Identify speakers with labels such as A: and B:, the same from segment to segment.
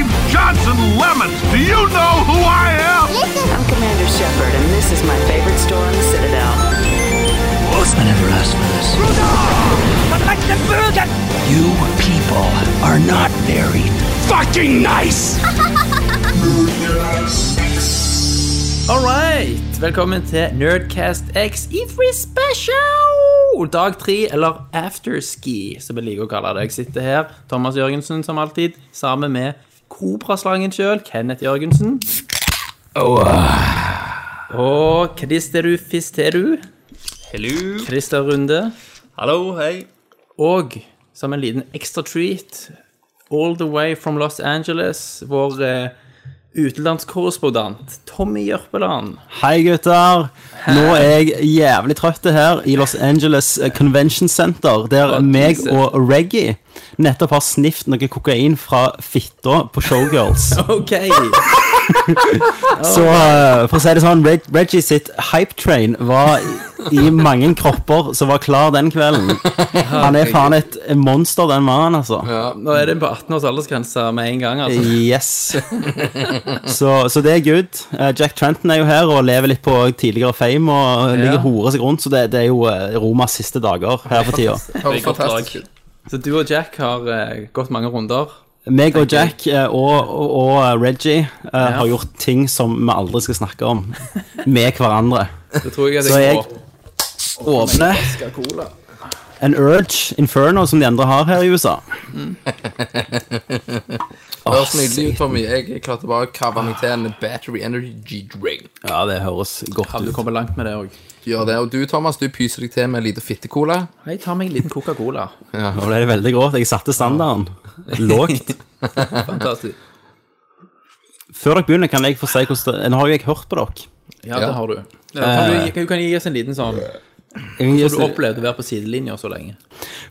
A: limes and lemons. Do you know who I am?
B: I'm Commander Shepard, and this is my favorite store in the Citadel.
C: I never asked for this. You people are not very fucking nice!
D: All right! Velkommen til Nerdcast X E3 Special! Dag tre, eller afterski, som jeg liker å kalle det. Jeg sitter her, Thomas Jørgensen som alltid, sammen med Kobraslangen sjøl, Kenneth Jørgensen. Og Kristeru Fisteru. Hello. Christer Runde.
E: Hallo, hei.
D: Og som en liten extra treat, all the way from Los Angeles, vår eh, utenlandskorrespondent Tommy Jørpeland.
F: Hei gutter, nå er jeg jævlig trøtt her i Los Angeles eh, Convention Center, der
D: Ja,
F: meg
D: Jesus.
F: og Reggie nettopp har snift noe kokain fra fitta på Showgirls.
D: OK.
F: Så eh, for å si det sånn, Reg Reggie sitt hype train var i- i mange kropper som var klar den kvelden. Han er faen et monster, den mannen, altså.
D: Nå er det på 18 års aldersgrense med en gang, altså.
F: Yes. Så, så det er good. Eh, Jack Trenton er jo her og lever litt på tidligere fame og ligger og horer seg rundt, så det, det er jo eh, Romas siste dager her for tida.
E: Høres fantastisk
D: oppdrag.
E: ut.
D: Så du og Jack har eh, gått mange runder.
F: Meg og Jack eh, og, og, og eh, Reggie eh, har gjort ting som vi aldri skal snakke om med hverandre.
D: Det tror jeg at
F: Så
D: jeg,
F: jeg- Åpne en Urge Inferno som de andre har her i USA.
E: Mm. Det høres nydelig ut for meg. Jeg klarte bare å kave meg til en battery energy drink.
F: Ja, det høres godt
D: Du
F: ut.
D: kommer langt med det òg.
E: Gjør det. Og du, Thomas, du pyser deg til med en liten fittecola.
D: Jeg tar meg en liten Coca-Cola.
F: Nå ble det veldig grovt. Jeg satte standarden lågt.
D: Fantastisk.
F: Før dere begynner, kan jeg få si hvordan det Nå har jo jeg hørt på dere.
D: Ja,
E: Ja.
D: det har du. Kan du, kan- du kan gi oss en liten sånn
F: Jeg,
D: Du opplevde å være på sidelinja så lenge.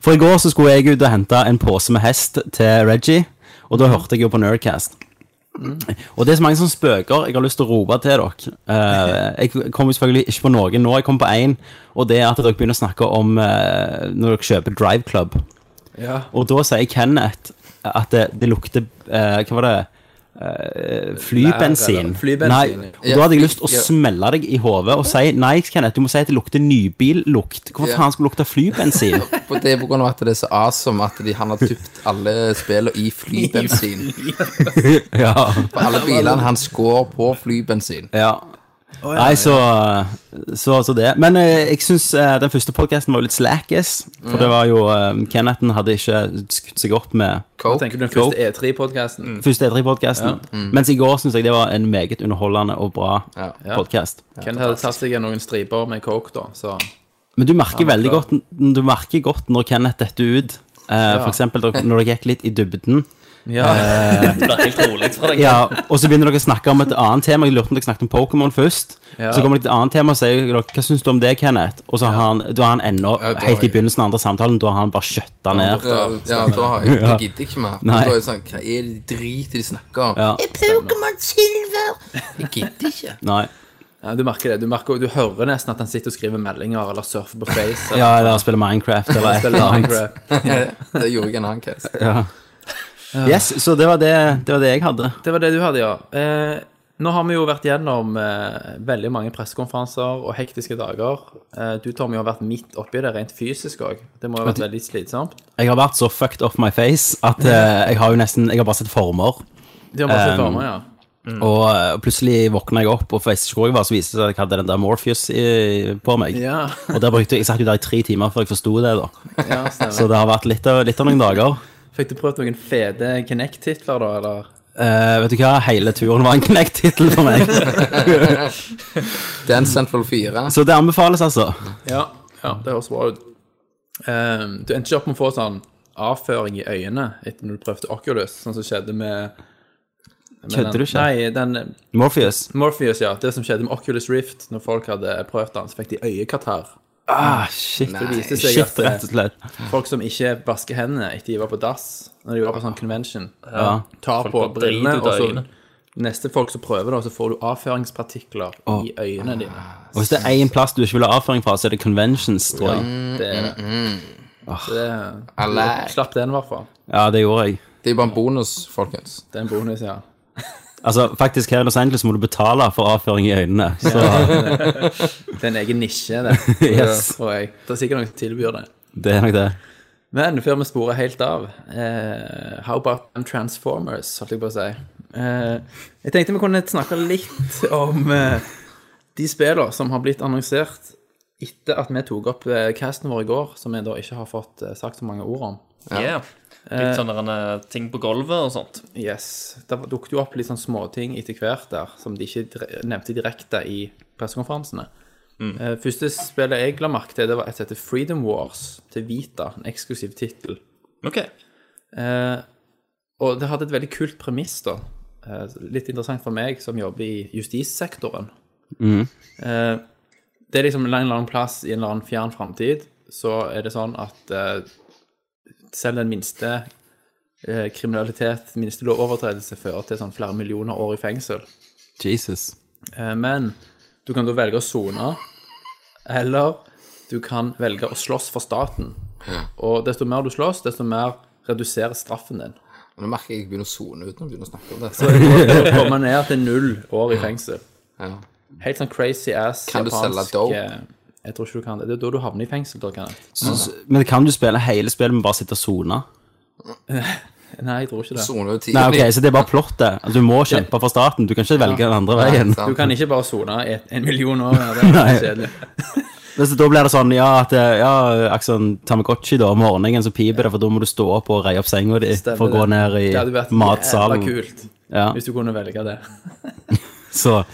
F: For i går så skulle jeg ut og hente en pose med hest til Reggie, og da hørte jeg jo på Nerdcast. Og det er så mange sånne spøker jeg har lyst til å rope til dere. Eh, jeg kom jo selvfølgelig ikke på noen nå, jeg kom på én, og det er at dere begynner å snakke om eh, når dere kjøper Drive Club.
D: Ja.
F: Og da sier Kenneth at det, det lukter eh, Hva var det? Eh, flybensin.
D: Lær, eller? Flybensin,
F: Nei, og
E: ja.
F: da hadde jeg lyst til å
E: Ja.
F: smelle deg i hodet og si nei, Kenneth, du må si at det lukter nybillukt. Hvorfor
E: Ja.
F: faen skulle det lukte flybensin?
E: For det er på grunn av at det er så awesome at de, han har dypt alle spillene i flybensin.
F: ja.
E: For alle bilene hans går på flybensin.
F: Ja. Nei, så, så, så det. Men eh, jeg syns den første podkasten var jo litt slackis. For det var jo eh, Kennethen hadde ikke skutt seg opp med
E: Coke.
D: Tenker du den første E3-podkasten?
F: første E3-podkasten. Mens i går syns jeg det var en meget underholdende og bra
E: Mm. Ja.
F: podcast podkast.
D: Kenneth hadde tatt seg noen striper med coke, da. Så
F: Men du merker veldig godt Du merker godt når Kenneth detter ut. Eh, For eksempel dere- når dere gikk litt i dybden.
D: ja.
F: Ja, og så begynner dere å snakke om et annet tema. Jeg lurte om dere snakket om Pokémon først.
D: Ja.
F: Så kommer det et annet tema og sier dere, hva syns du om det, Kenneth? Og så har han, da har han ennå,
E: Ja, da har
F: helt i
E: jeg-
F: begynnelsen av andre samtalen, da har han bare skjøtta ned.
E: Ja, ja, da har jeg, jeg gidder ikke mer. Da
F: Nei.
E: er det sånn, Hva er det drit de snakker om?
F: Ja.
E: Pokémon Silver! Jeg gidder ikke.
F: Nei.
D: Ja, du merker det. Du, merker, du hører nesten at han sitter og skriver meldinger eller surfer på Face.
F: Ja, eller spille Minecraft eller et eller
D: Spiller
F: annet.
D: Minecraft.
E: Det gjorde jeg i en annen case.
F: Yes, så det var det, det, var det jeg hadde.
D: Det var det du hadde, ja. Eh, nå har vi jo vært gjennom eh, veldig mange pressekonferanser og hektiske dager. Eh, du, Tommy, har vært midt oppi det rent fysisk òg. Det må ha vært veldig slitsomt.
F: Jeg har vært så fucked off my face at eh, jeg har jo nesten Jeg har bare sett former.
D: De har masse
F: Um,
D: former, ja.
F: Og eh, plutselig våkna jeg opp, og for jeg visste ikke hvor jeg var, så viste det seg at jeg hadde den der Morpheus i, på meg.
D: Ja,
F: Og der brukte jeg, jeg satt jo der i tre timer før jeg forsto det, da.
D: ja
F: Så
D: stemmer.
F: det har vært litt av, litt av noen dager.
D: Fikk du prøvd noen fede Kinect-titler, da, eller?
F: Eh, vet du hva, hele turen var en Kinect-tittel for meg.
E: Den Central 4.
F: Så det anbefales, altså.
D: Ja, ja det høres bra ut. Eh, du endte ikke opp med å få sånn avføring i øynene etter når du prøvde Oculus, sånn som skjedde med med
F: Kødder
D: den-
F: du ikke?
D: Nei, den
F: Morpheus.
D: Morpheus, ja. Det som skjedde med Oculus Rift, når folk hadde prøvd den, så fikk de øyekatarr.
F: Ah, shit.
D: Det viste seg
F: Shit,
D: at
F: rett og slett.
D: eh, folk som ikke vasker hendene etter de var på dass, når de var på sånn convention,
F: Ja.
D: tar på
G: bare
D: brillene,
G: driter ut
D: og
G: av
D: så
G: øynene.
D: neste folk som prøver, da, så får du avføringspartikler i øynene dine.
F: Og hvis det er én plass du ikke vil ha avføring fra, så er det conventions, tror jeg.
D: Det er det. Så det
E: Alle.
G: Ah.
D: Slapp den, i hvert fall.
F: Ja, det gjorde jeg.
E: Det er jo bare en bonus, folkens.
D: Det er en bonus, ja.
F: Altså, faktisk Her i Los Angeles må du betale for avføring i øynene. Så
D: Det er en egen nisje, det.
F: Yes.
D: Tror jeg. Det er sikkert noen som tilbyr det.
F: det er nok det.
D: Men før vi sporer helt av eh, How about them Transformers, holdt jeg på å si. Eh, jeg tenkte vi kunne snakke litt om eh, de spillene som har blitt annonsert etter at vi tok opp eh, casten vår i går, som vi da ikke har fått eh, sagt så mange ord om.
G: Yeah. Litt sånn sånne derne eh, ting på gulvet og sånt.
D: Yes. Det dukket jo opp litt sånn småting etter hvert der, som de ikke dire- nevnte direkte i pressekonferansene. Eh, første spillet jeg la merke til, det var et som heter Freedom Wars til Vita, en eksklusiv tittel.
G: OK.
D: Eh, og det hadde et veldig kult premiss, da. Eh, litt interessant for meg som jobber i justissektoren. Eh, det er liksom en eller annen plass i en eller annen fjern framtid, så er det sånn at eh, selv den minste eh, kriminalitet, minste lovovertredelse, fører til sånn flere millioner år i fengsel.
F: Jesus.
D: Eh, men du kan da velge å sone, eller du kan velge å slåss for staten. Og desto mer du slåss, desto mer reduserer straffen din.
E: Nå merker jeg jeg begynner å sone ut når jeg begynner å snakke om det.
D: å komme ned til null år i fengsel.
E: Ja.
D: Helt sånn crazy ass
E: Kan du
D: japansk,
E: selge dope?
D: eh, Jeg tror ikke du kan det. Det er da du havner i fengsel, da, Kenneth.
F: Så, så- men kan du spille hele spillet med bare sitte og sone?
D: Nei, jeg tror ikke det.
E: Sone ut
F: Nei, ok,
E: tidlig.
F: så det er bare plottet. Altså, du må kjempe for staten. Du kan ikke velge den andre veien.
E: sant.
D: Du kan ikke bare sone i et- en million år. ja, Det er
F: Nei.
D: kjedelig.
F: Men så Da blir det sånn ja, at eh, ja, Akson Tamagotchi da, om morgenen så piper det, for da må du stå opp og reie opp senga di for å gå ned i
D: Det hadde vært
F: matsalen.
D: jævla kult
F: Ja,
D: hvis du kunne velge det.
F: så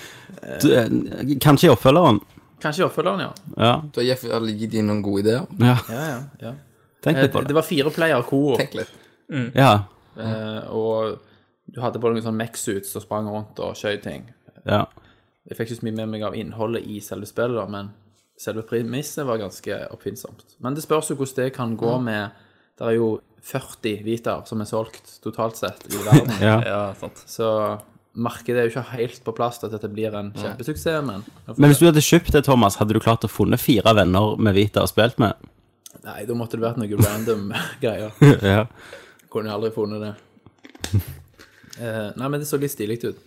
F: du, eh, Kanskje i oppfølgeren.
D: Kanskje i oppfølgeren, ja.
F: Ja.
E: Du har gitt- har gitt dem noen gode ideer.
F: ja.
D: ja, ja, ja.
F: Tenk
D: Eh,
F: litt på
D: Det
F: det.
D: var fire player co-op,
E: Tenk litt.
F: Ja.
D: eh, og du hadde på noen sånn mech-suits og sprang rundt og skjøt ting.
F: ja.
D: Jeg fikk ikke så mye med meg av innholdet i selve spillet, da, men selve premisset var ganske oppfinnsomt. Men det spørs jo hvordan det kan gå med Det er jo 40 Vitaer som er solgt totalt sett i verden.
F: Ja.
G: Ja, sant.
D: Så markedet er jo ikke helt på plass til at dette blir en kjempesuksess, men
F: Men hvis du hadde kjøpt det, Thomas, hadde du klart å funnet fire venner med Vita og spilt med?
D: Nei, da måtte det vært noe random greier.
F: Ja.
D: Kunne jeg aldri funnet det. Eh, nei, men det så litt stilig ut.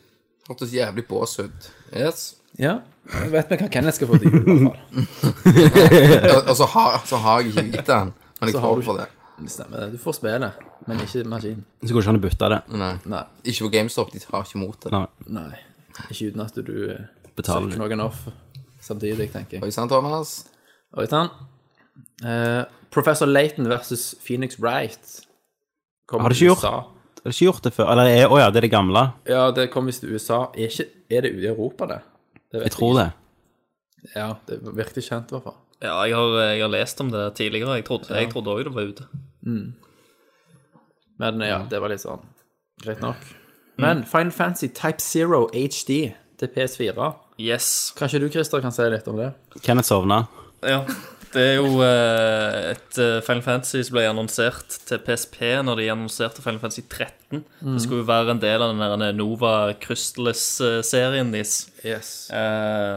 E: Hørtes jævlig bås ut. Yes.
D: Ja. Jeg vet vi hva Kenneth skal få til jul, i hvert fall.
E: Og og så har, så har jeg ikke gitt den, men jeg
D: Så har
E: får
D: du
E: det for det.
D: Det stemmer. det. Du får spille, men ikke maskin.
F: Så går det ikke an å bytte det.
E: Nei.
D: Nei.
E: Ikke på GameStop, de tar ikke imot det.
F: Nei.
D: Nei. Ikke uten at du eh,
F: Betaler
D: søker noen off samtidig, tenker jeg.
E: Oi sann, Thomas.
D: Oi sann. Eh, Professor Layton versus Phoenix Wright. Kom
F: Har det
D: til
F: ikke
D: USA.
F: Du har ikke gjort det før? Eller er, å ja, det er det gamle?
D: Ja, det kom visst til USA. Er, ikke, er det ute i Europa, det? det
F: Jeg tror det.
D: det. Ja, det virker kjent, i hvert fall.
G: Ja, jeg har, eh, jeg har lest om det tidligere. Jeg trodde, jeg trodde også det var ute.
D: Men ja,
F: Mm.
D: det var litt sånn greit nok. Men Final Fantasy Type Zero HD til PS4.
G: Yes.
D: Kanskje du, Christer, kan si litt om det?
F: Kenneth sovna.
G: Ja. Det er jo eh, et eh, Final Fantasy som ble annonsert til PSP når de annonserte Final Fantasy 13. Det skulle jo være en del av den der Nova Crystallis-serien deres.
D: Yes.
G: Eh,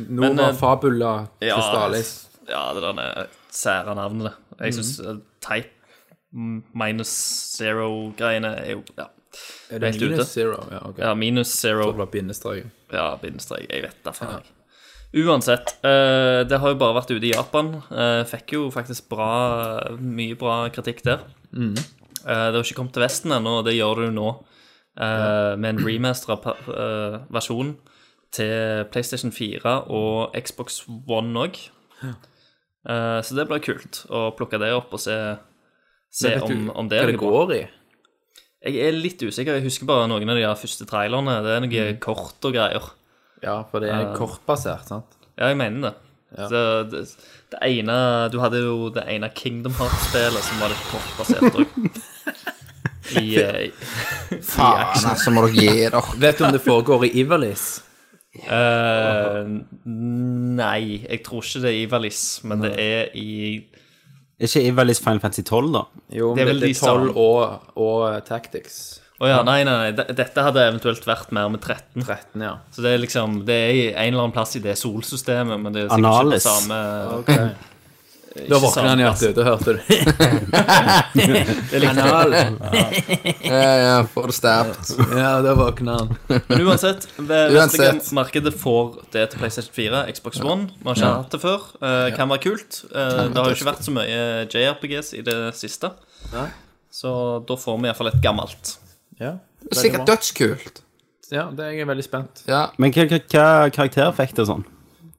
G: men,
D: Nova
G: eh,
D: Fabula
G: ja,
D: Crystallis.
G: Ja, det der eh, sære navnet. det. Jeg syns Type minus zero-greiene er jo Ja,
D: Er det
G: helt ute.
D: minus zero? Ja, ok.
G: ja minus zero.
D: Det var bindestrek.
G: Ja, bindestrek. Jeg vet da faen. jeg. Uansett, eh, det har jo bare vært ute i Japan. Eh, fikk jo faktisk bra, mye bra kritikk der.
D: Mm.
G: Eh, det har ikke kommet til Vesten ennå, og det gjør det jo nå. eh, Med en remastera versjon til PlayStation 4 og Xbox One òg. Så det blir kult å plukke det opp og se, se
D: Men vet
G: om,
D: du
G: om det
D: hva
G: er
D: det
G: bra.
D: går i.
G: Jeg er litt usikker. Jeg husker bare noen av de her første trailerne. Det er noe kort og greier.
D: Ja, for det er kortbasert, sant?
G: Ja, jeg mener det. Så det, det ene Du hadde jo det ene Kingdom Hearts-spelet som var litt kortbasert òg. I eh,
E: Faen, altså, må dere gi dere.
D: Vet du om det foregår i Iverlis?
G: eh, Nei, jeg tror ikke det er i Valis, men det er i
F: Er ikke Ivalis Final Fantasy 12, da?
D: Jo,
G: Det er
D: men
G: vel
D: det
G: de
D: er 12
G: samme.
D: og, og eh, Tactics.
G: Å ja, nei, nei, nei. de- Dette hadde eventuelt vært mer med 13.
D: 13, ja.
G: Så det er liksom Det er i en eller annen plass i det solsystemet, men det er sikkert ikke
F: Analis.
G: det samme
D: Ok. Da våkner han i at du hørte det. Kanal.
E: Ja, ja, får det stapped.
D: Ja, da våkner han.
G: Men uansett, det
E: Uansett.
G: vestlige markedet får det til PlayStation 4, Xbox One. Vi har ikke hatt det før. Eh, kan være kult. Eh, det har jo ikke vært så mye JRPGs i det siste. Så da får vi iallfall et gammelt.
D: Ja,
E: Det er sikkert dødskult.
D: ja det er jeg veldig spent.
E: Ja.
F: Men hva, hva, hva karakter fikk det sånn?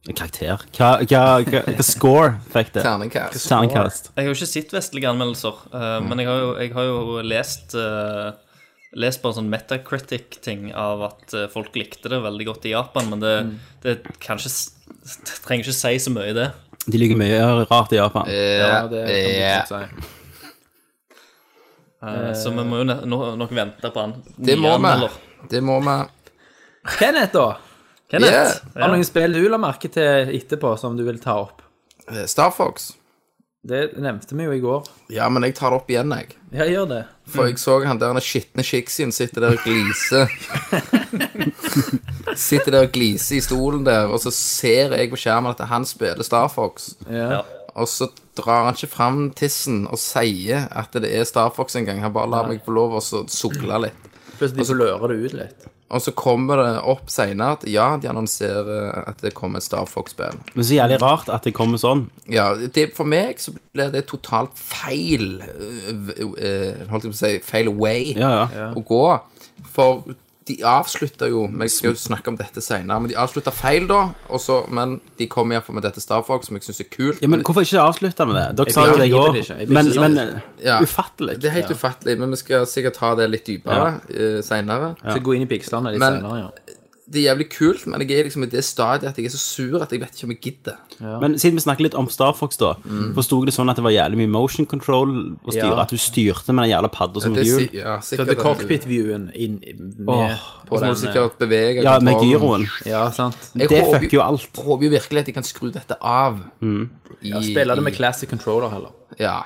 F: Karakter? Hva, hva, hva, hva score fikk det?
E: Terningkast.
F: Terningkast.
G: Jeg har jo ikke sett vestlige anmeldelser, eh, men jeg har jo, jeg har jo lest eh, Lest på en sånn metacritic-ting av at eh, folk likte det veldig godt i Japan, men det, det, kan ikke s- det trenger ikke si så mye, det.
F: De liker mye rart i Japan.
D: Eh.
E: Ja,
D: Ja, det
E: ja.
D: kan du fort si.
G: Eh, så vi må jo ne no nok vente på han.
E: Det må vi.
G: nye anmelder.
E: Det må vi.
D: Kenneth, da?
G: Kenneth.
E: Yeah.
D: Har du noen spill du la merke til etterpå, som du vil ta opp?
E: Eh, Star Fox.
D: Det nevnte vi jo i går.
E: Ja, men jeg tar det opp igjen, jeg.
D: Ja, gjør det.
E: For jeg så han der den skitne kiksien sitter der og gliser. sitter der og gliser i stolen der, og så ser jeg på skjermen at han spiller Star Fox.
D: Ja.
E: Og så drar han ikke fram tissen og sier at det er Star Fox engang. Han bare lar meg få lov å så sugle litt.
D: Plutselig blører det ut litt.
E: Og så kommer det opp seinere at ja, de annonserer at det kommer et Star Fox-spill.
F: Men så jævlig rart at det kommer sånn.
E: Ja, det, for meg så ble det totalt feil øh, øh, Holdt jeg på å si feil way
F: Ja, ja.
E: å gå. For de avslutta jo Vi skal jo snakke om dette seinere, men de avslutta feil da. Og så, men de kom iallfall med dette Star Fox, som jeg syns er kult.
F: ja men hvorfor ikke avslutte med det? Dere sa jo det i
D: begriper
F: går.
D: det ikke. Jeg
F: Men,
D: begriper
F: men
D: det
E: Ja.
F: ufattelig.
E: Det er helt ufattelig, men vi skal sikkert ta det litt dypere ja. seinere.
D: Så gå inn i pikslene litt
E: Men-
D: senere, ja.
E: Det er jævlig kult, men jeg er liksom i det stadiet at jeg er så sur at jeg vet ikke om jeg gidder.
F: Men siden vi snakker litt om Star Fox, da, forsto jeg det sånn at det var jævlig mye motion control å styre?
D: Mm. Ja.
F: At du styrte med den jævla padda som
E: Det er
F: hjul?
E: si- ja,
D: Så
E: sikkert
D: hadde
E: at-
D: cockpit-viewen inn med
F: Åh,
E: Og så må
D: eh,
E: du sikkert bevege
F: Ja, med
E: kontrollen.
F: gyroen.
D: Ja, sant.
E: Jeg
F: Det
E: håper
F: fucker jo alt.
E: Jeg håper jo virkelig at de kan skru dette av. I, ja,
D: Spiller det med classic controller heller.
E: Ja.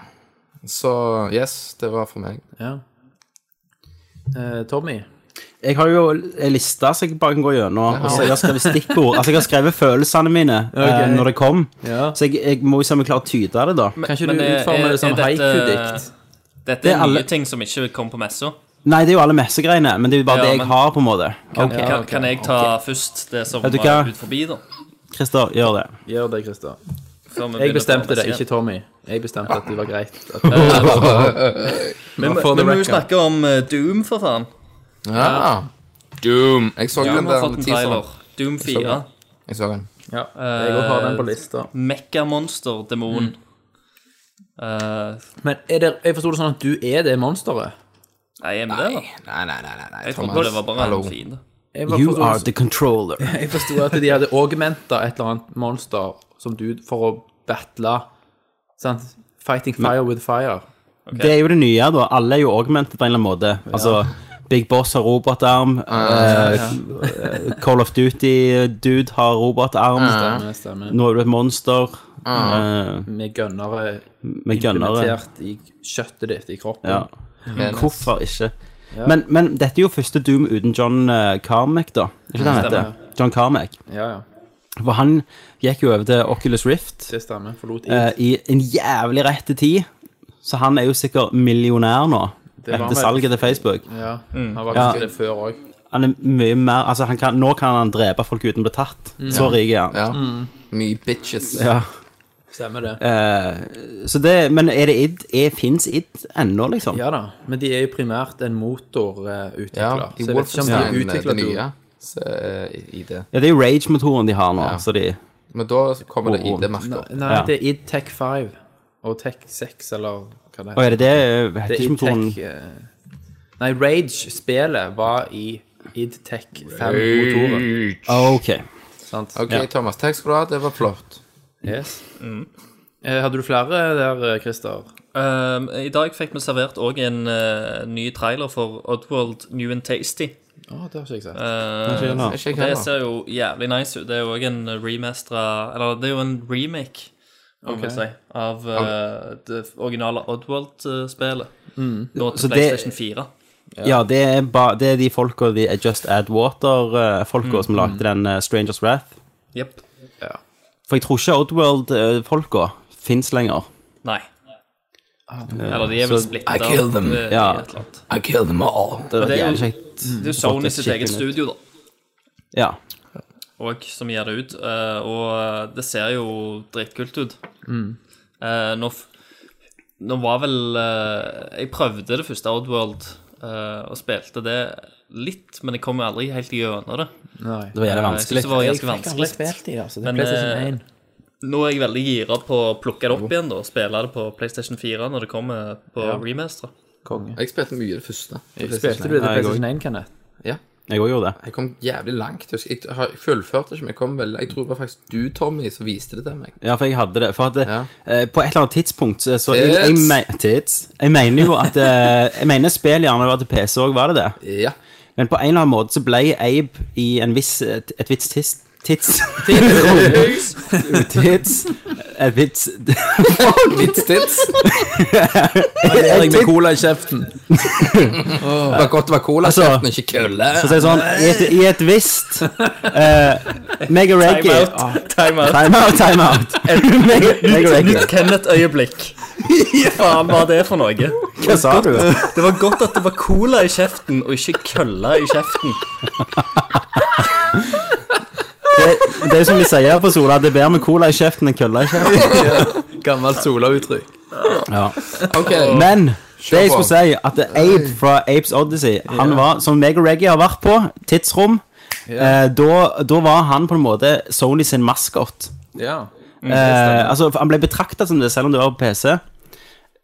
E: Så yes, det var for meg.
D: Ja. Eh, Tommy?
F: Jeg har jo en liste som jeg bare kan gå gjennom. Og så jeg har skrevet stikkord. Altså, jeg har skrevet følelsene mine eh,
D: Ok.
F: når det kom.
D: Ja. eh,
F: Så jeg, jeg må jo se om jeg klarer å tyde det, da.
D: Kan ikke
G: men
D: du
G: er-
D: utforme
G: er-
D: det som
G: er dette-
D: haiku-dikt?
G: Dette
F: Det
G: er,
F: er alle-
G: nye ting som ikke kom på messa.
F: Nei, det er jo alle messegreiene, men det er jo bare
G: Ja,
F: det jeg
G: men-
F: har, på en måte.
G: Kan,
F: Ok,
G: kan, kan jeg ta først det som
F: Vet du
G: var
F: hva?
G: ut forbi, da?
F: Christer, gjør det.
D: Gjør det, Christer.
G: Før vi begynner
D: Jeg
G: på
D: bestemte det,
G: messa
D: ikke
G: igjen.
D: Tommy. Jeg bestemte at det var greit. At
G: Men
D: for the
G: men vi må
D: record.
G: jo snakke om eh, Doom, for faen.
E: Ja. Doom. Jeg så
G: Ja,
E: den
G: vi har
E: der
G: fått en
E: teaseren.
G: trailer. Doom 4.
E: Jeg så den.
D: ja, eh, jeg også har den på lista.
G: Mekkamonster-demon. Eh,
D: Men er det, jeg forsto det sånn at du er det monsteret?
G: nei, er vi det, da?
E: Nei, nei, nei, nei, nei.
G: Jeg
E: Thomas,
G: trodde det var bare
E: hallo.
G: en fiende.
D: Jeg bare
F: You
D: forsto- sånn-
F: are the controller.
D: Jeg forsto at de hadde augmenta et eller annet monster som du for å battle sant? Fighting fire with fire.
F: Det er jo det nye, da. Alle er jo augmented på en eller annen måte. Altså, Big Boss har robotarm. eh, Call of Duty-dude har robotarm.
D: Stemmer, stemmer.
F: Nå er du et monster. eh,
D: Med gønnere
F: med gønnere.
D: implementert i kjøttet ditt, i kroppen.
F: Ja. Hvorfor ikke? Men, men dette er jo første Doom uten John eh, Carmack, da. Er Ikke det han heter?
G: Stemmer.
F: John Carmack.
D: ja, ja.
F: For han gikk jo over til Oculus Rift
D: Det stemmer. Forlot id.
F: eh, i en jævlig rette tid. Så han er jo sikkert millionær nå,
D: Det var vel-
F: etter salget til Facebook.
D: ja.
G: Mm.
D: Han var kanskje det før òg.
F: Han er mye mer Altså, han kan, nå kan han drepe folk uten å bli tatt. Så rik er han.
E: Ja. Mye bitches.
F: Ja.
D: Stemmer det.
F: Eh. Så det, men er det id? Er- Fins id ennå, liksom?
D: Ja da. Men de er jo primært en
E: Ja,
D: motorutvikler. så jeg vet ikke om
E: i
D: de er
E: Wolfenstein, eh, det
D: utviklet
E: nye.
D: noe.
E: Så, eh, i- i det.
F: Ja, det er jo Rage-motoren de har nå, så de
E: Men da kommer det
F: Oh, oh.
E: ID-merker.
D: Nei,
F: Ja.
D: det er id Tech 5 og Tech 6 eller hva det
F: Og er det det eh,
D: Det
F: Heter
D: er
F: ikke
D: id
F: motoren
D: Tech eh, Nei, Rage-spelet var i id Tech 5-motoren.
F: Ah, Ok.
D: Sant?
E: Ok, Thomas. Takk skal du ha. Det var flott.
D: Yes.
G: Mm.
D: Eh, Hadde du flere der, eh, Christer?
G: Ehm, I dag fikk vi servert òg en eh, ny trailer for Oddworld New and Tasty.
D: Å, det har ikke jeg sett.
G: Eh,
E: Er Ikke jeg
G: det
E: heller.
G: ser jo jævlig nice ut. Det er jo òg en remastera Eller det er jo en remake, om
D: Ok.
G: jeg vil si, av eh, det originale Oddworld-spelet. Nå
F: Så
G: til
F: det-
G: PlayStation 4.
F: Ja, det er, ba, det er de folka, de Just Add Water-folka som eh, lagde den eh, Strangers Wrath.
G: Jepp.
F: For jeg tror ikke Oddworld-folka fins eh, lenger.
G: Nei. Eller de er vel eh, splitta.
C: I killed them.
F: Ja.
C: I killed them all.
F: Det
G: Det
F: var
G: er jo-
F: jævlig kjekt.
G: Det er jo Sony sitt eget studio, da.
F: Ja.
G: og som gir det ut. eh, og det ser jo dritkult ut. Eh, nå, f- nå var vel eh, Jeg prøvde det første Outworld eh, og spilte det litt, men jeg kom jo aldri helt gjennom det.
F: Det var jævlig
G: Jeg synes
F: vanskelig.
G: det var
D: Jeg
G: ganske
D: fikk aldri
G: vanskelig.
D: spilt de, altså. Det
G: Men,
D: er PlayStation
G: eh,
D: 1.
G: Nå er jeg veldig gira på å plukke det opp igjen da, og spille det på PlayStation 4 når det kommer på remaster.
D: Konge.
E: Jeg spilte mye i det første.
D: Spilte du det
F: Nei,
D: til
F: jeg
D: PlayStation 1, kan jeg?
F: Jeg òg gjorde det.
E: Jeg kom jævlig langt. husker Jeg Jeg har- jeg fullførte ikke, men jeg kom vel Jeg tror det var faktisk du, Tommy, som viste det til meg.
F: Ja, for jeg hadde det. For at
E: Ja.
F: eh, på et eller annet tidspunkt så, så jeg, jeg,
E: Tits.
F: me tits. jeg mener jo at eh, Jeg mener spill gjerne var til PC òg, var det det?
E: Ja.
F: Men på en eller annen måte så ble Abe i en viss, et, et vits tids... Tids. tids. Et vits...
E: Vits, tits.
D: Jeg med cola i kjeften.
E: Det var godt det var cola,
F: Altså-
E: kjeften, ikke kølle.
F: Så sier jeg sånn, i et, i et visst eh, Mega Reggae Ah,
G: Time out.
F: Time out, time out. Mega, mega Reggae.
G: Nytt Kenneth-øyeblikk. Hva faen var det for noe?
F: Hva sa du?
G: Det var godt at det var cola i kjeften, og ikke kølla i kjeften.
F: Det, det er som de sier på Sola, det er bedre med cola i kjeften enn kølla i kjeften.
D: Gammelt Sola-uttrykk.
F: Ja.
E: Ok,
F: Men det jeg
E: på.
F: skulle si, at Abe fra Apes Odyssey, han var, som meg og Reggie har vært på, tidsrom, eh, da, da var han på en måte Sony sin maskot.
D: Ja.
F: Eh, altså, for han ble betraktet som det, selv om det var på PC.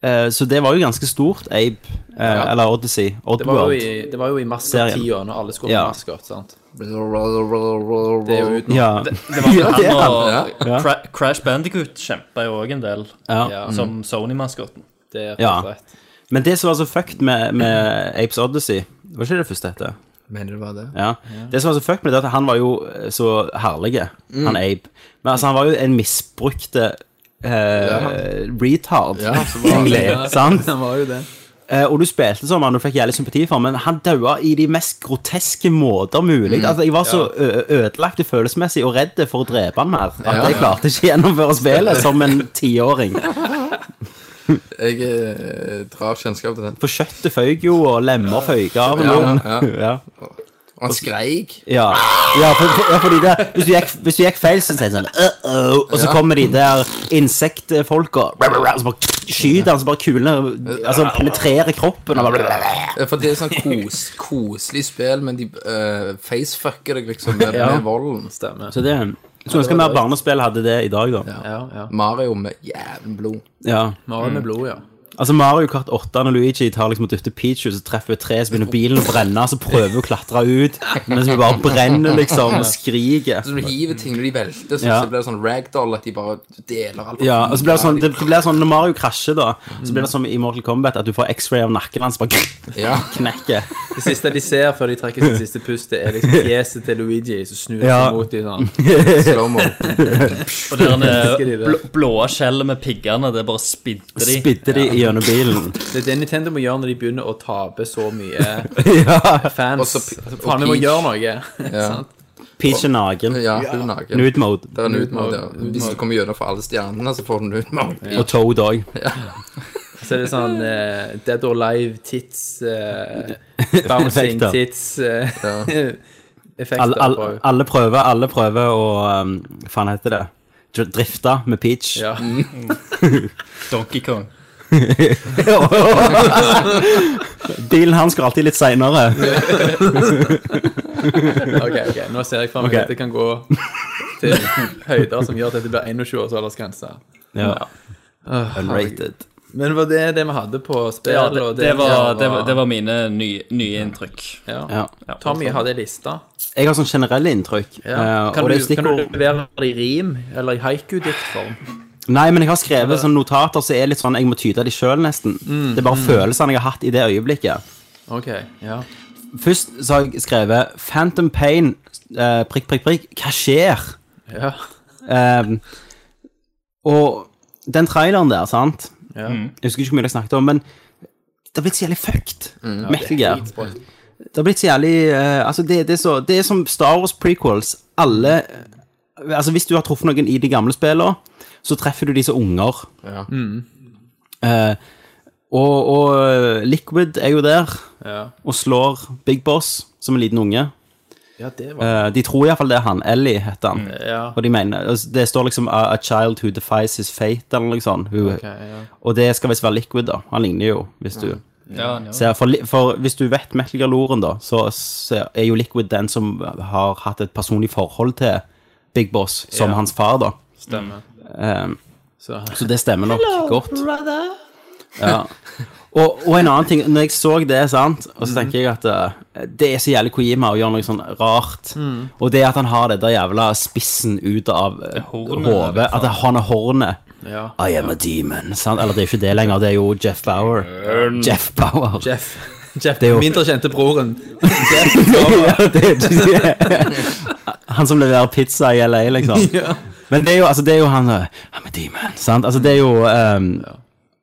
F: Eh, så det var jo ganske stort, Abe, eh, eller Odyssey,
D: Det var jo
F: Oddworld.
D: i, det var jo i masse
F: Serien.
D: tiår når alle skulle
F: Ja.
D: ha maskot, sant? Det er jo uten
F: Ja.
G: Det var
F: Ja,
G: vel
F: det er
G: han og
E: han.
F: Ja.
G: Cra Crash Bandicoot kjempa jo òg en del,
F: Ja.
D: Ja,
G: som Sony-maskoten.
D: det er
F: Ja.
D: helt rett.
F: Men det som var så fucked med, med Apes Odyssey, var ikke det første hette?
E: Mener du det var det?
F: Ja. Det som var så fucked med det, er at han var jo eh, så herlig,
E: Mm.
F: han Abe. Men altså, han var jo en misbrukte eh, retard,
E: Ja, så var han-
F: egentlig. Sant?
D: Han var jo det.
F: Eh, og du spilte som han og fikk jævlig sympati for, men han daua i de mest groteske måter mulig.
E: Mm.
F: Altså, jeg var så ø- ødelagt følelsesmessig og redd for å drepe han mer at
E: Ja.
F: jeg klarte ikke gjennomføre spillet som en tiåring.
E: Jeg eh, drar kjennskap til den.
F: For kjøttet føyk jo, og lemmer føyk av.
E: Ja,
F: Ja, ja.
E: Og han skreik.
F: Ja, ja, for, for, ja fordi det, hvis, du gikk, hvis du gikk feil, så sier de sånn uh-oh, og så
E: Ja.
F: kommer de der insektfolka og så bare skyter han, så bare kulene altså, penetrerer kroppen og bare
E: Eh, For det er sånn kos, koselig spill, men de eh, facefucker deg liksom med,
D: Ja.
E: med volden.
D: Stemmer.
F: Så det Skulle ønske mer barnespill hadde det i dag, da.
D: Ja, ja.
E: Mario med jævlig blod.
F: Ja.
D: Mario med blod, ja.
F: Altså Mario Kart 8 når Luigi tar liksom og dytter Peach, så treffer et tre, så begynner bilen å brenne, så prøver hun å klatre ut, mens hun bare brenner, liksom, og skriker.
E: Så du hiver ting når de velter, så,
F: Ja.
E: så blir det sånn ragdoll at de bare deler alt.
F: Ja, og så blir det sånn, det, det blir sånn Når Mario krasjer, da, så blir det som i Mortal Kombat, at du får x-ray av nakken hans, bare
E: Ja.
F: knekker.
D: Det siste de ser før de trekker sitt siste pust, det er liksom fjeset til Luigi som snur seg
F: Ja.
D: mot dem sånn.
E: Slow-mo.
G: Og det der
D: Elsker de det.
G: blå, blåe skjellet med piggene, det bare spidder de.
F: Spidde de gjennom bilen.
D: Det er det Nintendo må gjøre når de begynner å tape så mye
F: ja.
D: fans.
E: Og så-
D: Altså, Faen, vi må
E: og
D: gjøre noe. sant?
F: Peach er naken.
E: Ja, hun er naken.
F: Nude mode.
E: Det er
D: Nude
E: nude mode, ja.
D: mode.
E: Hvis du kommer gjennom for alle stjernene, så får du nude mode.
F: Og Toad òg.
D: Så er det sånn eh, Dead or Alive tits eh, Bouncing
F: Effekter.
D: tits eh, Effekter.
F: Alle,
D: på,
F: alle, alle prøver alle prøver å um, Hva faen heter det? Dr- Drifte med Peach.
D: ja.
G: Mm. Donkey Kong.
F: Bilen hans går alltid litt seinere.
D: Ok, ok, nå ser jeg for meg
F: Ok.
D: at det kan gå til høyder som gjør at dette blir 21 års aldersgrense.
F: Ja. Unrated.
D: Men det var det det vi hadde på spill?
G: Ja, det, liksom-
D: og
G: det, var,
D: vi
G: det, var, det var mine nye, nye inntrykk.
D: ja.
F: Ja.
D: Tommy
G: sånn.
D: hadde ei liste.
F: Jeg har sånn generelle inntrykk. eh,
D: Kan,
F: og det er
D: du, kan du
F: stikkord
D: levere det i rim eller i haiku-diktform?
F: Nei, men jeg har skrevet sånne notater som så er litt sånn jeg må tyde de sjøl, nesten.
D: Mm.
F: Det er bare følelsene jeg har hatt i det øyeblikket.
D: Ok, ja.
F: Først så har jeg skrevet 'Phantom Pain', eh, prikk, prikk, prikk. Hva skjer?
D: ja.
F: Ehm, og den traileren der, sant Jeg husker ikke hvor mye jeg snakket om, men det har blitt så jævlig fucked. Metal Gear. Det har blitt så jævlig eh, Altså, det, det, er så, det er som Star Wars prequels. Alle Altså, hvis du har truffet noen i de gamle spillene, så treffer du de som unger.
E: Ja.
F: Eh, og, og Liquid er jo der
D: Ja.
F: og slår Big Boss som en liten unge.
D: ja, det var
F: Eh, de tror iallfall det er han. Ellie heter han.
G: Mm,
D: Ja.
F: Og de mener, altså, Det står liksom A, a child who defies his fate, eller noe sånt. Hun, Og det skal visst være Liquid, da. Han ligner jo, hvis du
G: Ja, ja.
F: ser. For, li- for hvis du vet Metal Gear-loren, da, så, så er jo Liquid den som har hatt et personlig forhold til Big Boss som hans far, da.
D: Stemmer.
F: Eh,
D: Så
F: så det stemmer nok godt. Ja. Og, og en annen ting, når jeg så det, sant,
D: Mhm.
F: og så tenker jeg at eh, det er så jævlig Kojima å gjøre noe sånn rart.
D: Mm.
F: Og det at han har det der jævla spissen ut av eh,
G: Hornet,
F: hodet, at han har hornet.
D: Ja.
F: I am a demon. Sant? Eller det er jo ikke det lenger, det er jo Jeff Bauer. Jeff Bauer.
D: Jeff. Jeff
F: er jo-
D: Mindre kjente broren.
F: Ja, det er ikke det. Han som leverer pizza i LA, liksom. Men det er jo, altså, det er jo han eh, I'm a demon, sant? Altså, det er jo ehm,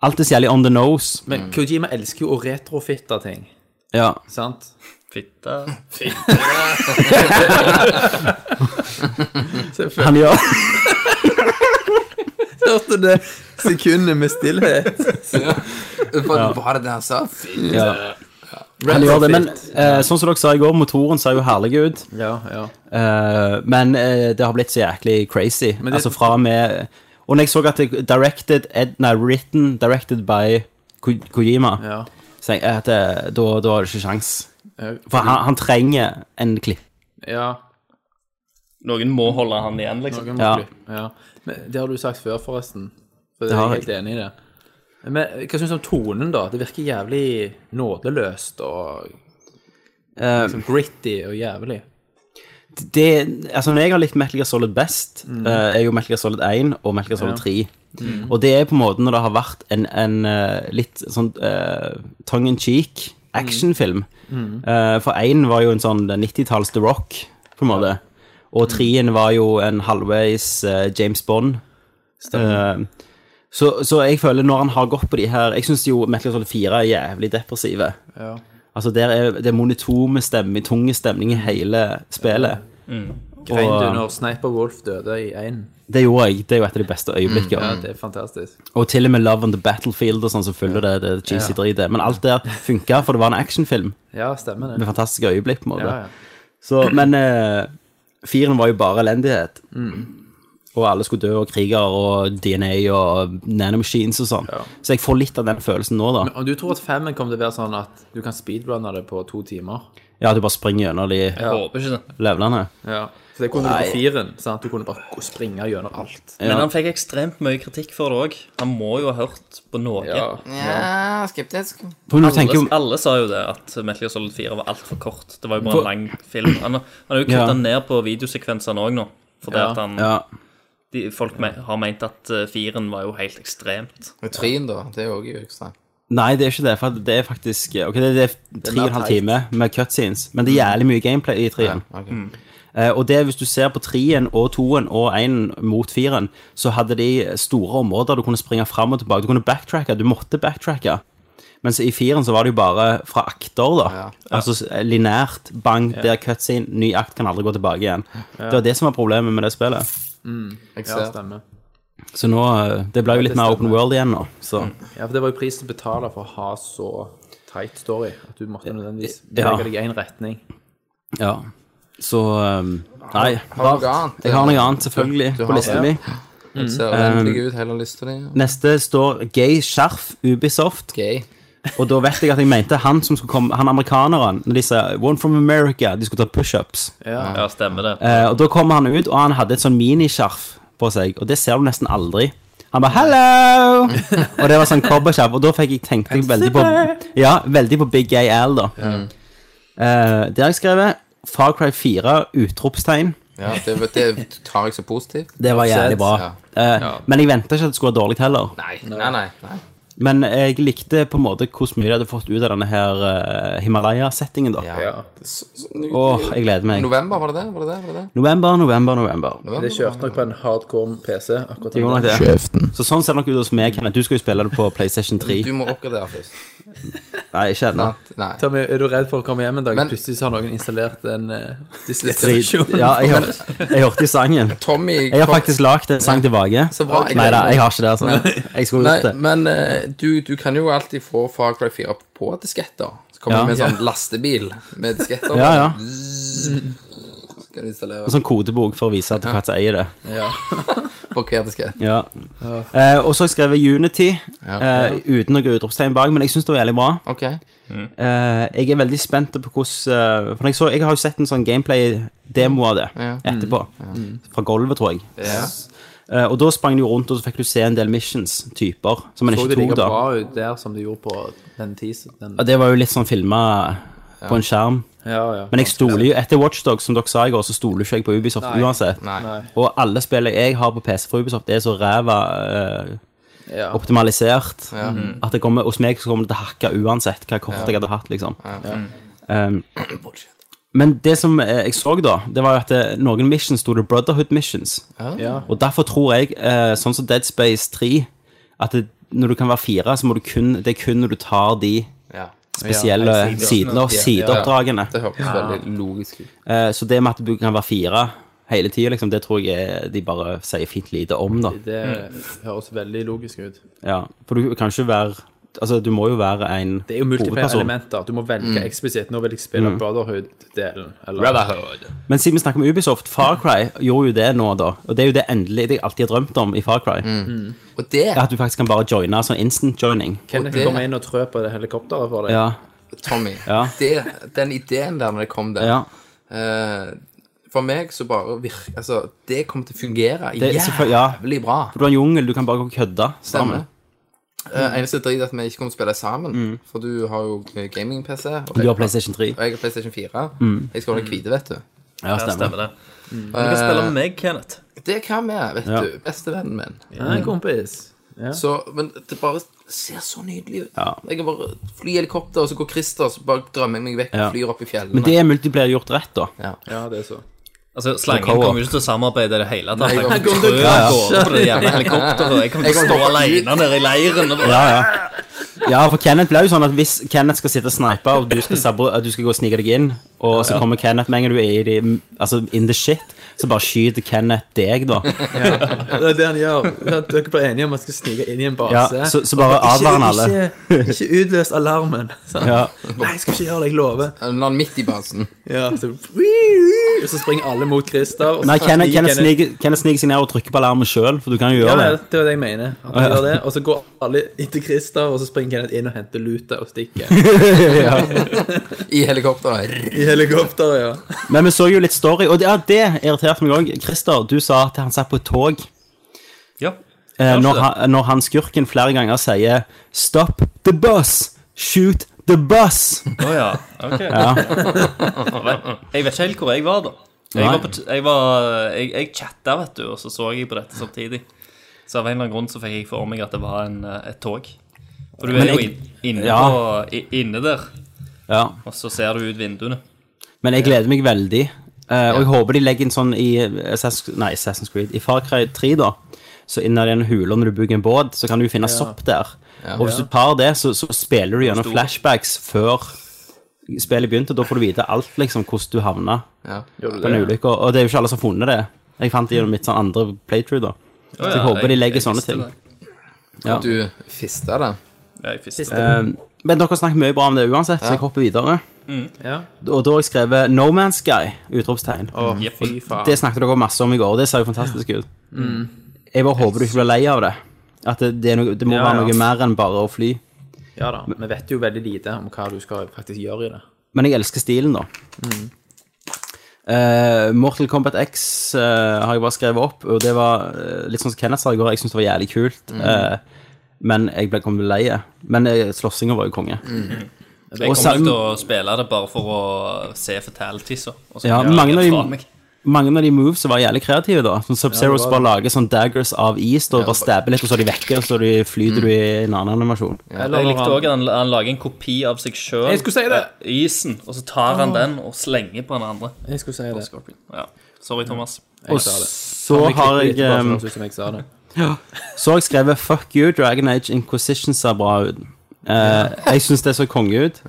F: Alt er så jævlig on the nose.
D: Men
G: Mm.
D: Kojima elsker jo å retrofitte ting,
F: Ja.
D: sant?
G: Fitte.
F: Han gjør
D: Hørte det sekundet med stillhet.
E: Hva var det det han sa?
F: ja. Han gjør det, men eh, sånn som dere sa i går, motoren ser jo herlig ut.
D: Ja, ja.
F: Eh, men eh, det har blitt så jæklig crazy.
D: det-
F: altså fra og med Og når jeg så at det directed ed, Nei, written directed by Ko Kojima,
D: ja.
F: så tenkte jeg at eh, da, da har du ikke sjans
D: Eh,
F: For han, han trenger en klipp.
D: ja.
G: Noen må holde han igjen, liksom.
D: Noen må
F: Ja.
D: klippe, ja. Men det har du sagt før, forresten. For
F: Det
D: jeg
F: har
D: er
F: jeg.
D: helt enig i det. Men eh, hva syns du om tonen, da? Det virker jævlig nådeløst og
F: Eh,
D: liksom, gritty og jævlig.
F: det, altså Når jeg har likt Metal Gear Solid best, eh, er jo Metal Gear Solid 1 og Metal Gear Solid 3. Og det er på en måte når det har vært en, en eh, litt sånn eh, tongue in cheek actionfilm. Eh, for 1 var jo en sånn 90-talls The Rock, på en måte. Og 3 var jo en halvveis eh, James Bond. Eh, så, så jeg føler når han har gått på de her Jeg syns jo Metal Gear Solid 4 er jævlig depressive.
D: Ja.
F: Altså der er det er monotome stemning, tunge stemning i hele spillet.
D: Grein du
F: Og eh,
D: når Sniper Wolf døde i én?
F: det gjorde jeg. Det er jo et av de beste øyeblikkene.
D: Mm, Ja, det er fantastisk.
F: Og til og med Love on the Battlefield og sånn som følger det, det cheesy dritet. Men alt der funka, for det var en actionfilm
D: Ja, stemmer det.
F: med fantastiske øyeblikk. på en måte.
D: Ja, ja.
F: Så, men eh, firen var jo bare elendighet.
D: Mm.
F: Og alle skulle dø, og kriger og DNA og nanomachines og sånn. Så jeg får litt av den følelsen nå, da.
D: Om du tror at femmen kommer til å være sånn at du kan speedrunne det på to timer
F: Ja, at du bare springer gjennom de
G: Jeg håper ikke det.
F: levelene.
D: Ja. For det kunne du på firen. sant? Du kunne bare gå- springe gjennom alt.
G: Men han fikk ekstremt mye kritikk for det òg. Han må jo ha hørt på noe.
E: Ja, skeptisk.
F: For du tenker
G: Alle,
F: jo
G: alle sa jo det, at Metal Gear Solid 4 var altfor kort. Det var jo bare en lang film. Han, han har jo
F: Ja.
G: kutta ned på videosekvensene òg nå. Fordi
D: Ja.
G: at han,
F: ja,
G: de, folk me har meint at eh, firen var jo helt ekstremt.
E: Og Trien, da. Det er jo også ekstremt.
F: Nei, det er ikke det. For det er faktisk Ok, det det er tre og en halv
D: teit.
F: time med cutscenes, men det er jævlig mye gameplay i trien.
E: Ok.
F: Eh, og det hvis du ser på trien og toen og én mot firen, så hadde de store områder du kunne springe fram og tilbake. Du kunne backtracke. Du måtte backtracke. Mens i firen så var det jo bare fra akter, da.
E: Ja.
F: Altså s- lineært. Bang, der cutscene. Ny akt kan aldri gå tilbake igjen. Det var det som var problemet med det spillet.
E: Jeg
D: Ja,
E: ser.
D: stemmer.
F: Så nå eh, Det ble jo litt mer open world igjen nå, så
D: Ja, for det var jo prisen å betale for å ha så tight story at du måtte nødvendigvis
F: Ja.
D: legge deg i én retning.
F: Ja. Så um, Nei.
E: Har du noe annet?
F: Jeg har noe annet, selvfølgelig, på
E: Du har
F: lista
E: det.
F: mi.
E: Jeg
F: Mm.
E: ser
F: Um,
E: ordentlig ut, hele lista di.
F: Neste står Gay Skjerf Ubisoft.
E: Gay.
F: Og da vet jeg at jeg mente han som skulle komme, han amerikaneren, når de sa One from America, de skulle ta pushups.
G: Ja, stemmer det.
F: Eh, og da kommer han ut, og han hadde et sånn miniskjerf på seg, og det ser du nesten aldri. Han bare 'hello'! og det var sånn cowboyskjerf, og da fikk jeg tenkt jeg veldig på Ja, veldig på Big Gay Al, da. Eh, det har jeg skrevet. Far Cry 4, utropstegn.
E: Ja, det, det tar jeg så positivt.
F: Det var jævlig bra. Eh, Men jeg venta ikke at det skulle være dårlig heller.
E: Nei, nei, nei. nei.
F: Men jeg likte på en måte hvor mye de hadde fått ut av denne her eh, Himalaya-settingen, da. Åh,
E: Ja. Det er så, så,
F: jeg gleder meg.
E: november, var det det? Var det det? Var det det?
F: November, november, november.
D: Det kjørte nok på en hardcore PC. akkurat
F: Det gjorde nok det.
E: Kjeften.
F: Så sånn ser det nok ut hos meg, Kenneth. Du skal jo spille det på PlayStation 3.
E: Du må oppgradere først.
F: Nei, ikke ennå.
E: Sant? Nei.
D: Tommy, er du redd for å komme hjem en dag?
E: Men-
D: Plutselig så har noen installert en uh,
F: Drit. Ja, jeg hørte, jeg hørte i sangen.
E: Tommy
F: Jeg har
E: kom-
F: faktisk lagd en sang tilbake.
E: Så bra, jeg-
F: Nei da, jeg har ikke det. altså. Jeg skulle gjort
E: Nei,
F: det.
E: men eh, du, du kan jo alltid få Far Cry 4 på disketter. Så kommer
F: Ja.
E: det med en sånn lastebil med disketter.
F: Ja, ja.
E: Skal du installere
F: En sånn kodebok for å vise at du faktisk eier det.
E: på hver diskett.
F: Ja. Eh, og så har jeg skrevet Unity eh, uten noe utropstegn bak, men jeg syns det var jævlig bra.
E: Ok.
F: Eh, jeg er veldig spent på hvordan eh, For jeg, så, jeg har jo sett en sånn gameplay-demo av det
E: Ja.
F: etterpå. Mm. Fra gulvet, tror jeg.
E: Ja.
F: Eh, og da sprang du rundt og så fikk du se en del missions-typer som en
D: Så
F: ikke
D: det
F: tok
D: like
F: da.
D: bra ut der som det gjorde på den teasen? Den...
F: Og det var jo litt sånn filma på en skjerm.
D: Ja, ja.
F: Men jeg stoler jo etter Watchdog, som dere sa i går, så stoler ikke jeg på Ubisoft uansett.
E: Nei.
F: Og alle spillene jeg har på PC fra Ubisoft, det er så ræva eh,
D: ja.
F: optimalisert
E: Mhm.
F: at det kommer, hos meg så kommer det til å hakke uansett hva kort jeg hadde hatt, liksom. Um, men det som eh, jeg så da, det var jo at eh, noen missions sto det Brotherhood missions.
D: Ja.
F: Og derfor tror jeg, eh, sånn som Dead Space 3, at det, når du kan være fire, så må du kun, det er kun når du tar de
E: Ja.
F: spesielle sidene og sideoppdragene.
E: Det høres veldig logisk ut.
F: Eh, Så det med at du kan være fire hele tida, liksom, det tror jeg er- de bare sier fint lite om, da.
D: Det høres veldig logisk ut.
F: Ja, for du kan ikke være Altså, du må jo være en
D: Det er jo multiplayer-elementer. Du må velge
F: Mm.
D: eksplisitt. Nå vil jeg spille Brotherhood-delen. Eller... Brotherhood.
F: Men siden vi snakker om Ubisoft, Far Cry gjorde jo det nå, da. Og det er jo det endelig det jeg alltid har drømt om i Far Cry.
E: Og det,
F: At du faktisk kan bare joine sånn instant joining.
D: Kenneth
E: Og det-
D: kommer inn og trø på det helikopteret for deg.
F: Ja,
E: Tommy,
F: Ja.
E: det, den ideen der når det kom der
F: ja.
E: eh, For meg så bare virker Altså, det kommer til å fungere
F: Det er selvfølgelig- ja.
E: jævlig bra.
F: For du har en jungel, du kan bare gå og kødde sammen.
E: Eh, eneste drit er at vi ikke kommer til å spille sammen, for du har jo eh, gaming-PC. Og
F: Mm. Du har Mm.
E: jeg-
F: PlayStation 3.
E: og jeg har PlayStation 4. Jeg skal ha den hvite, vet du.
F: Ja,
G: Ja,
F: stemmer.
G: stemmer det. Du kan spille med meg, Kenneth.
E: Det kan vi, vet
F: Ja.
E: du. Bestevennen min.
D: Nei, kompis.
E: Så, men det bare ser så nydelig ut.
F: Ja.
E: Jeg kan bare fly i helikopter, og så går Christer, så bare drømmer jeg meg vekk
F: Ja.
E: og flyr opp i fjellene.
F: Men det er multiplayer gjort rett, da.
D: Ja, det er så.
G: Altså, Slangen
F: Co-op.
G: kommer jo ikke til å samarbeide i det hele tatt.
E: Nei,
G: Han
E: jeg kommer
G: kommer
E: til
G: til å trø av gårde på det jævla helikopteret. Jeg kommer
E: Jeg
G: til å stå
E: kommer til å-
G: alene nede i leiren. Og bare,
F: Ja, ja. ja, for Kenneth ble jo sånn at hvis Kenneth skal sitte og snipe, og du skal, sabo, at du skal gå og snike deg inn, og så kommer Kenneth med en gang du er i de, altså in the shit, så bare skyter Kenneth deg, da.
D: Det er det han gjør. At Dere blir enige om at man skal snike inn i en base.
F: Ja, så, så bare advarer han alle.
D: Ikke, ikke utløs alarmen. sant?
F: Ja,
D: Nei, jeg skal ikke gjøre det, jeg lover.
E: La han midt i basen.
D: Ja, så, og så springer alle mot Christer. og så
F: Nei, Kenneth,
D: stiger
F: Kenneth, sniker, Kenneth sniker seg ned og trykker på alarmen sjøl, for du kan jo
D: Ja, det
F: gjøre det.
D: det var det jeg mener. At han gjør det, Og så går alle etter Christer, og så springer Kenneth inn og henter luta og stikker.
E: I helikopteret.
D: I helikopteret, ja.
F: Men vi så jo litt story, og det, ja, det irriterte meg òg. Christer, du sa at han satt på et tog.
G: Ja.
F: Eh,
G: Kanskje
F: når,
G: det.
F: han, når han skurken flere ganger sier 'Stop the bus! Shoot the bus!'
G: Å ja. Ok. Jeg vet ikke helt hvor jeg var, da. Jeg,
F: Nei.
G: var på, t- jeg, var, eh, jeg, jeg chatta, vet du, og så så jeg på dette samtidig. Så av en eller annen grunn så fikk jeg for meg at det var en, eh, et tog. For du
F: Men
G: er jo
F: jeg-
G: inn- inne,
F: Ja.
G: på, i- inne der,
F: Ja.
G: og så ser du ut vinduene.
F: Men jeg gleder meg veldig. eh, og jeg håper de legger inn sånn i Assassin's, nei, Assassin's Creed I Far Cry 3, da, så inni den hula når du bygger en båt, så kan du finne sopp der. Og hvis du tar det, så, så spiller du gjennom flashbacks før spillet begynte. Da får du vite alt, liksom, hvordan du havna
E: Ja.
F: på en ulykke. Og det er jo ikke alle som har funnet det. Jeg fant det gjennom mitt sånn andre playthrough, da. Så jeg
G: ja,
F: håper de
G: jeg-
F: legger
G: jeg
F: sånne
G: visste
F: ting.
G: det.
F: Ja.
E: Du fista det.
G: Ja, jeg visste det.
F: Eh, men dere har snakket mye bra om det uansett, så jeg hopper videre.
G: Mm.
D: ja.
F: Og da har jeg skrevet No Man's Sky! Utropstegn.
D: Å,
G: Jepp.
D: fy faen.
F: Det snakket dere masse om i går, og det ser jo fantastisk ut.
G: Mm.
F: Jeg bare håper du ikke blir lei av det. At det, det, er noe, det må
D: Ja,
F: være
D: ja.
F: noe mer enn bare å fly.
D: Ja da. Vi vet jo veldig lite om hva du skal faktisk gjøre i det.
F: Men jeg elsker stilen, da.
G: Mm.
F: Eh, Mortal Kombat X eh, har jeg bare skrevet opp, og det var eh, litt sånn som Kenneth sa i går. Jeg syntes det var jævlig kult,
G: Mm.
F: eh, men jeg ble kommet lei. Men eh, slåssinga var jo konge.
D: Mm.
G: Jeg
F: Og
G: Mm. kommer nok
F: selv-
G: til å spille det bare for å se fatalitieser. og så
F: Ja,
G: blir det
F: mange av
G: rett
F: de-
G: fra meg.
F: Mange av de moves var jævlig kreative, da. Sånn Sub-Zero som bare lager sånn daggers av is, da, og bare stabber litt, og så er de vekke, og så er de,
G: Mm.
F: flyter du i en annen animasjon.
G: Jeg likte
D: når
G: òg at han, han lager en kopi av seg sjøl.
D: Jeg skulle si det.
G: Isen. Og så tar han den og slenger på den andre.
D: Jeg skulle si det.
G: Ja. Sorry, Thomas.
D: Jeg
F: Og
D: sa det.
F: så har jeg
D: Bare sånn
F: ehm,
D: som jeg sa det.
F: Så har jeg skrevet 'Fuck you, Dragon Age Inquisition ser bra ut'. Eh, jeg syns det så konge ut.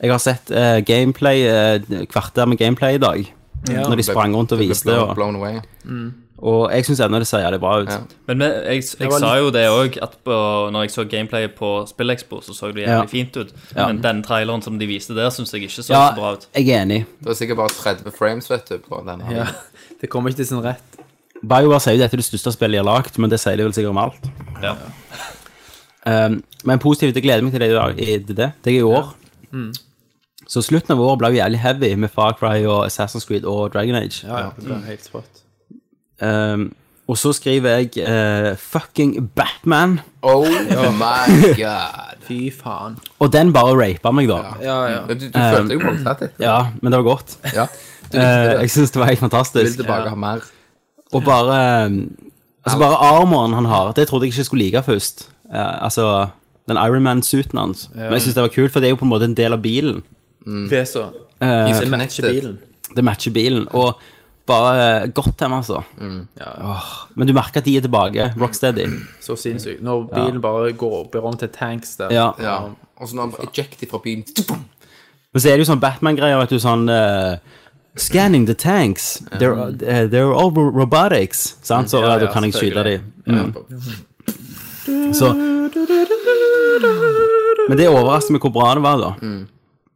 F: Jeg har sett eh, gameplay, eh, kvarter med gameplay i dag. Når de sprang rundt og
E: Det ble
F: viste det.
E: blown-
F: Og,
E: Blown away.
F: og jeg syns ennå det ser jævlig bra ut.
E: Ja.
G: Men men jeg, jeg,
D: var
G: sa jo det òg, at på, når jeg så gameplayet på SpillExpo, så så det jævlig
F: Ja.
G: fint ut.
F: Ja.
G: Men den traileren som de viste der, syns jeg ikke så
F: Ja,
G: så bra ut.
F: jeg er enig.
E: Det var sikkert bare 30 frames, vet du, på den her.
D: Ja, det kommer ikke til sin rett.
F: BioWare sier jo dette er det største spillet de har lagd, men det sier de vel sikkert om alt.
G: Ja.
F: Um, men positivt, jeg gleder meg til det i dag. i- til Det, det er i år. Så slutten av året ble jo jævlig heavy med Far Cry og Assassin's Creed og Dragon Age.
D: Ja, ja, det ble helt sprått.
F: Um, og så skriver jeg eh, fucking Batman,
E: Oh my god.
D: Fy faen.
F: og den bare rapa meg, da. Ja.
D: Ja, ja.
E: Men Du, du følte deg voldtatt etter.
F: men det var godt.
E: Ja. Du
F: Eh, jeg
E: likte det.
F: syns det var helt
E: Du vil
F: fantastisk.
E: tilbake og ha mer.
F: Og bare um, Altså bare armoren han har, det trodde jeg ikke jeg skulle like først. Eh, altså den Ironman-suiten hans. Men jeg syns det var kult, for det er jo på en måte en del av bilen.
D: Det så.
F: Eh,
D: Det matcher bilen.
F: det matcher bilen. Og bare eh, godt dem, altså.
E: Mm,
F: Åh, men du merker at de er tilbake. Rocksteady.
D: Så sinnssykt. Når bilen bare går opp i rom til tanks der.
F: Ja.
E: Ja. Og så når han bare ejected fra byen
F: Men så er det jo sånn Batman-greier, vet du, sånn eh, Scanning the tanks. They're, eh, they're all ro- robotics. Sant? Så
D: Ja,
F: eh, da
D: ja,
F: kan jeg skyte
D: selvfølgelig.
F: dem. Mm. Så Men det overrasker meg hvor bra det var, da.
D: Mm.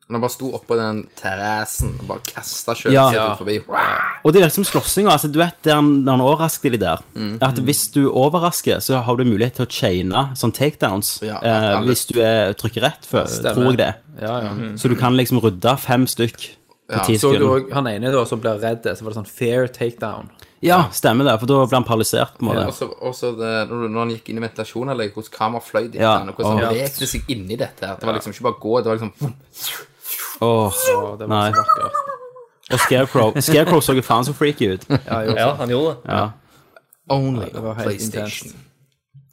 E: Når han bare sto oppå den terrassen og bare kasta
F: Ja.
E: kjøttet
F: Ja.
E: sitt forbi. Wow.
F: Og det er liksom slåssinga. Altså, du vet der han- der han overrasker de der.
D: Mm.
F: At hvis du overrasker, så har du mulighet til å chaine sånn takedowns.
E: Ja,
F: eh,
E: alle-
F: hvis du er, trykker rett, før,
D: Stemmer.
F: tror jeg det.
D: Ja, ja.
F: Så du kan liksom rydde fem stykk på ti
D: Så du
F: sekunder.
D: òg han ene da som blir redd, så var det sånn fair takedown.
F: Ja, stemmer det. For da blir han paralysert. på en
E: Og
F: måte.
E: så- og så det- når når han gikk inn i ventilasjonanlegget, hvordan kameraet fløy dit,
F: Ja.
E: og hvordan
F: Ja.
E: han lekte seg inni dette. her Det var liksom ikke bare gå, det var liksom
F: Åh,
D: Og det
F: Nei.
D: var så vakkert.
F: Og Scarecrow Scarecrow så jo faen så freaky ut.
G: ja, han gjorde det.
E: Only
D: var
E: on
D: helt
E: PlayStation.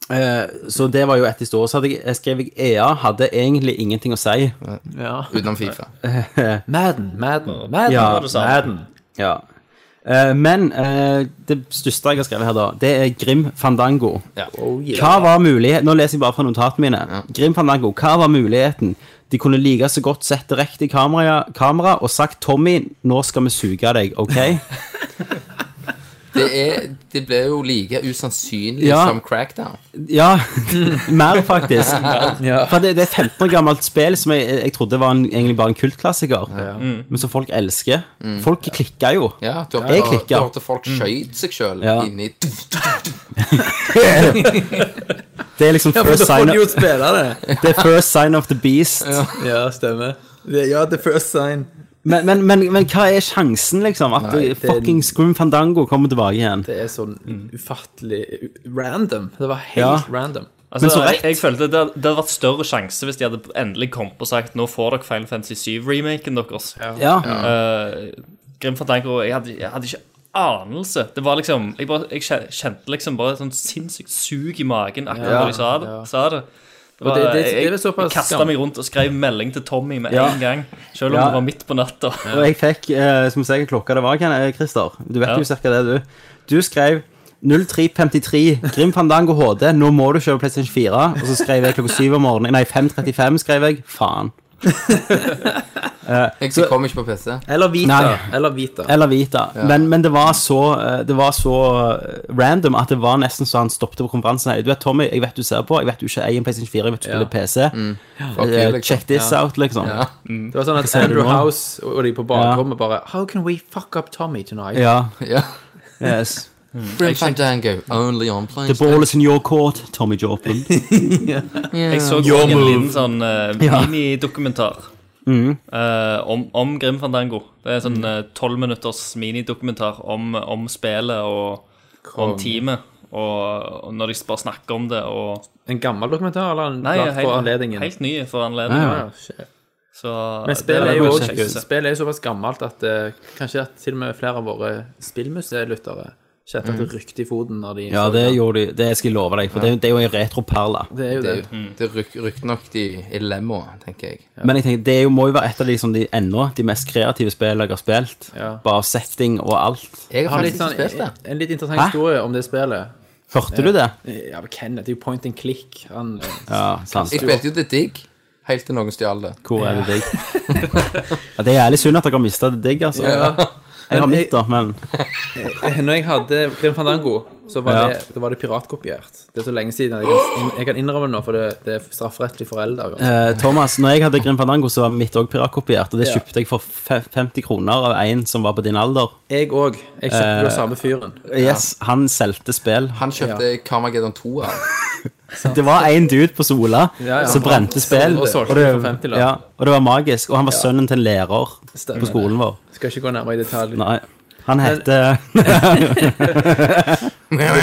F: Eh, så det var jo ett historie. Så hadde jeg, jeg skrev jeg EA hadde egentlig ingenting å si.
D: Ja.
E: Utenom Fifa.
D: Madden, Madden, Madden.
F: Ja,
D: var det sant. Madden.
F: Ja. Eh, men eh, det største jeg har skrevet her, da, det er Grim Fandango.
D: Oh, yeah.
F: Hva var muligheten Nå leser jeg bare fra notatene mine. Grim Fandango, hva var muligheten? De kunne like så godt sett direkte i kamera, kamera og sagt 'Tommy, nå skal vi suge deg', OK?
E: Det, er, det ble jo like usannsynlig
F: Ja.
E: som Crackdown.
F: Ja, mer faktisk. For det, det er 15 år gammelt spill som jeg, jeg trodde var en, egentlig bare en kultklassiker,
D: Mm.
F: men som folk elsker. Folk klikker jo.
E: Ja, du har
F: Jeg
E: hørt
F: klikker.
E: at folk skjøt seg sjøl
F: Ja.
E: inni
F: Det er liksom
D: Ja, for
F: first
D: da får
F: sign
D: du
F: of,
D: jo spille det.
F: det er first sign of the beast.
D: Ja, stemmer. Det- Ja, the first sign.
F: Men, men, men, men hva er sjansen, liksom? At
D: Nei, det-
F: fucking Scrum Fandango kommer tilbake igjen?
D: Det er sånn ufattelig random. Det var
F: Ja.
D: helt random.
G: Altså,
F: Men så
G: jeg,
F: rett.
G: jeg følte det, det hadde vært større sjanse hvis de hadde endelig kommet og sagt nå får dere Final Fantasy 7-remaken deres.
F: Ja.
G: Eh, Grim Fantango, jeg hadde, jeg hadde ikke anelse. Det var liksom Jeg, bare, jeg kjen- kjente liksom bare et sånt sinnssykt sug i magen akkurat
D: Ja,
G: da de sa det.
D: ja.
G: Sa det. Det var,
D: det- det- det er
G: jeg
D: vel såpass
G: jeg kasta
D: skam.
G: meg rundt og skrev melding til Tommy med
F: Ja.
G: en gang. Selv om
F: Ja.
G: det var midt på natta.
F: Og jeg fikk, eh, som sikkert klokka det var, Ken- eh, Christer, du vet
G: Ja.
F: jo cirka det, du. Du skrev 0353, Grim Fandango HD, nå må du kjøpe PlayStation 4. Og så skrev jeg klokka 7 om morgenen, nei 5.35 skrev jeg, faen.
E: Jeg så kom ikke på PC.
D: Eller Vita.
F: Nei.
D: Eller Vita.
F: Eller Vita. Men, men det var så, eh, det var så eh, random at det var nesten så han stoppte på konferansen. Du vet, Tommy, jeg vet du ser på, jeg vet du ikke eier en PlayStation 4, jeg vet du spiller PC.
E: Fuck
F: Eh,
E: you, liksom.
F: Check this out, liksom. Ja.
D: Det var sånn at
F: ser du
D: Andrew
F: nå?
D: House og de på bakrommet bare How can we fuck up Tommy tonight?
E: Ja.
F: Yes.
E: Grim Fandango, only on
F: The
E: PlayStation.
F: ball is in your court, Tommy Joplin.
G: Jeg så også en liten sånn eh,
F: Ja.
G: minidokumentar
D: Mm.
G: eh, om, om Grim Fandango. Det er en sånn tolv minutters minidokumentar om, om spillet og om teamet. Og, og når de bare snakker om det og
D: En gammel dokumentar, eller en
G: Nei,
D: lagt for
G: helt,
D: anledningen?
G: helt ny for anledningen.
D: Ja, shit.
G: Så
D: Men spillet er jo
F: må jeg
D: også-
F: sjekke ut.
D: spillet er jo såpass gammelt at eh, kanskje at til og med flere av våre spillmuseelyttere kjente at det rykte i foten når de
F: Ja,
D: så
F: det gjorde de. Det skal jeg love deg, for det, er jo- det er jo en retroperle.
D: Det er jo
E: Det,
D: det.
E: er jo-
F: Mm.
E: det ryk, rykker nok de i lemma, tenker jeg.
F: Men jeg tenker, det er jo, må jo være et av de, som de ennå de mest kreative spillene jeg har spilt.
D: Ja.
F: Bare setting og alt.
E: Jeg
D: Jeg har
E: har
D: litt
E: faktisk
D: sånn,
E: ikke spilt det.
D: en litt interessant
F: Hæ?
D: historie om det spillet.
F: Hørte du det?
D: Ja, men Kenneth det er jo point and click. Han,
F: Ja, sant.
E: Jeg spilte jo The Dig. Helt til noen stjal det.
F: Hvor er det deg? ja, det er jævlig synd at dere har mista det digg, altså. Jeg har mitt, da, men
D: Når jeg hadde Grim Fandango, så var,
F: Ja.
D: det, da var det piratkopiert. Det er så lenge siden. Jeg kan, jeg kan innrømme det nå, for det, det er strafferettlig forelder.
F: eh, Thomas, når jeg hadde Grim Fandango, så var mitt òg piratkopiert. Og det
D: Ja.
F: kjøpte jeg for fe- 50 kroner av en som var på din alder.
D: Jeg òg. Jeg kjøpte jo samme fyren.
F: Yes, Han solgte spill.
E: Han kjøpte Carmageddon 2 av.
F: Det var én dude på Sola
D: ja.
F: som brente spill.
D: Og solgte
F: det,
D: for 50 lapp.
F: ja, og det var magisk. Og han var sønnen til en lærer
D: Stemmer
F: på skolen vår.
D: Skal ikke gå nærmere i detalj.
F: Nei, Eh, han heter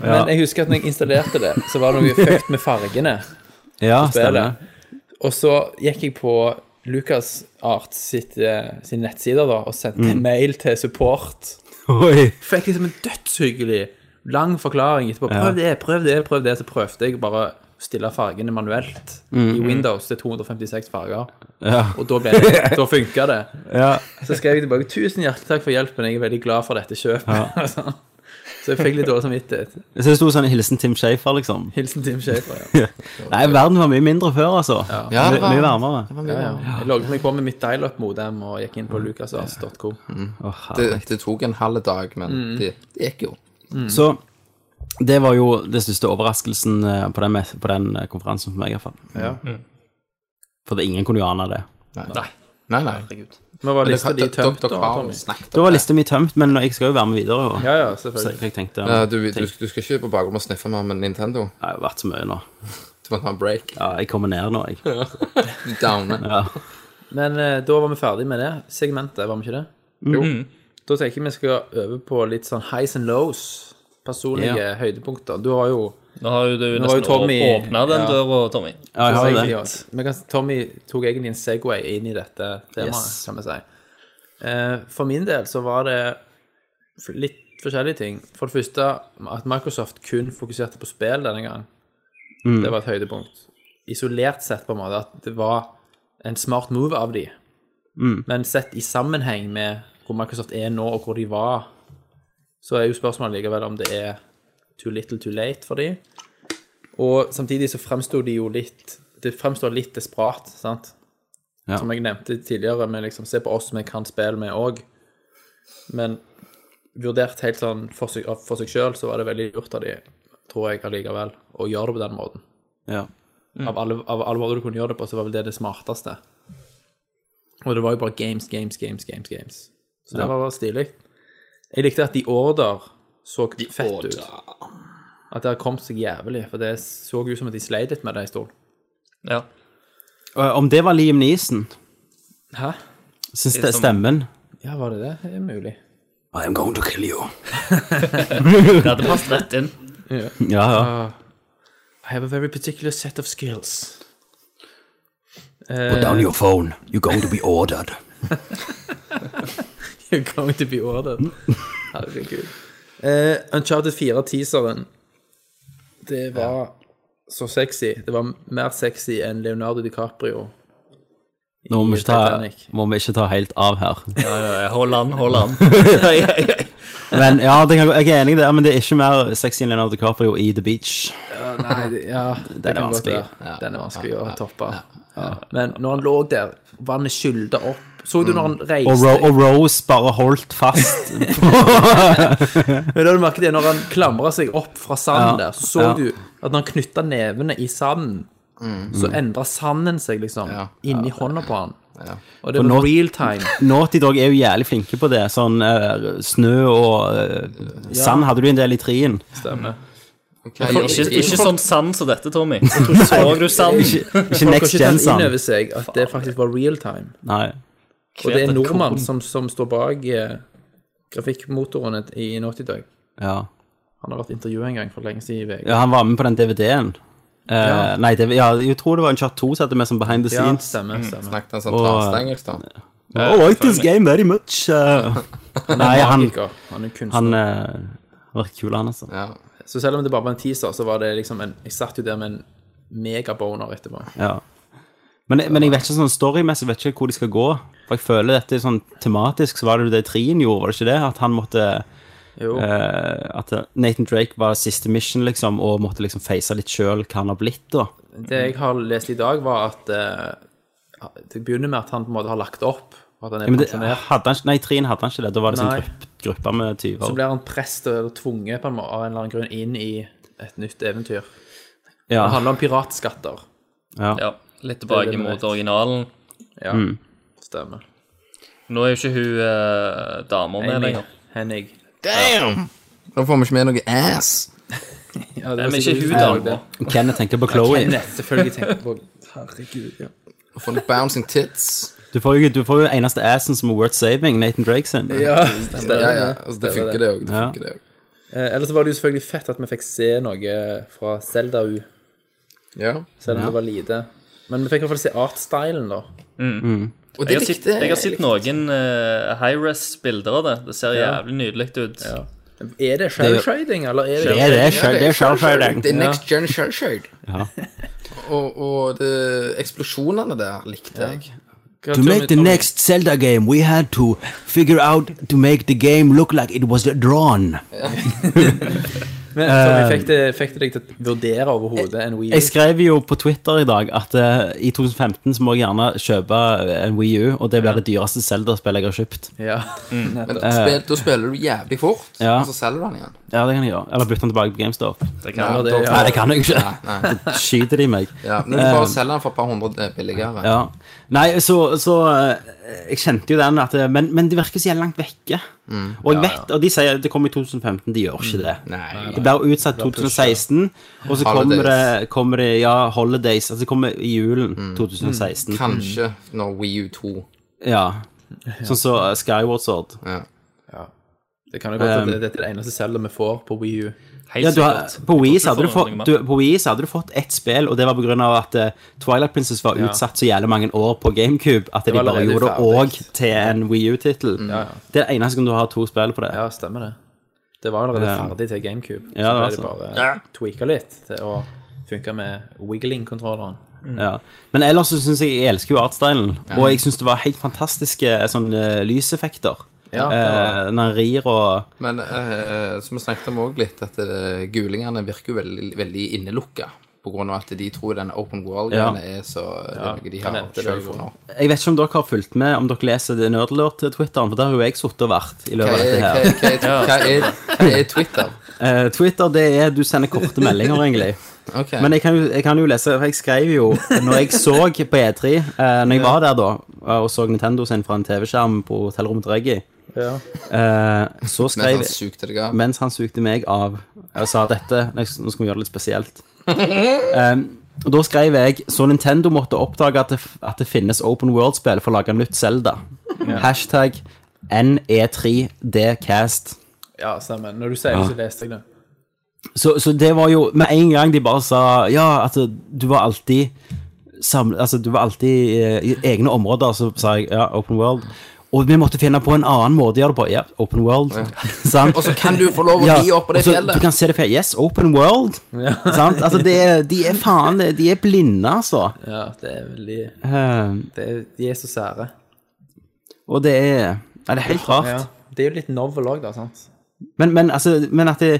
D: Men jeg husker at når jeg installerte det, så var det noe fucked med fargene.
F: Ja, stemmer.
D: spillet. Og så gikk jeg på Lucas Art sitt, eh, sin nettsider da, og sendte en mail til support.
F: Oi.
D: Mm. Fikk liksom en dødshyggelig lang forklaring etterpå. Prøv det, prøv det, prøv det. Så prøvde jeg bare å stille fargene manuelt i Windows til 256 farger.
F: Ja.
D: Og da, ble det, da funka det.
F: Ja.
D: Så skrev jeg tilbake 'Tusen hjertelig takk for hjelpen, jeg er veldig glad for dette kjøpet'. Sånn. Så jeg fikk litt dårlig samvittighet.
F: Så det sto sånn hilsen Tim Shafer, liksom.
D: Hilsen Tim Shafer. Ja.
F: Nei, verden var mye mindre før, altså.
E: Ja,
F: My,
E: det var-
F: mye varmere.
E: Ja, ja.
D: Jeg logget meg på med mitt dial-up-modem og gikk inn på lucasarts.com.
F: Åh,
E: Det, det tok en halv dag, men det, det gikk jo.
F: Så det var jo den største overraskelsen eh, på den, mes- på den eh, konferansen for meg, i hvert fall.
D: Ja.
F: For det, ingen kunne jo ane det.
G: Nei.
E: Nei, nei.
G: Herregud.
D: Men var lista
E: Dere-
D: di tømt da,
E: dere har
D: Tommy?
E: snakket
F: Da
E: om
F: var
E: det.
F: lista mi tømt, men jeg skal jo være med videre. Og,
D: Ja, ja,
F: så
D: selvfølgelig.
F: jeg tenkte
E: Ja,
F: jeg
E: du, du, du skal ikke på bakrommet og sniffe mer med Nintendo.
F: har jo vært så mye nå.
E: Du må ta en break.
F: Ja, jeg kommer ned nå, jeg.
E: Du downer.
D: Men eh, da var vi ferdig med det segmentet, var vi ikke det?
E: Jo.
D: Mm-hmm. Da tenker jeg vi skal øve på litt sånn highs and lows. Personlige høydepunkter. Du har jo
G: Nå har jo du
D: Nå var jo
G: nesten
D: Tommy-
G: åpna den
D: Ja.
G: døra, Tommy.
F: Ja, jeg har jo det.
D: Vi kan, Tommy tok egentlig en Segway inn i dette temaet,
F: Yes.
D: kan vi si. Eh, for min del så var det f- litt forskjellige ting. For det første at Microsoft kun fokuserte på spill denne gang.
F: Mm.
D: Det var et høydepunkt. Isolert sett, på en måte, at det var en smart move av de.
F: Mm.
D: Men sett i sammenheng med hvor Microsoft er nå, og hvor de var, så er jo spørsmålet likevel om det er too little too late for de. Og samtidig så fremstår de jo litt Det fremstår litt desperat, sant?
F: Ja.
D: Som jeg nevnte tidligere, med liksom se på oss vi kan spille med òg. Men vurdert helt sånn for seg, for seg sjøl, så var det veldig lurt av de, tror jeg allikevel, å gjøre det på den måten.
F: Ja.
D: Av alle, av alle måter du kunne gjøre det på, så var vel det det smarteste. Og det var jo bare games, games, games, games. games. Så det var bare stilig. Jeg likte at The Order så fett ut. At det har kommet seg jævlig, for det så ut som at de sleit litt med det en stund.
G: Ja.
F: Og Om det var Liam Neeson,
D: Hæ?
F: syns det stemmen
D: Ja, var det det? Det er mulig.
F: I'm going to kill you.
G: Det hadde passet rett inn.
F: Ja, ja.
D: I have a very particular set of skills.
F: Put down your phone. You're going to be ordered.
D: You're going to be ordered. Herregud. Eh, Uncharted 4-teaseren. Det var så sexy. Det var mer sexy enn Leonardo DiCaprio.
F: Nå må vi, ikke ta,
D: Titanic.
F: må vi ikke ta helt av her.
G: Eh, Hold an, hold an.
F: Men ja, det kan, gå- jeg er enig i det, men det er ikke mer sexy enn Leonardo DiCaprio i The Beach.
D: Nei, det, ja, det
F: er
D: kan godt
F: vanskelig.
D: være. Den er vanskelig å toppe. Men når han lå der, vannet skylda opp Så du når han reiste
F: Og, Ro og Rose bare holdt fast.
D: Men da du merket det, når han klamra seg opp fra sanden
F: Ja.
D: der, så
F: Ja.
D: du at når han knytta nevene i sanden, så endra sanden seg, liksom,
E: Ja.
D: inni hånda på han. Og det
F: For
D: var
F: nå-
D: real time.
F: Naughty Dog er jo jævlig flinke på det. Sånn eh, snø og eh, sand hadde du en del i trien.
D: Stemmer.
E: Okay.
G: Ikke, ikke sånn sand som dette, Tommy. Så du sand?
F: Ikke
D: Folk har
F: Next
D: ikke tatt inn
F: Gen-sand.
D: over seg at det faktisk var real time.
F: Nei.
D: Og det er
G: Kvetet
D: nordmann
G: korn.
D: som, som står bak eh, grafikkmotorene i Naughty Dog.
F: Ja.
D: Han har vært intervjua en gang for lenge siden i VG.
F: ja, han var med på den DVD-en. Eh,
D: Ja.
F: Nei, det, ja, jeg tror det var en Chart 2 som hadde med som behind the
D: Ja, Mm.
F: scenes.
D: stemmer. stemmer.
E: Snakket han sånn
F: Og-
E: transtengelsk, da?
F: I like this game very much. eh. Nei, han,
D: Magiker. Han er kunstner.
F: han eh, virker kul, han, altså.
E: Ja.
D: Så selv om det bare var en teaser, så var det liksom en Jeg satt jo der med en megaboner etterpå.
F: Ja. Men, men jeg vet ikke sånn storymessig vet ikke hvor de skal gå. For jeg føler dette er sånn tematisk, så var det jo det Trien gjorde, var det ikke det? At han måtte
D: Jo.
F: eh, at Nathan Drake var siste mission, liksom, og måtte liksom face litt sjøl hva han har blitt, da.
D: Det jeg har lest i dag, var at eh, Det begynner med at han på en måte har lagt opp. og At han
F: Ja,
D: er
F: men det,
D: pensjonert.
F: hadde han, ikke- nei, Trien hadde han ikke det. Da var det
D: Nei.
F: sånn grupp, gruppe med
D: Så
F: tyver.
D: blir han prest eller tvunget på en måte, av en eller annen grunn inn i et nytt eventyr.
F: Ja,
D: Det handler om piratskatter.
F: ja.
G: Ja, litt tilbake
D: Det er det vi
G: mot
D: vet.
G: originalen.
D: Ja,
F: Mm.
D: stemmer.
G: Nå er jo ikke hun eh, dama med
D: Henning.
G: lenger.
D: Henning.
E: Da får vi ikke med noe ass.
D: Ja, det
G: Nei,
D: var
G: Men ikke
D: sikkert
G: hun
D: som lagde
G: dama.
D: det.
F: Kenneth tenker på Chloe.
D: Kenneth, selvfølgelig tenker på Herregud, ja.
E: Og får litt bouncing tits.
F: Du får jo, du får jo eneste assen som er worth saving, Nathan Drake sin.
D: stemmer
E: Ja, ja. Altså, det funker, det òg. Det
F: Ja.
E: funker, det òg.
D: Eh, ellers så var det jo selvfølgelig fett at vi fikk se noe fra Zelda U,
E: Ja.
D: selv om det var lite. Men vi fikk i hvert fall se artstylen, da.
E: Og det
G: Jeg har sett,
E: likte
G: jeg har sett noen uh, high-res-bilder av det. Det ser
D: Ja.
G: jævlig nydelig ut.
D: Er det shell-trading, eller er det
F: Det er det, sjøl- det er
E: shellshading.
F: sjølfølgelig.
E: Det er next gen shellshade.
F: Ja.
E: Og, og det, eksplosjonene der likte jeg.
F: To make the next Zelda game, we had to figure out to make the game look like it was drawn.
D: Men, Tommy, fikk, det, fikk det deg til å vurdere overhodet oh, en Wii U?
F: eh, Jeg skrev jo på Twitter i dag at eh, i 2015 så må jeg gjerne kjøpe eh, en Wii U, og det blir det dyreste Zelda-spillet jeg har kjøpt.
D: Ja.
F: Mm.
E: Men spil, da spiller du jævlig fort,
F: Eh. Ja.
E: og så selger du den igjen.
F: Ja, det kan jeg gjøre. Eller bytte den tilbake på GameStop.
G: Det kan
E: Ja,
G: være.
D: det,
F: Nei,
D: ja.
F: det kan jeg jo ikke.
E: Nei.
F: Da Skyter de meg.
E: Ja, men du bare selger den for et par hundre billigere.
F: Ja. Nei, så, så eh, Jeg kjente jo den, at, det- men, men det virker så jævlig langt vekke.
D: Mm.
F: Og jeg vet, og de sier at det kommer i 2015, de gjør ikke det.
E: Nei.
F: Det blir utsatt 2016, og så kommer det, kommer det ja, holidays. Altså det kommer i julen
D: Mm.
F: 2016.
E: Kanskje når Wii U 2.
F: Ja. Sånn som så, eh, Skyward Sword.
E: Ja.
D: det kan jo godt være at dette er det eneste Zelda vi får på Wii U.
G: Helt
F: Um, Ja, du har,
G: sikkert.
F: på Wii så hadde du
G: Hvorfor får
F: fått,
G: noe
F: du, på Wii så hadde du fått ett spill, og det var på grunn av at eh, Twilight Princess var utsatt så jævlig mange år på GameCube at de
D: var
F: bare
D: allerede
F: gjorde det
D: ferdig.
F: òg til en Wii U-tittel. Det er det eneste gangen du har to spill på det.
D: Ja, stemmer det. Det var allerede
F: Ja.
D: ferdig til GameCube.
F: Ja, det var sånn.
D: så ble det bare tweaka litt til å funke med wiggling-kontrolleren.
F: Ja. Men ellers så syns jeg jeg elsker jo artstylen. Og jeg syns det var helt fantastiske eh, sånn eh, lyseffekter.
D: Ja, det var-
F: eh, når han rir og
E: Men eh, som vi snakket om også litt, at eh, gulingene virker jo veldig, veldig innelukka. På grunn av at de tror den open world-greiene er så eh, det er noe de
D: kan
E: har
D: nevnte det
E: selv
D: jo.
E: funnet opp.
F: Jeg vet ikke om dere har fulgt med, om dere leser det Nerdlord-twitteren, for der har jo jeg sittet og vært i
E: Hva
F: løpet av
E: er,
F: dette
E: hva,
F: her.
E: hva, er- hva, er, hva er Twitter?
F: Eh, Twitter, det er du sender korte meldinger, egentlig.
E: Ok.
F: Men jeg kan, jo, jeg kan jo lese, for jeg skrev jo Når jeg så på E3, eh, når jeg var der da, eh, og så Nintendo sin fra en TV-skjerm på hotellrommet til Reggie,
D: Ja.
F: eh, så
E: Mens
F: skrev
E: han sugde deg av.
F: mens han sugde meg av og sa dette Nå skal nå skal vi gjøre det litt spesielt. Ehm, og Da skrev jeg så Nintendo måtte oppdage at det, f- at det finnes open world-spill for å lage nytt Zelda. Hashtag E NE3Dcast.
D: ja, stemmer. Når du sier det, så leste jeg det.
F: Så, så det var jo Med en gang de bare sa ja, at du var alltid samlet, altså, Du var alltid eh, i egne områder, så sa jeg ja, open world. Og vi måtte finne på en annen måte å gjøre det på. Ja, open world. Sant?
E: Og så kan du få lov å gi opp på det
F: og så Du
E: fjellet!
F: kan se det fra Yes, open world. Sant? Altså, det er, de er faen De er blinde, altså.
D: Ja, det er veldig
F: Ehm,
D: det er, De er så sære.
F: og det er ja, Det er helt rart.
D: Ja. Det er jo litt novel òg, da, sant?
F: Men, men, altså, men at det,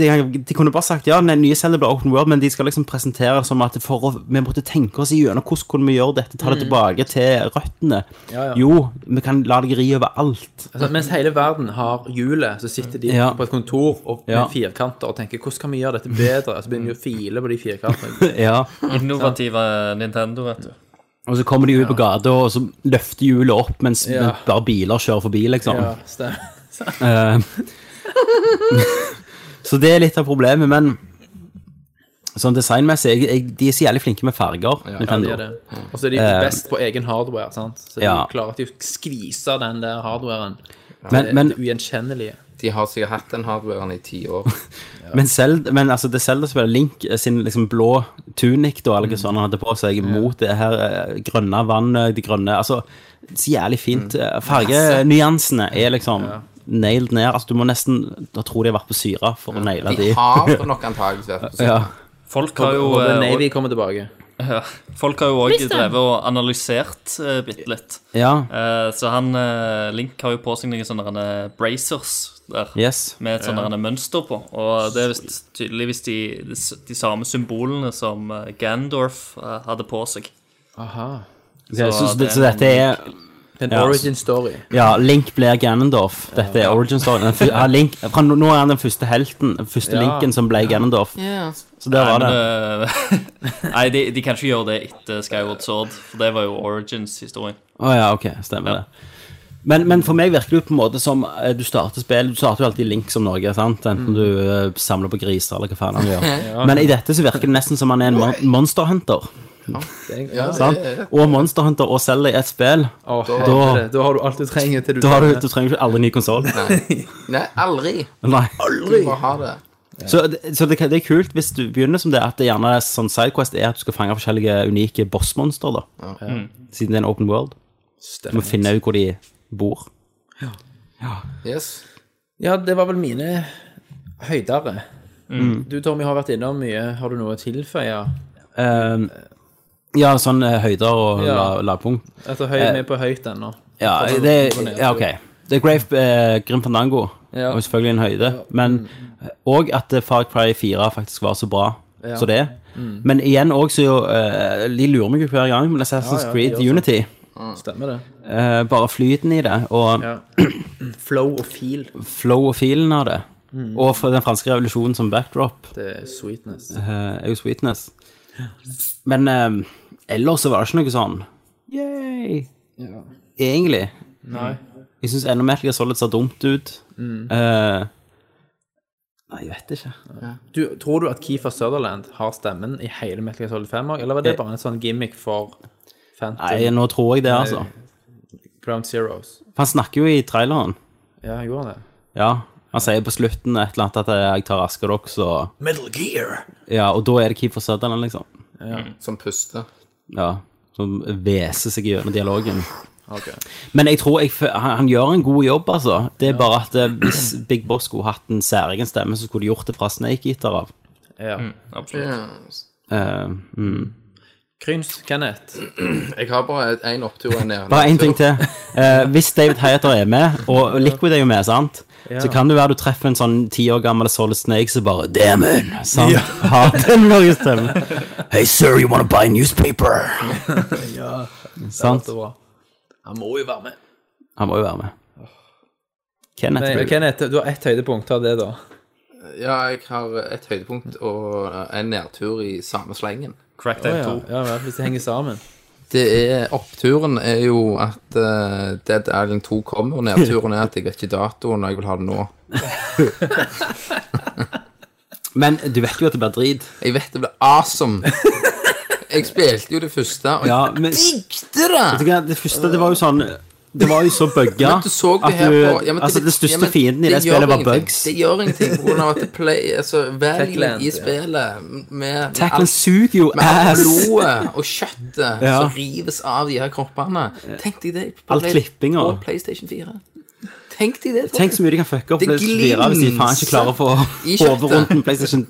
F: de, de kunne bare sagt ja, den nye Zelda blir open world, men de skal liksom presentere det som at for å, vi måtte tenke oss igjennom hvordan kunne vi gjøre dette, ta det tilbake til røttene.
D: Ja, ja.
F: Jo, vi kan la deg ri overalt.
D: Altså, mens hele verden har hjulet, så sitter de
F: Ja.
D: på et kontor og, med
F: Ja.
D: firkanter og tenker 'hvordan kan vi gjøre dette bedre?' Så begynner de å file på de firkantene.
F: Ja.
G: Innovative eh, Nintendo, vet du.
F: Og så kommer de ut på gata, og så løfter hjulet opp mens
D: Ja.
F: mens bare biler kjører forbi, liksom.
D: Ja, stemmer.
F: Ehm, Så det er litt av problemet, men sånn designmessig jeg, jeg, De er så jævlig flinke med farger.
D: Ja,
F: Nintendo.
D: de er det. Og så er de best på egen hardware, sant? så
F: Eh. ja.
D: de klarer at de skviser den der hardwaren. eh,
F: Men, men,
D: det ugjenkjennelige.
E: De har sikkert hatt den hardwaren i ti år.
F: Men, Zelda, men altså, det Zelda spiller Link eh, sin liksom blå tunic, da,
D: Mm.
F: eller hva sånn han hadde på seg, mot det her eh, grønne vannet, det grønne Altså, så jævlig fint.
D: Mm.
F: eh, Fargenyansene er liksom nailed ned. Altså, du må nesten Da tror de har vært på syre for å naile
E: De
F: de.
E: har nok antakeligvis vært på
F: Ja.
E: siden.
G: Folk har jo
D: og The
G: eh,
D: Navy kommer tilbake.
G: Ja. Folk har jo òg drevet og analysert eh, bitte litt.
F: Ja.
G: Eh, så han eh, Link har jo på seg noen sånne eh, bracers der.
F: Yes.
G: Med et sånt eh, mønster på. Og det er visst tydeligvis de, de, s- de samme symbolene som eh, Gandorf eh, hadde på seg.
F: Ok, så, så,
G: det er
F: det, så dette er
D: En
F: Ja.
D: origin story.
F: Ja, Link blir Ganondorf. Dette er origin storyen. Den fyr- Ja, Link, fra nå nå er han den første helten, den første
D: Ja.
F: Linken som ble Ganondorf. Så der var
G: Men,
F: det.
G: eh, Nei, de, de kan ikke gjøre det etter Skyward Sword, for det var jo Origins-historien.
F: Å ja, ok, stemmer det. Men, men for meg virker det jo på en måte som eh, du starter spill Du starter jo alltid Link som Norge, sant? enten du eh, samler på griser eller hva faen han gjør. Men i dette så virker det nesten som han er en mon monsterhunter.
E: Ja,
F: Sant? Og monsterhunter og selger i ett spill.
D: Å,
E: Da-
D: helvete. da har du alt du trenger til du
F: Da har du,
D: trenger.
F: du trenger du aldri ny konsoll.
E: Nei, aldri.
F: Nei.
E: Du må ha det.
F: Så, det- så det, kan- det er kult hvis du begynner som det, at det gjerne er sånn sidequest er at du skal fange forskjellige unike bossmonster, da. Mm. Siden det er en open world. Du må finne ut hvor de bor.
E: Yes.
D: Ja, det var vel mine høydere. Du, Tommy, har vært innom mye. Har du noe å tilføye?
F: Ehm, ja, sånn eh, høyder og
D: Ja.
F: la, lavpunkt.
D: Altså, høy,
F: Eh.
D: vi er på høyt ennå.
F: Ja,
D: Altså,
F: det,
D: på nedtur.
F: ja, ok. Det er Grave eh, Grim Fandango,
D: Ja. Mm.
F: og selvfølgelig en høyde. Men òg at eh, Far Cry 4 faktisk var så bra
D: Ja. Mm.
F: som det er. Men igjen òg så jo eh, De lurer meg jo hver gang, men Assassin's
D: Ja, ja, de
F: Creed
D: gjør sånn.
F: Unity
D: Stemmer det.
F: eh, Bare flyten i det, og
D: Ja. Flow og feel.
F: flow og feelen av det. Og for den franske revolusjonen som backdrop
D: Det er sweetness.
F: eh, er jo sweetness. Men eh, ellers så var det ikke noe sånn Yay!
D: Ja.
F: Egentlig.
D: Nei.
F: Jeg syns enda Metal Gear Solid ser dumt ut. Eh, nei, jeg vet ikke.
D: Du, tror du at Keefer Sutherland har stemmen i hele Metal Gear Solid 5 òg, eller var det bare en sånn gimmick for
F: Nei,
D: Phantom
F: nå tror jeg det, altså.
D: Ground Zeroes?
F: For han snakker jo i traileren.
D: Ja, han gjorde det.
F: Ja. Han sier på slutten et eller annet at eh, 'jeg tar raskere dere', så
D: Metal Gear!
F: Ja, og da er det Keeper Sutherland, liksom.
E: Som puster.
F: Ja. Som hveser seg gjennom dialogen. Men jeg tror jeg, f- han, han gjør en god jobb, altså. Det er bare at eh, hvis Big Boss skulle hatt en særegen stemme, så skulle de gjort det fra Snake Eater av.
D: Ja.
G: Absolutt.
E: Yes.
F: Eh, mm.
D: Kryns Kenneth.
E: Jeg har bare én opptur og en ned.
F: Bare én ting til. Eh, hvis David Hayater er med, og Liquid er jo med, sant? Så kan det være du treffer en sånn ti år gammel Solid Snake som bare Damon! Sant? Har den noe stemme? Hey, sir, you wanna buy a newspaper? Sant?
D: Det var bra. Han må jo være med.
F: Han må jo være med. Kenneth
D: Nei,
F: blir
D: Kenneth, du har ett høydepunkt av det, da.
E: Ja, jeg har et høydepunkt og eh, en nedtur i samme slengen.
G: Crack
D: Å
G: Time
D: ja.
G: 2.
D: ja vel, hvis det henger sammen.
E: Det er Oppturen er jo at eh, Dead Island 2 kommer, og nedturen er at jeg vet ikke datoen, og jeg vil ha det nå.
F: Men du vet jo at det blir drit.
E: Jeg vet det blir awesome. Jeg spilte jo det første, og
F: Ja, men vet
E: likte det!
F: du hva, det første, det var jo sånn Det var jo så bugga
E: Men du så det her på ja, men
F: Altså, det
E: ja,
F: største
E: men
F: fienden i det
E: gjør
F: spillet var
E: ingenting.
F: bugs.
E: Det gjør ingenting på grunn av at det play, altså,
D: Techland,
E: valuen
D: ja.
E: i spillet med, med
F: Tacklen
E: alt-
F: suger jo
E: med alt
F: ass!
E: blodet og kjøttet
F: Ja.
E: som rives av de her kroppene. Tenk deg det på,
F: All klippinger.
E: på PlayStation 4. Tenk deg det.
F: Tenk så mye de kan fucke opp
E: Det
F: det videre hvis de faen ikke klarer å få
E: i kjøttet.
F: hodet rundt en PlayStation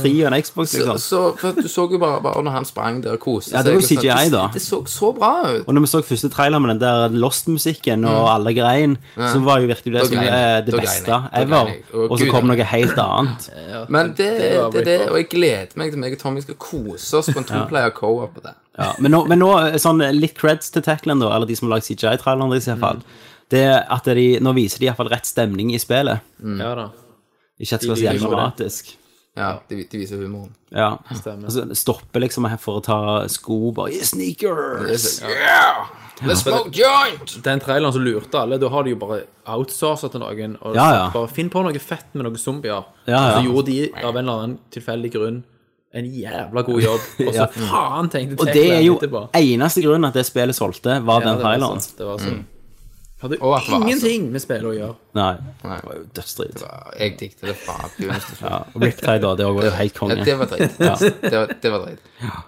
F: 3 og en Xbox.
E: så,
F: Liksom.
E: så, for at Du så jo bare, bare når han sprang der og koste
F: Ja, det var jo
E: seg og sånt.
F: CGI da.
E: Det, det så så bra ut.
F: Og når vi så første trailer med den der Lost-musikken og alle greien, så var jo virkelig det
E: Mm. Da
F: som
E: grein jeg.
F: eh, det
E: Da grein
F: beste
E: jeg. Da
F: ever.
E: grein jeg.
F: Og
E: Å,
F: så
E: Gud, Eh,
F: kom
E: ja.
F: noe helt annet.
E: Men det, det,
D: var
E: det, det,
D: bra.
E: og jeg gleder meg til meg og Tommy skal kose oss på en toplayer co-op på det.
F: Ja. Men, nå, men nå, eh, sånn eh, litt creds til Tackland, da, eller de som har lagd CGI-traileren deres, i hvert fall. Det er at de, nå viser de iallfall rett stemning i spillet.
D: Ja da.
F: Ikke at det skal være så
D: liker
F: jævlig
D: jo det.
F: dramatisk.
E: Ja, de, de viser humoren.
F: Ja.
D: Stemmer.
F: Altså, stoppe liksom her for å ta sko, bare yeah, Sneakers!
E: Yeah! Let's smoke joint!
D: Den traileren som lurte alle, da har de jo bare outsourcet til noen. Og
F: Ja, ja.
D: bare Finn på noe fett med noen zombier.
F: Ja, ja.
D: Og så gjorde de av en eller annen tilfeldig grunn en jævla god jobb. Og så
F: Ja.
D: faen tenkte
F: Og det er
D: Techland
F: jo
D: etterpå.
F: eneste grunnen at det spillet solgte, var
D: Ja,
F: den
D: det var
F: traileren.
D: sant, Det var sånn. Hadde
E: Mm. Og at det var altså-
D: ingenting med spillet å gjøre.
F: Nei. Det var jo dødsdrit.
E: Jeg digget det fra begynnelsen til slutt.
F: Ja, Riptide, da. Det var jo helt
E: Ja, det
F: konge.
E: var dritt. Det, var, det var dritt.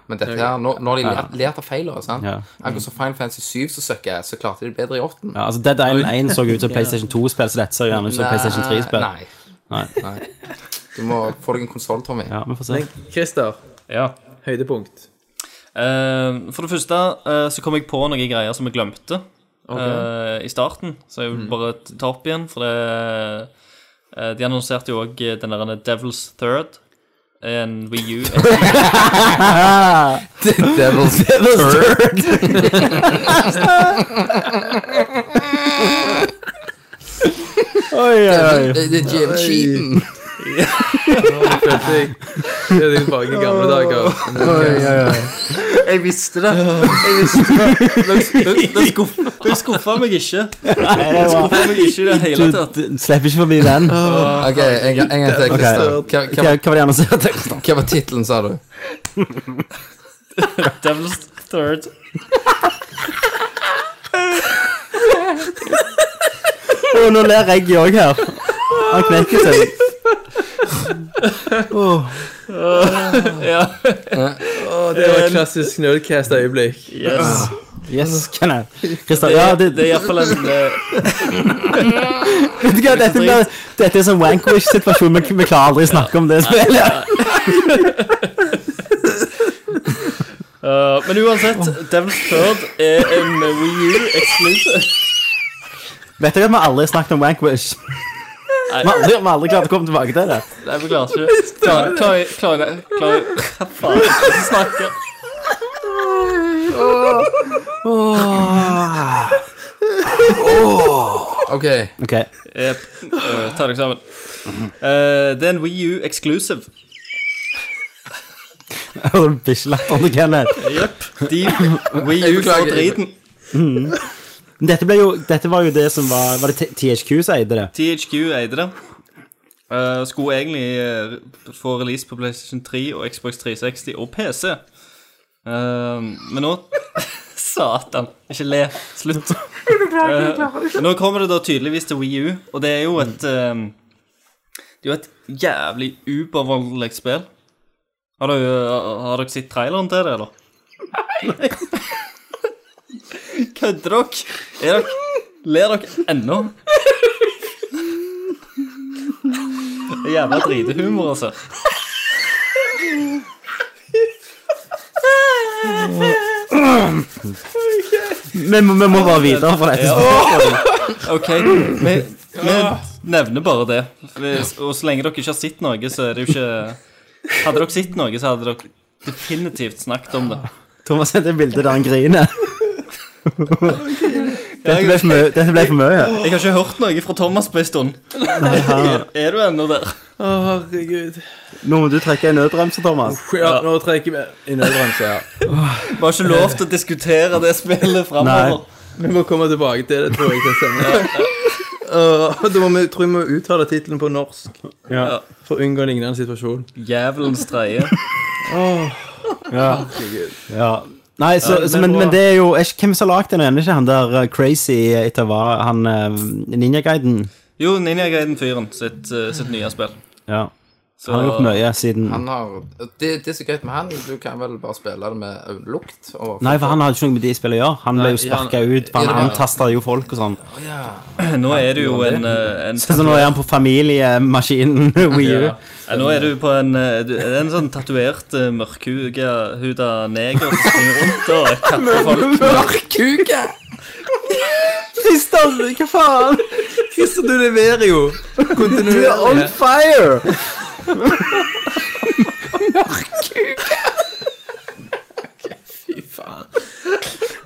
E: Men dette her, nå, nå har de lært, lært av feilene, sant?
F: Ja.
E: Akkurat som Final Fantasy 7 så søkker jeg, så klarte de det bedre i 8.
F: Ja, altså Dead Island 1 så ut som PlayStation 2-spill, så dette ser gjerne ut som PlayStation 3-spill.
E: Nei. Nei. Du må få deg en konsoll, Tommy.
F: Ja, vi får se.
D: Christer,
G: Ja.
D: høydepunkt.
G: Eh, for det første eh, så kom jeg på noen greier som jeg glemte eh, i starten, så jeg
F: Mm.
G: vil bare t- ta opp igjen, for det eh, De annonserte jo òg den der eh, Devil's Third, en Wii U.
E: Devil's
F: Oi, oi, oi.
E: Det det er Jim Cheaton.
D: Følte jeg Det er tilbake i gamle dager.
E: Jeg visste det.
G: Det skuffa meg ikke. Det skuffa meg ikke i det hele
F: Du
G: tatt.
F: du slipper ikke forbi den.
E: OK, en gang en gang til, Christer.
F: Ok. Hva
E: Hva- hva-
F: hva var det han sa?
E: Hva var tittelen, sa du?
G: Devil's Third.
F: Å, Nå ler jeg òg her. Han knekker seg.
G: Ja.
D: Det var et klassisk Nerdcast-øyeblikk.
G: Yes.
F: Yes, kan jeg. Christer, ja, det,
G: Det er iallfall en eh,
F: vet du hva, dette, blir- dette er sånn Wankowish-situasjon. Vi, vi klarer aldri å snakke om det spillet.
G: eh, Men uansett, Devil's Third er en Wii U exclusive.
F: Vet dere at vi aldri snakket om Wankowish? Vi har aldri, vi har aldri klart å komme tilbake til det.
G: Nei, beklager ikke. Klarer klarer- klarer- klarer- Hva faen? Jeg snakker.
E: OK.
F: Ok,
G: Jep. Eh, Ta deg sammen. Eh, Det er en Wii U exclusive.
F: Bikkjelatteren til Kenneth.
G: Jepp. De Wii U for
E: beklager.
G: driten.
F: Men Dette, ble jo, dette var jo det som var Var det T- THQ som eide det?
G: THQ eide det. Eh, skulle egentlig eh, få release på PlayStation 3 og Xbox 360 og PC. Eh, men nå Satan. Ikke le. Slutt. Eh, nå kommer det da tydeligvis til Wii U, og det er jo et eh, Det er jo et jævlig ubervoldelig spill. Har, du, eh, har dere sett traileren til det, eller? Nei! Kødder dere? Er dere Ler dere ennå? Det er Jævla dritehumor, altså.
F: Vi må, vi må bare videre fra dette.
G: OK, vi, vi nevner bare det. Hvis- Og så lenge dere ikke har sett noe, så er det jo ikke Hadde dere sett noe, så hadde dere definitivt snakket om det.
F: Thomas sendte et bilde der han griner. Dette ble for mye. Dette ble for mye.
G: Jeg har ikke hørt noe fra Thomas på en stund. Er, er du ennå der?
D: Å, herregud.
F: Nå må du trekke en nødbremse, Thomas.
D: Ja, nå trekker vi i nødbremse, ja.
G: Vi har ikke lov til å diskutere det spillet framover.
D: Vi må komme tilbake til det, tror jeg. Til stemmen. Åh, da må vi, tror jeg vi må uttale tittelen på norsk
F: Ja.
D: for å unngå en lignende situasjon.
G: Jævelens dreie.
F: Ja. ja. Nei, så, så, men, men det er jo er ikke, Hvem som har lagd den? Er det ikke han der uh, crazy etter hva Han uh, ninjaguiden?
G: Jo, Ninja Gaiden-fyren sitt, eh, sitt nye spill.
F: Ja.
G: Så-
F: Han har gjort mye siden
E: Han har det, det er så greit med han. Du kan vel bare spille det med lukt? Og
F: Nei, for han hadde ikke noe med de spillene å gjøre. Han ble jo
D: Nei, han-
F: sparka ut, for
E: Ja,
F: han
E: ja.
F: antasta jo folk og sånn.
G: Nå er du jo en, eh, en
F: Så nå er han på familiemaskinen Wii U.
G: Ja, nå er du på en, eh, du, er det en sånn tatuert, eh, mørkhuda neger som springer rundt og kapper folk.
E: Mørkhuke!
F: Christer, hva faen?
D: Christer, du leverer jo!
F: Du er on fire!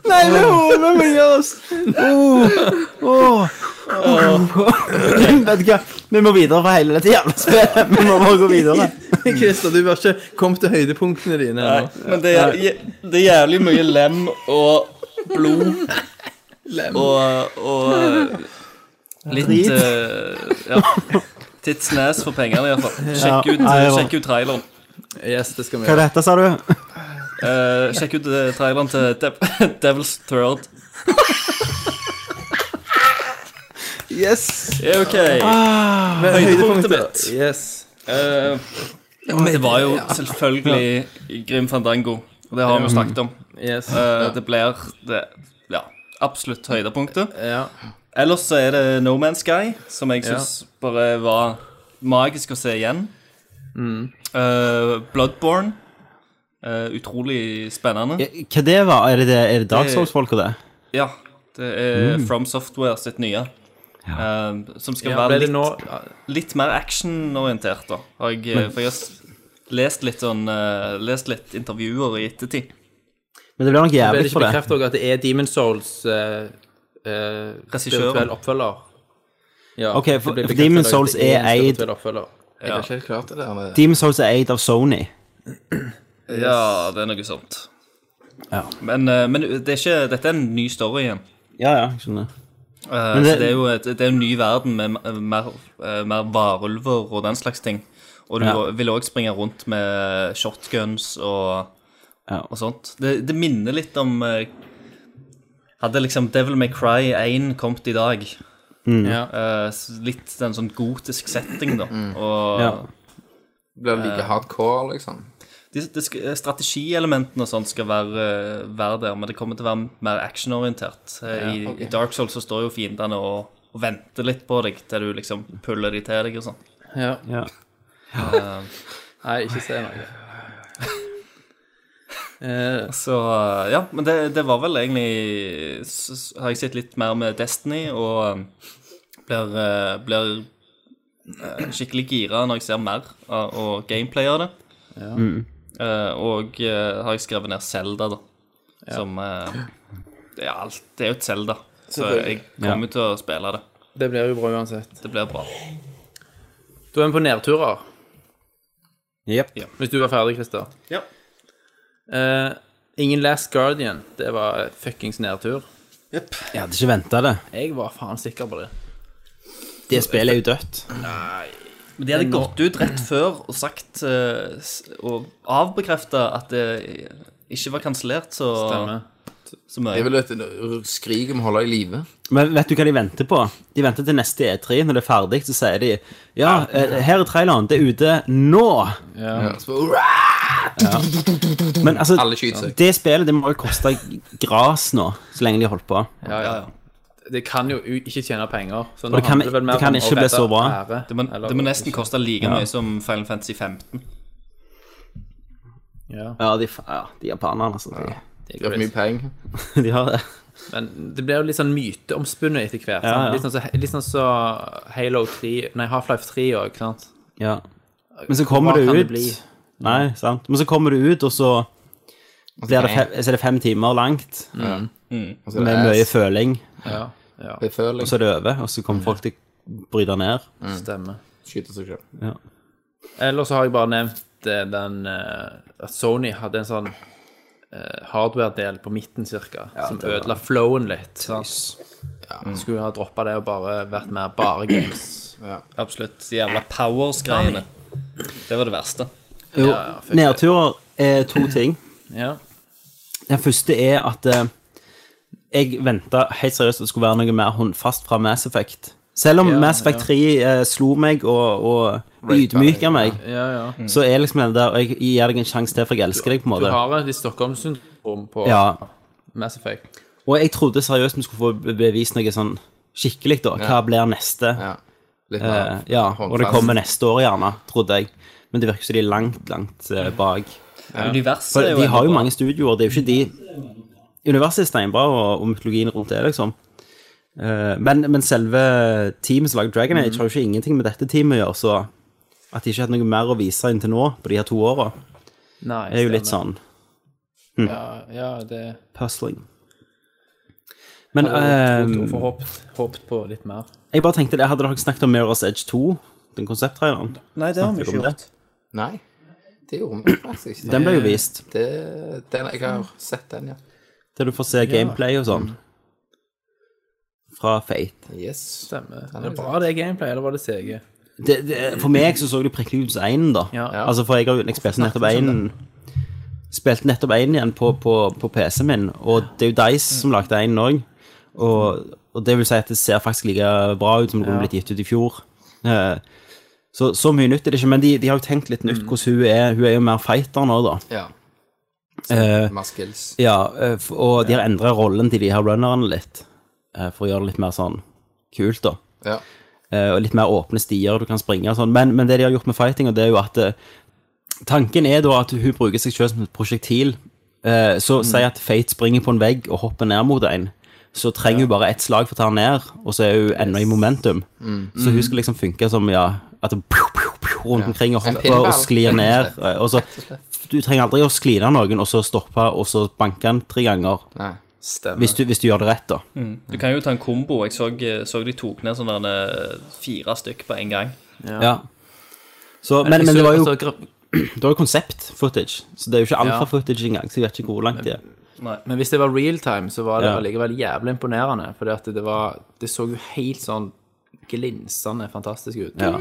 F: Nei, vi håper vi gjør oss Vet du hva, vi må videre for hele dette jævla spillet. Vi må bare gå videre.
D: Christer, du har ikke kommet til høydepunktene dine
G: Nei,
D: ennå.
G: men det er, jæ- det er jævlig mye lem og blod. Og, og eh, litt
F: Drit.
G: eh, Ja. Titsnes for pengene, iallfall.
F: Ja,
G: Sjekk ut,
F: nei, det var-
G: sjekk ut traileren.
D: Yes, det skal vi
F: Hva er
D: gjøre.
F: dette, sa du?
G: Eh, sjekk ut eh, traileren til Dev Devil's Third.
D: Yes!
G: Ja, OK.
F: Ah.
D: Høydepunktet
G: mitt.
D: Yes.
G: Eh, det var jo selvfølgelig Grim Fandango. Og det har vi snakket om.
D: Yes.
G: Eh, det blir det, ja, absolutt høydepunktet.
D: Ja.
G: Eh, Ellers så er det No Man's Sky, som jeg
D: Ja.
G: syns bare Mm. var magisk å se igjen. Eh, Bloodborne Eh, utrolig spennende.
F: Hva det var? Er det, det, er det Dark
G: Det-
F: Souls-folka, det?
G: Ja. Det er From Software sitt nye. eh, som skal
D: Ja,
G: være
D: ble det
G: litt,
D: nå
G: litt mer actionorientert, da. Har jeg, eh, for jeg har s- lest litt, sånn, eh, lest litt intervjuer i ettertid.
F: Men det blir
D: Ble
F: nok
D: det
F: jævlig
D: ikke
F: for det.
D: bekreftet også at det er Demon Souls eh, eh,
G: Regissøren.
D: spirituell oppfølger? Ja,
F: Ok, for-
D: det ble
F: for
D: bekreftet
F: Demon
D: at det
F: Souls
D: en
F: er eid-
D: spirituell oppfølger.
E: Jeg har ikke helt klart det der. med-
F: Demon's Souls er eid av Sony.
G: Ja, det er noe sånt.
F: Ja.
G: Men, eh, men det er ikke, dette er en ny story igjen.
F: Ja, ja, jeg skjønner.
G: Eh,
F: Men
G: så
F: det-
G: det er jo et, det er en ny verden med ma- mer, eh, mer varulver og den slags ting. Og du
F: Ja.
G: vil òg springe rundt med shotguns og,
F: Ja.
G: og sånt. Det, det minner litt om eh, Hadde liksom Devil May Cry 1 kommet i dag
F: Mm.
D: Ja.
G: eh, s- Litt en sånn gotisk setting, da. Og
F: Ja.
E: Blir det
F: Eh.
E: like hardcore, liksom?
G: de, de, sk- eh, strategielementene og sånt skal være, eh, være der, men det kommer til å være mer actionorientert. Eh, I,
E: ok.
G: I Dark Souls så står jo fiendene og, og venter litt på deg til du liksom puller de til deg og sånn.
D: Ja.
F: Ja.
D: Nei, ikke si noe. Eh,
G: Så eh, ja, men det, det var vel egentlig s- s- Har jeg sett litt mer med Destiny og eh, blir, eh, blir eh, skikkelig gira når jeg ser mer av- og gameplay av det. Eh, og eh, har jeg skrevet ned Zelda, da. Som eh, det, er alt, det er jo et Zelda, så jeg kommer til å spille det.
D: det blir jo bra uansett.
G: Det blir bra.
D: Da er vi på nedturer,
F: Jep.
D: hvis du var ferdig, Christer.
G: Ja.
D: Eh, ingen Last Guardian. Det var fuckings nedtur.
F: Jeg hadde ikke venta det.
D: Jeg var faen sikker på det.
F: Det spillet er jo dødt.
G: Men de hadde gått ut rett før og sagt eh, s- og avbekrefta at det ikke var kansellert så,
D: Stemmer.
G: så mye.
E: Det er vel et r- skrik om å holde i live.
F: Men vet du hva de venter på? De venter til neste E3. Når det er ferdig, så sier de Ja, eh, her er traileren. Det er ute nå.
E: Ja. Så, hurra!
F: Men altså,
E: Alle skyter seg.
F: det spillet det må jo koste gras nå, så lenge de har holdt på.
D: Ja, ja. Det kan jo u- ikke tjene penger. Så nå
F: det kan-
D: handler vel mer
F: det kan
D: om å
F: ikke bli
D: redde
F: så bra.
D: ære,
G: Det må,
D: eller-
G: det må nesten koste like mye som Final Fantasy 15.
D: ja.
F: Ja, de, fa- ja, de japanerne, altså.
E: Det er for mye penger.
F: De, de har det.
D: Men det blir jo litt sånn myteomspunnet etter hvert.
F: Ja,
D: sant?
F: ja.
D: Litt, sånn så, litt sånn så Halo 3 Nei, Half-Life 3 òg, sant?
F: Ja. Men så kommer
D: Hva
F: det
D: kan det
F: ut
D: bli?
F: Nei, sant. Men så kommer det ut, og så blir det fem, så er det fem timer langt
E: Og så er Altså, det
F: med mye
E: ass.
F: føling.
D: Ja. ja.
E: Det er liksom. føling.
F: Så er det over, og så kommer folk til å bryte ned.
D: Stemmer.
E: Skyter seg selv.
D: Ellers så har jeg bare nevnt eh, den eh, at Sony hadde en sånn eh, hardware-del på midten cirka, som ødela flowen litt. Sant?
G: Mm.
D: Skulle ha droppa det og bare vært mer bare games.
G: Absolutt. De jævla powers-greiene. Det var det verste.
F: Jo,
D: fuck
F: nedturer er to ting.
D: Ja.
F: Den første er at eh, jeg venta helt seriøst at det skulle være noe mer håndfast fra Mass Effect. Selv om
D: Ja,
F: Mass Effect 3 eh, slo meg og, og ydmyka meg,
D: ja, ja.
F: så er liksom den der Jeg gir deg en sjanse til, for jeg elsker deg, på
D: Du
F: en måte.
D: har et litt Stockholm-syndrom på
F: Ja.
D: Mass Effect.
F: Og jeg trodde seriøst vi skulle få be- bevist noe sånn skikkelig, da. Hva blir neste?
E: Ja. Litt
F: Eh,
E: mer.
F: ja, og det
E: håndfast.
F: kommer neste år, gjerne, trodde jeg. Men det virker som de er langt, langt eh, bak.
G: Universet
F: For
G: er jo
F: de har jo
G: ennå bra.
F: mange studioer, det er jo ikke de Universet er steinbra, og, og mytologien rundt det, liksom. Eh, men, men selve teamet som lager Dragon Age, har jo ikke ingenting med dette teamet å gjøre, så at de ikke har hatt noe mer å vise inntil nå på de her to åra,
D: Nei,
F: er jo litt sånn
D: Ja, ja det
F: puzzling. Men
G: Um,
D: Jeg
F: eh,
D: får håpet, håpet på litt mer.
F: jeg bare tenkte det, hadde dere snakket om Mirror's Edge 2, den konsepttraileren?
G: Nei, det har vi
F: Snakker
G: ikke
F: om det.
G: gjort.
E: Nei, det gjorde vi faktisk ikke.
F: Den ble jo vist,
E: Det, den, jeg har sett den, ja.
F: der du får se gameplay og sånn. Fra Fate.
E: Yes.
D: Stemmer. Det er bra det gameplay, eller var det CG?
F: Det, det, for meg så så det prikkelig ut som einen, da.
D: Ja.
E: Ja.
F: Altså, for jeg, har jo- jeg spilte nettopp én Spilte nettopp én igjen på, på, på PC-en min, og det er jo Dice som lagde én òg. Og, og det vil si at det ser faktisk like bra ut som det kunne blitt gitt ut i fjor. Eh, Så, så mye nytt er det ikke, men de, de har jo tenkt litt nytt hvordan hun er. Hun er jo mer fighter nå, da.
E: Ja.
F: Eh,
E: Mer skills.
F: ja, eh, f- og de har endra rollen til de her runnerne litt, eh, for å gjøre det litt mer sånn kult, da.
E: Ja.
F: Eh, og litt mer åpne stier du kan springe og sånn. Men, men det de har gjort med fighting, og det er jo at eh, Tanken er da at hun bruker seg selv som et prosjektil. Eh, så si at Fate springer på en vegg og hopper ned mot en. Så trenger hun bare ett slag for å ta den ned, og så er hun ennå i momentum. Så hun skal liksom funke som ja, at det pju, pju, pju, rundt omkring og
E: En
F: hopper
E: pinball.
F: og sklir ned. eh, Og så, du trenger aldri å skline av noen, og så stoppe og så banke den tre ganger.
E: Nei.
D: Stemmer.
F: Hvis du, hvis du gjør det rett, da.
G: Du kan jo ta en kombo. Jeg så, så de tok ned sånne eh, fire stykk på en gang.
F: Ja. altså Så, men, men det var jo
D: altså,
F: det var jo konsept-footage, så det er jo ikke alfa-footage engang. Så jeg vet ikke hvor langt det er.
D: Men hvis det var real time, så var det
F: Ja.
D: allikevel jævlig imponerende. For det, var- det så jo helt sånn glinsende fantastisk ut.
F: Ja.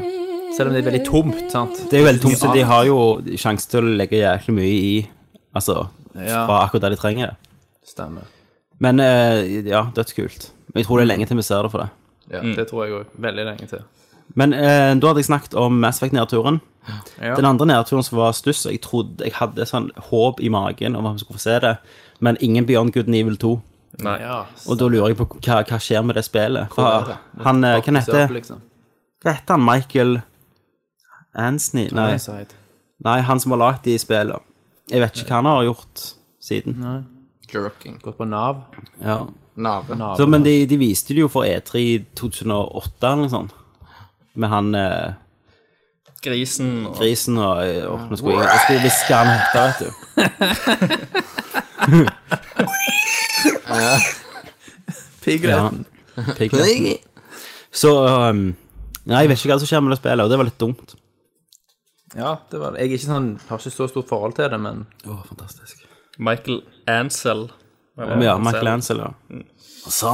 D: Selv om det er veldig tomt, sant?
F: Det er jo veldig tungt, så de har jo sjanse til å legge jæklig mye i Altså,
D: Ja.
F: fra akkurat der de trenger det.
D: Stemmer.
F: Men eh, ja, dødskult. Men Jeg tror det er lenge til vi ser det for det.
D: Ja, Det tror jeg òg. Veldig lenge til.
F: Men eh, da hadde jeg snakket om Mass Effect-nedturen.
D: Ja.
F: Den andre nedturen som var stuss, og jeg trodde jeg hadde sånn håp i magen om at vi skulle få se det, men ingen Beyond Good and Evil 2.
G: Nei.
D: Ja,
F: Og da lurer jeg på hva, hva skjer med det spillet. For han, eh, hva
D: Sørp,
F: heter,
D: liksom.
F: hva heter han? Michael Ansney? Nei.
D: Side.
F: Nei, han som har lagd de spillene. Jeg vet ikke hva han har gjort siden.
E: Jerking.
D: Gått på Nav.
F: Ja.
E: Nave.
F: Så, men de, de viste det jo for E3 2008 eller noe sånt. Med han eh,
G: Grisen og
F: grisen og oh, Nå skulle jeg, jeg skulle hviske hva han heter, vet du.
D: Piglet.
F: Piglet. Så um, Nei, jeg vet ikke hva som skjer med det spillet, og det var litt dumt.
D: Ja. det var det. Jeg er ikke sånn, har ikke så stort forhold til det, men
F: Oh, fantastisk.
G: Michael Ansel.
F: Ja, Michael Ansel, ja. Så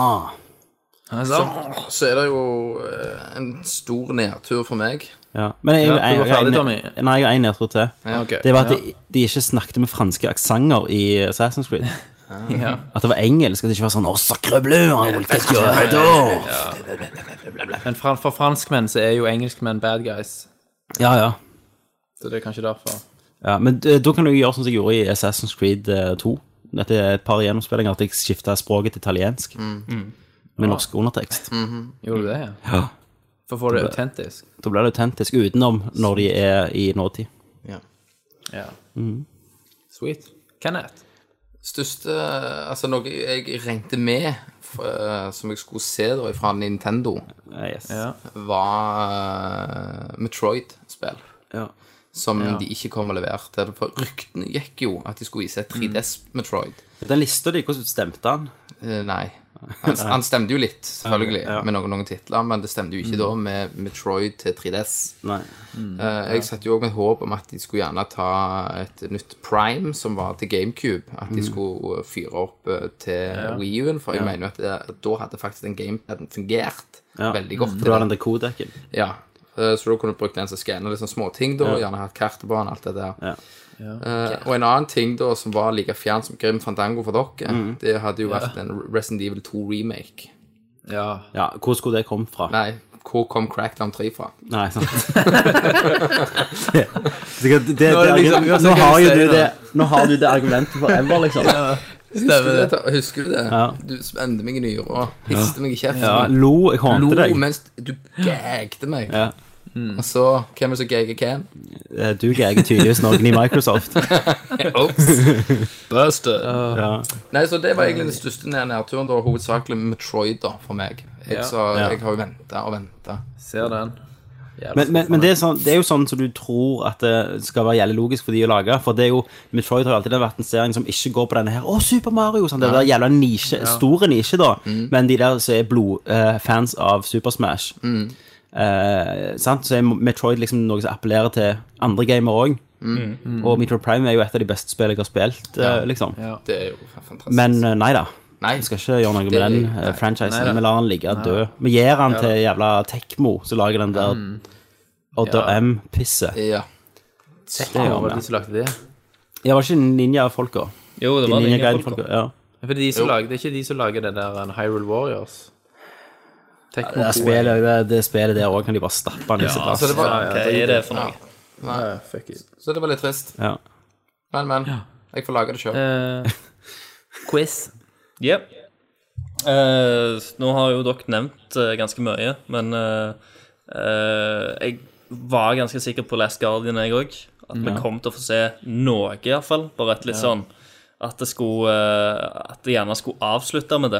E: Så er det jo eh, en stor nedtur for meg.
F: ja. Men jeg,
D: Ja, du
F: jeg,
D: var
F: jeg,
D: ferdig,
F: jeg,
D: Tommy.
F: nei, jeg har én nedtur til.
D: Ok.
F: Det var at de, de ikke snakket med franske aksenter i Assassin's Creed.
D: Ah. Ja.
F: At det var engelsk, at det ikke var sånn «Å, sacre bleu, han vil ikke gjøre det da!»
D: Men fra- for franskmenn så er jo engelskmenn bad guys.
F: Ja, ja.
D: Så det er kanskje derfor.
F: ja men eh, da kan du jo gjøre sånn som jeg gjorde i Assassin's Creed eh, 2. Dette er et par gjennomspillinger at jeg skiftet språket til italiensk.
D: Mm.
F: Med norsk undertekst.
D: Gjorde du det? ja?
F: Ja.
D: For å få det autentisk.
F: Da blir det autentisk utenom når de er i nåtid.
E: Ja.
D: Ja.
F: Mhm.
D: Sweet. Kenneth.
E: Største Altså, noe jeg regnet med eh, som jeg skulle se da fra Nintendo,
F: Eh, Yes.
D: Ja.
E: var eh, Metroid-spill.
F: Ja.
E: Som de ikke kom og leverte. For ryktene gikk jo at de skulle vise et
F: Mm.
E: 3DS-Metroid.
F: Den lista de, hvordan stemte han?
E: Eh, Nei. Han, han stemte jo litt, selvfølgelig, med noen, noen titler, men det stemte jo ikke
F: Mm.
E: da med Metroid til 3DS.
F: Nei.
E: Eh, jeg satte jo òg et håp om at de skulle gjerne ta et nytt Prime, som var til GameCube. At
F: Mm.
E: de skulle fyre opp eh, til Wii U-en, for jeg mener jo at det, da hadde faktisk den gamepaden fungert
F: Ja.
E: veldig godt.
F: Det var den der kodekken.
E: Ja. Eh, Så da kunne du brukt den som skanner liksom småting, da. Gjerne hatt kartet på den, alt det der.
F: Ja.
E: Eh, og en annen ting da som var like fjern som Grim Fandango for dere,
F: Mm.
E: det hadde jo vært en Resident Evil 2-remake.
D: Ja.
F: Ja, hvor skulle det komme fra?
E: Nei, hvor kom Crackdown 3 fra?
F: Nei, sant. Sikkert, det, det,
D: Nå er det liksom-
F: nå har jo du det Nå har du det argumentet for ever, liksom.
E: Husker du det? da? Husker du det?
F: Ja.
E: Du spente meg i nyra, histe meg i kjeften.
F: Ja, lo, jeg hånte
E: Lo
F: deg.
E: mens du gagte meg. Mm.
F: Ja.
E: Og så hvem er det som gager hvem?
F: Eh, Du gagger tydeligvis noen i Microsoft.
E: Ops. Buster.
F: Ja.
E: Nei, så det var egentlig den største ned- nedturen, da, hovedsakelig Metroid, da, for meg. Jeg, så,
F: Ja.
E: jeg har jo venta og venta.
D: Ser den. Jævlig
F: Men, men, men det, er sånn, det er jo sånn som du tror at det skal være jævlig logisk for de å lage. For det er jo, Metroid har jo alltid vært en serie som ikke går på denne her. Å, Super Mario! Sånn, det er jævla nisje, store nisje, da. Men de der som er blod, eh, fans av Super Smash eh, sant? Så er Metroid liksom noe som appellerer til andre gamer òg. Og Metroid Prime er jo et av de beste spillene jeg har spilt, eh, liksom.
E: Det er jo fantastisk.
F: Men eh, nei da.
E: Nei,
F: Vi skal ikke gjøre noe med
E: Det-
F: den eh,
E: nei.
F: franchisen. Vi lar han ligge død. Vi gir han til jævla Tekmo, som lager den der Odder M-pisset.
E: Ja.
F: Det
D: Ja,
F: gjør
D: var det
F: vi.
D: de som lagde det?
F: Ja, var ikke ninja-folka?
G: Jo, det
F: De
G: var
F: Ninja
G: ingen folk.
F: Gaiden-folka. Ja.
D: Ja, For de som lager, det er ikke de som lager den der uh, Hyrule Warriors? Tekmo
F: Det,
D: 2.
F: spillet, det, det spillet der òg kan de bare stappe han i sitt ass.
E: Så det var,
G: Hva er det for noe?
D: Ja, fuck it.
E: så det var litt trist.
F: Ja.
E: Men, men. Jeg får lage det sjøl.
D: Eh, quiz.
G: Yep. Eh, nå har jo dere nevnt eh, ganske mye, men eh, eh, jeg var ganske sikker på Last Guardian, jeg òg. At vi kom til å få se noe, iallfall. Bare et litt sånn at det skulle eh, At de gjerne skulle avslutte med det.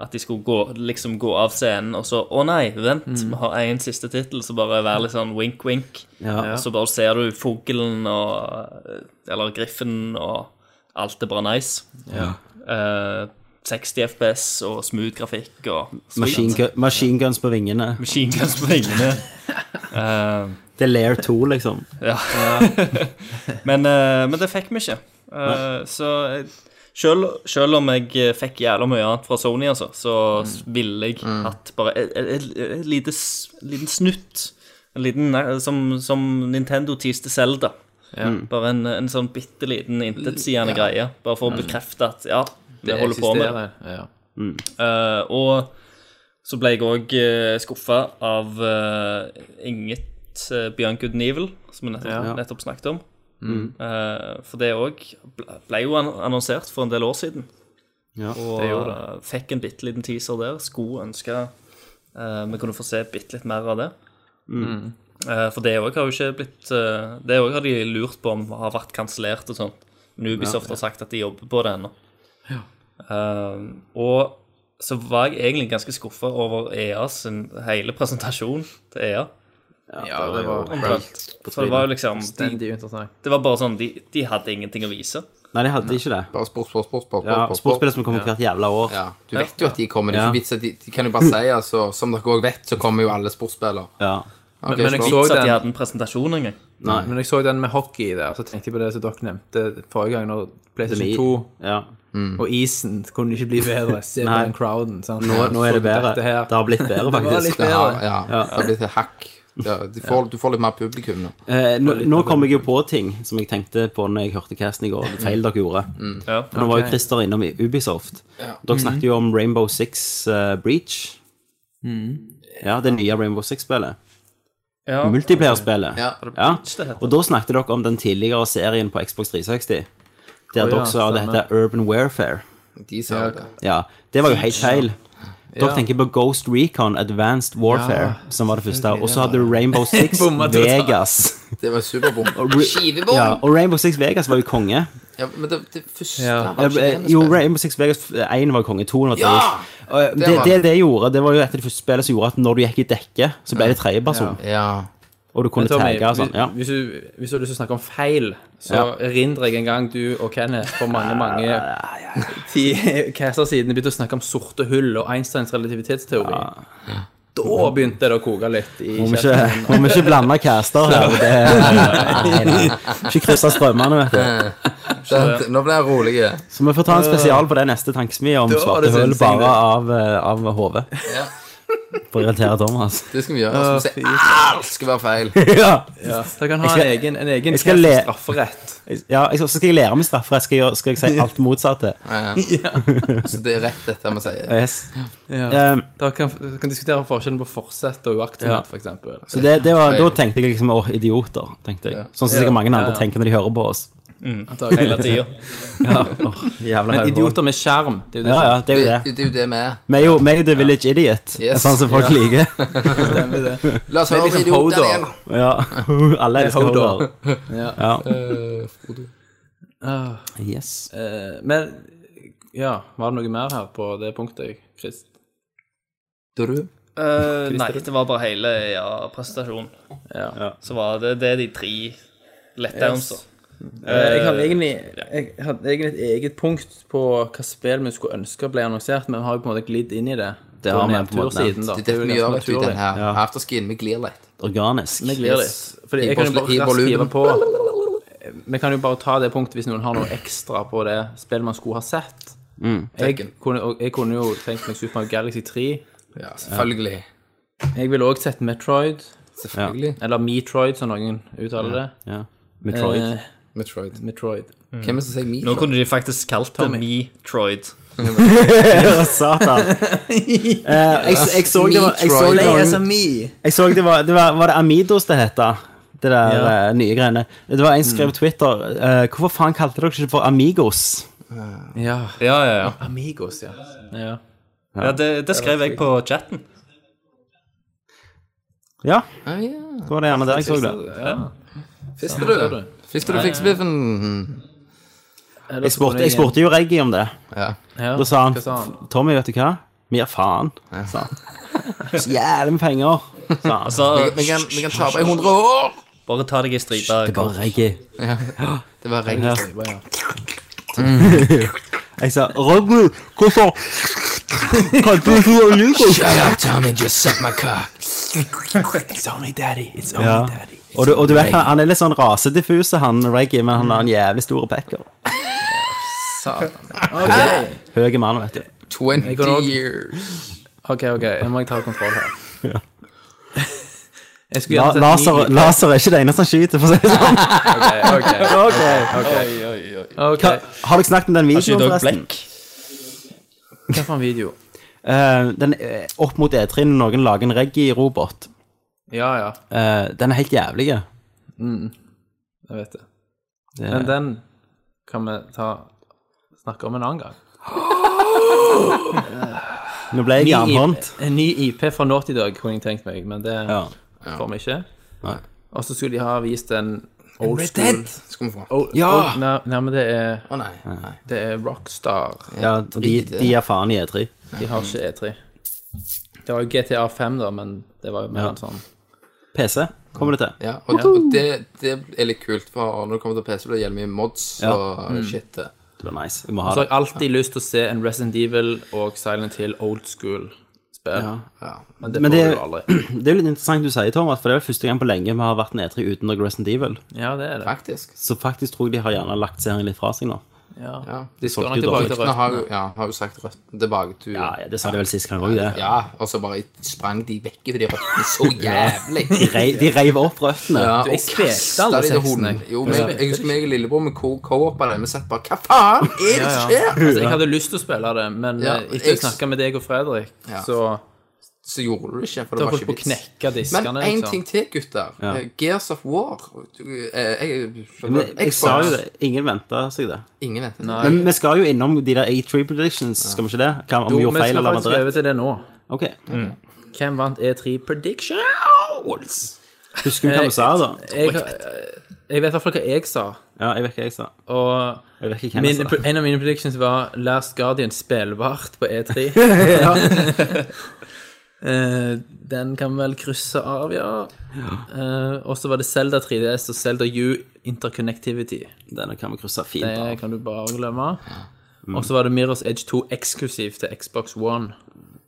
G: At de skulle gå, liksom gå av scenen, og så Å nei, vent, vi har én siste tittel. Så bare være litt sånn wink-wink.
F: Ja.
G: Så bare ser du fuglen og eh, Eller griffen og alt er bare nice. Eh, 60 FPS og smooth grafikk og
F: Machine, gu machine guns på vingene.
G: Machine guns på vingene. Eh,
F: Det er lair 2, liksom.
G: ja. men, eh, men det fikk vi ikke. Eh, så jeg- selv, selv om jeg eh, fikk jævla mye annet fra Sony, altså, så s- ville jeg hatt bare et, et, et, et lite, s- liten snutt. En liten, nei, som, som Nintendo tiste Zelda. Bare en, en sånn bitte liten intetsigende greie. Bare for å bekrefte at ja, det holder på med.
D: Ja.
G: Eh, og så ble jeg òg uh, skuffa av eh, Inget uh, Beyond Good and Evil, som vi nettopp,
D: Ja.
G: nettopp snakket om. Eh, for det òg ble, ble jo an annonsert for en del år siden.
F: Ja,
G: og eh, fikk en bitte liten teaser der. Skulle ønske eh, vi kunne få se bitte litt mer av det. Eh, for det òg har jo ikke blitt eh, Det òg har de lurt på om har vært kansellert og sånt. Men Ubisoft har sagt at de jobber på det ennå. Um, og så var jeg egentlig ganske skuffa over EA sin hele presentasjon til EA.
E: Ja, det var
G: Omtrent. For det var jo liksom de,
D: Den er jo interessant.
G: Det var bare sånn De, de hadde ingenting å vise.
F: Nei, de hadde ikke det.
E: Bare sport, sport, sport, sport,
F: Ja,
E: sport, sport,
F: Sportsspill som kommer hvert jævla år.
E: Ja, du vet jo at de kommer. Det er
F: Ja.
E: ikke vits at de, de kan jo bare si, altså, som dere også vet, så kommer jo alle sportsspillere.
F: Ja.
E: Ok,
D: men jeg
E: så-
D: så
G: Så at
D: den.
G: de hadde en presentasjon engang.
D: Men jeg så den med hockey der, så tenkte jeg på det som dere nevnte forrige gang, når PlayStation 2
F: Ja.
D: og isen kunne ikke bli bedre. Se på
F: Mm. Nei.
D: den crowden. Sant?
F: Nå, nå er det bedre.
D: Dette her.
F: Det har blitt bedre,
D: var
F: faktisk.
D: litt
E: det har,
D: bedre.
E: ja, det har blitt et hakk. Ja, de får, du får litt mer publikum nå.
F: Eh, nå, nå kom jeg jo på ting som jeg tenkte på når jeg hørte casten i går. Det feil dere gjorde. Mm.
G: Ja.
F: For Nå var jo Christer innom i Ubisoft. Dere
D: Mm.
F: snakket jo om Rainbow Six eh, Breach.
D: Mm.
F: Ja, det nye Rainbow Six-spillet.
G: Ja.
F: Multiplayer-spillet.
E: Ja.
F: Ja. Og da snakket dere om den tidligere serien på Xbox 360. Der dere sa det
D: stemmer.
F: heter Urban Warfare.
E: De sa det.
F: Ja, det var jo helt feil. Dere tenker på Ghost Recon Advanced Warfare, som var det første. Og så hadde du Rainbow Six
D: Bomma totalt.
F: Vegas.
E: Det var superbom. Skivebom!
F: Ja, og Rainbow Six Vegas var jo konge.
E: Ja, men det, det første
D: Ja. eh,
E: var ikke det vi
F: eh, Jo,
E: spilte.
F: Rainbow Six Vegas 1 var konge, 2 var
E: Ja!
F: drit. Og eh, det,
E: var-
F: det det gjorde, det var jo et av de første spillene som gjorde at når du gikk i dekke, så ble det tredjeperson.
E: Ja.
F: Og du kunne
D: Tommy,
F: tagge og sånn. Ja.
D: hvis, du, hvis du har lyst til å snakke om feil, så
F: Ja.
D: erindrer jeg en gang du og Kenneth for mange mange ti caster siden begynte å snakke om sorte hull og Einsteins relativitetsteori. Da begynte det å koke litt i
F: Må vi
D: kjeften.
F: ikke, må vi ikke blande caster her. Det, nei, nei. Ikke krysse strømmene, vet du.
E: Det- Nå ble jeg rolig.
F: Så vi får ta en spesial på det neste tankesmie om
D: Da var
F: svarte
D: det
F: hull
D: sinnssykt.
F: bare av, eh, av hodet.
E: Ja.
F: For å irritere Thomas.
E: Det skal vi gjøre. Og så skal vi si alt skal være feil.
F: Ja,
D: Ja. Så jeg kan ha
F: Jeg skal-
D: en egen, en egen
F: jeg skal
D: cast
F: le-
D: strafferett.
F: ja jeg, så skal jeg lære meg strafferett. Skal, jeg gjøre- skal jeg si alt motsatte?
E: Så det er rett, dette vi sier.
F: Yes.
D: Ja.
F: Um,
D: Da kan vi kan diskutere forskjellen på forsett og
F: Ja.
D: uaktsomhet, for f.eks.
F: så det, det var, da tenkte jeg liksom åh, idioter. tenkte jeg. Sånn som sikkert mange andre tenker når de hører på oss.
G: Hele tida.
F: Jævla
D: Mm. Men
F: høyre.
D: idioter med skjerm, det er jo det
F: Ja,
D: som
F: ja, det er jo det.
E: Det, det er jo det vi er.
F: Vi er jo vi er jo The Village Idiot.
E: Yes.
F: Sånn som folk liker.
D: stemmer det.
E: La oss høre
D: liksom
E: idiotene
D: Hodor.
E: igjen.
F: Ja. Alle elsker
D: Hodor.
F: Hodor. Ja. Yes.
D: Eh, Men ja, var det noe mer her på det punktet, Chris?
E: Du, du.
G: Eh, nei, det var bare hele ja, presentasjonen.
D: Ja.
G: Så var det, det er de tre letdownsa.
D: Eh, Jeg hadde egentlig, jeg hadde egentlig et eget punkt på hva spill vi skulle ønske ble annonsert, men har jo på en måte glidd inn i det.
F: Det har vi på en måte
D: nedtursiden,
F: nevnt.
D: da.
E: Det er dette vi gjør, vet du, i den her
F: Ja.
E: afterskien. Vi glir litt.
F: Organisk.
D: Vi glir litt.
E: Yes.
D: Fordi jeg
E: I
D: kan jo
E: bosle- i
D: bare raskt skrive
E: volumen.
D: på Vi kan jo bare ta det punktet hvis noen har noe ekstra på det spillet man skulle ha sett.
F: Mm.
D: Jeg,
E: Tekken.
D: kunne, og jeg kunne jo tenkt meg Super Mario Galaxy 3.
E: Ja, selvfølgelig.
D: Jeg ville òg sett Metroid,
E: Selvfølgelig.
D: eller Metroid, som noen uttaler det.
F: Ja. Metroid.
D: Eh,
E: Metroid.
D: Metroid.
E: Hvem er det som sier
G: Nå
E: Metroid?
G: kunne de faktisk kalt det Metroid.
F: Ja, Satan. Eh, jeg, jeg så det var, jeg så det var
E: Metroid.
F: Jeg så det var, det var, var det Amidos det hette? Det der eh, nye greiene. Det var en som skrev på Twitter eh, Hvorfor faen kalte dere ikke det for Amigos?
D: Ja.
G: Ja, ja, ja.
D: Amigos, ja. ja.
G: ja det, det skrev jeg på chatten.
F: Ja,
E: Ah, ja.
F: det var det gjerne der jeg så det.
E: Fister du? Fister du fiksebiffen?
D: Eller
F: Jeg
D: så går
F: spurte,
D: det
F: jeg spurte jo Reggie om det.
E: Ja.
D: igjen.
F: Da sa han
D: Hva sa han?
F: Tommy, vet du hva? Vi gir faen. sa han. Så jævlig med penger. Sa han.
G: Så
E: Vi vi kan, vi kan tape i 100 år!
G: bare ta deg i stripa.
F: Det er bare Reggie.
E: Det var regn.
F: Ja. Jeg sa Reggie, hvorfor Kan du ikke gjøre lyder?
E: Shut up, Tommy, just suck my cock.
D: It's only daddy. It's only
F: Ja.
D: daddy.
F: Og du, og du vet, han- han er litt sånn rasediffuse, han Reggie, men han har en jævlig stor pekker.
E: Satan.
F: Høy mann, vet du.
E: 20
D: også-
E: years.
D: OK, OK, jeg må ta kontroll her. Jeg skulle gjerne
F: La,
D: sett
F: laser,
D: ni-
F: laser er ikke det eneste han skyter, for å si det sånn.
D: OK, OK, OK. OK,
F: Hva, Eh, har dere snakket om den videoen,
G: Skyter også
F: forresten?
G: blekk.
D: Hva for en video?
F: Eh, den, eh, opp mot E3 når noen lager en Reggie-robot.
D: Ja, ja,
F: Eh, den er helt jævlig.
D: jeg vet det.
F: Det-
D: Men den kan vi ta snakke om en annen gang.
F: Nå ble jeg
D: Ny
F: jernhånd.
D: IP En ny IP fra Naughty Dog kunne jeg tenkt meg, men det
F: Ja.
D: får vi ikke.
F: Nei.
D: Og så skulle de ha vist en old
E: Red
D: school
E: Dead. Skal vi få. Å
D: Old-
E: Ja!
D: old- nei, nei, men det er,
E: nei. nei.
D: det er Rockstar.
F: Ja, de, de er faen i E3.
D: De har ikke E3. Det var jo GTA 5, da, men det var jo mer
F: Ja.
D: en sånn
F: PC kommer det til.
E: Ja, og, og det, det er litt kult, for når det kommer til PC, blir det gjelder mye mods
F: Ja. Mm.
E: og shit. eh,
F: Det blir nice. Vi må ha
D: Så har
F: det.
D: jeg alltid lyst til å se en Resident Evil og Silent Hill old school-spill.
E: Ja.
D: Men det
F: Men
D: får
F: det-
D: du jo aldri.
F: Det er jo litt interessant du sier, Tom, at for det er vel første gang på lenge vi har vært en E3 uten noe Resident Evil.
D: Ja, det er det.
E: Faktisk.
F: Så faktisk tror jeg de har gjerne lagt serien litt fra seg nå.
D: Ja.
E: Ja.
D: De skal
F: solgte
D: nok
F: jo
D: tilbake
F: dårlig.
D: til
E: Nå har
D: røttene.
E: jo, ja, har jo sagt rødt tilbake til
F: Ja, ja, det sa de vel sist gang òg, det.
E: Ja, og så bare sprang de vekk i de røttene så jævlig.
F: De reiv, de reiv opp røttene.
E: Ja,
D: Du, jeg
E: og
D: spilte
E: kastet
D: alle
E: de til
D: sexene,
E: hunden.
D: jeg.
E: Jo, men jeg, jeg husker meg og lillebror med co-opa der. Vi satt bare Hva faen er det som skjer?
D: Altså, jeg hadde lyst til å spille det, men
E: Ja,
D: eh, etter
E: jeg-
D: å snakke med deg og Fredrik,
E: Ja.
D: så
E: Så gjorde du det ikke, for
D: da
E: det var
D: holdt
E: ikke
D: på å
E: vits.
D: knekke
E: Men
D: diskene.
E: én
D: liksom.
E: ting til, gutter. Eh, Gears of War Du, eh, jeg,
F: Men jeg, jeg sa jo det. Ingen venta seg det.
E: Ingen vet det.
F: Men vi skal jo innom de der A3 predictions, skal vi ikke det? Hva, om
D: Jo, vi
F: vi gjorde feil
D: skal
F: eller
D: faktisk
F: andre?
D: over til det nå.
F: Ok.
D: Hvem vant E3 Prediction?
F: Husker du hva vi sa, da?
D: Jeg, eh, jeg vet i hvert fall hva jeg sa.
F: Ja, jeg vet ikke hva jeg sa.
D: Og
F: Jeg vet ikke hvem
D: min,
F: jeg sa.
D: en av mine predictions var Last Guardian spillbart på E3. Eh, Den kan vi vel krysse av, ja. Eh, og så var det Zelda 3DS og Zelda U Interconnectivity.
F: Denne kan vi krysse fint
D: Det
F: av.
D: kan du bare glemme.
F: Mm.
D: Og så var det Mirrors Edge 2 eksklusiv til Xbox One.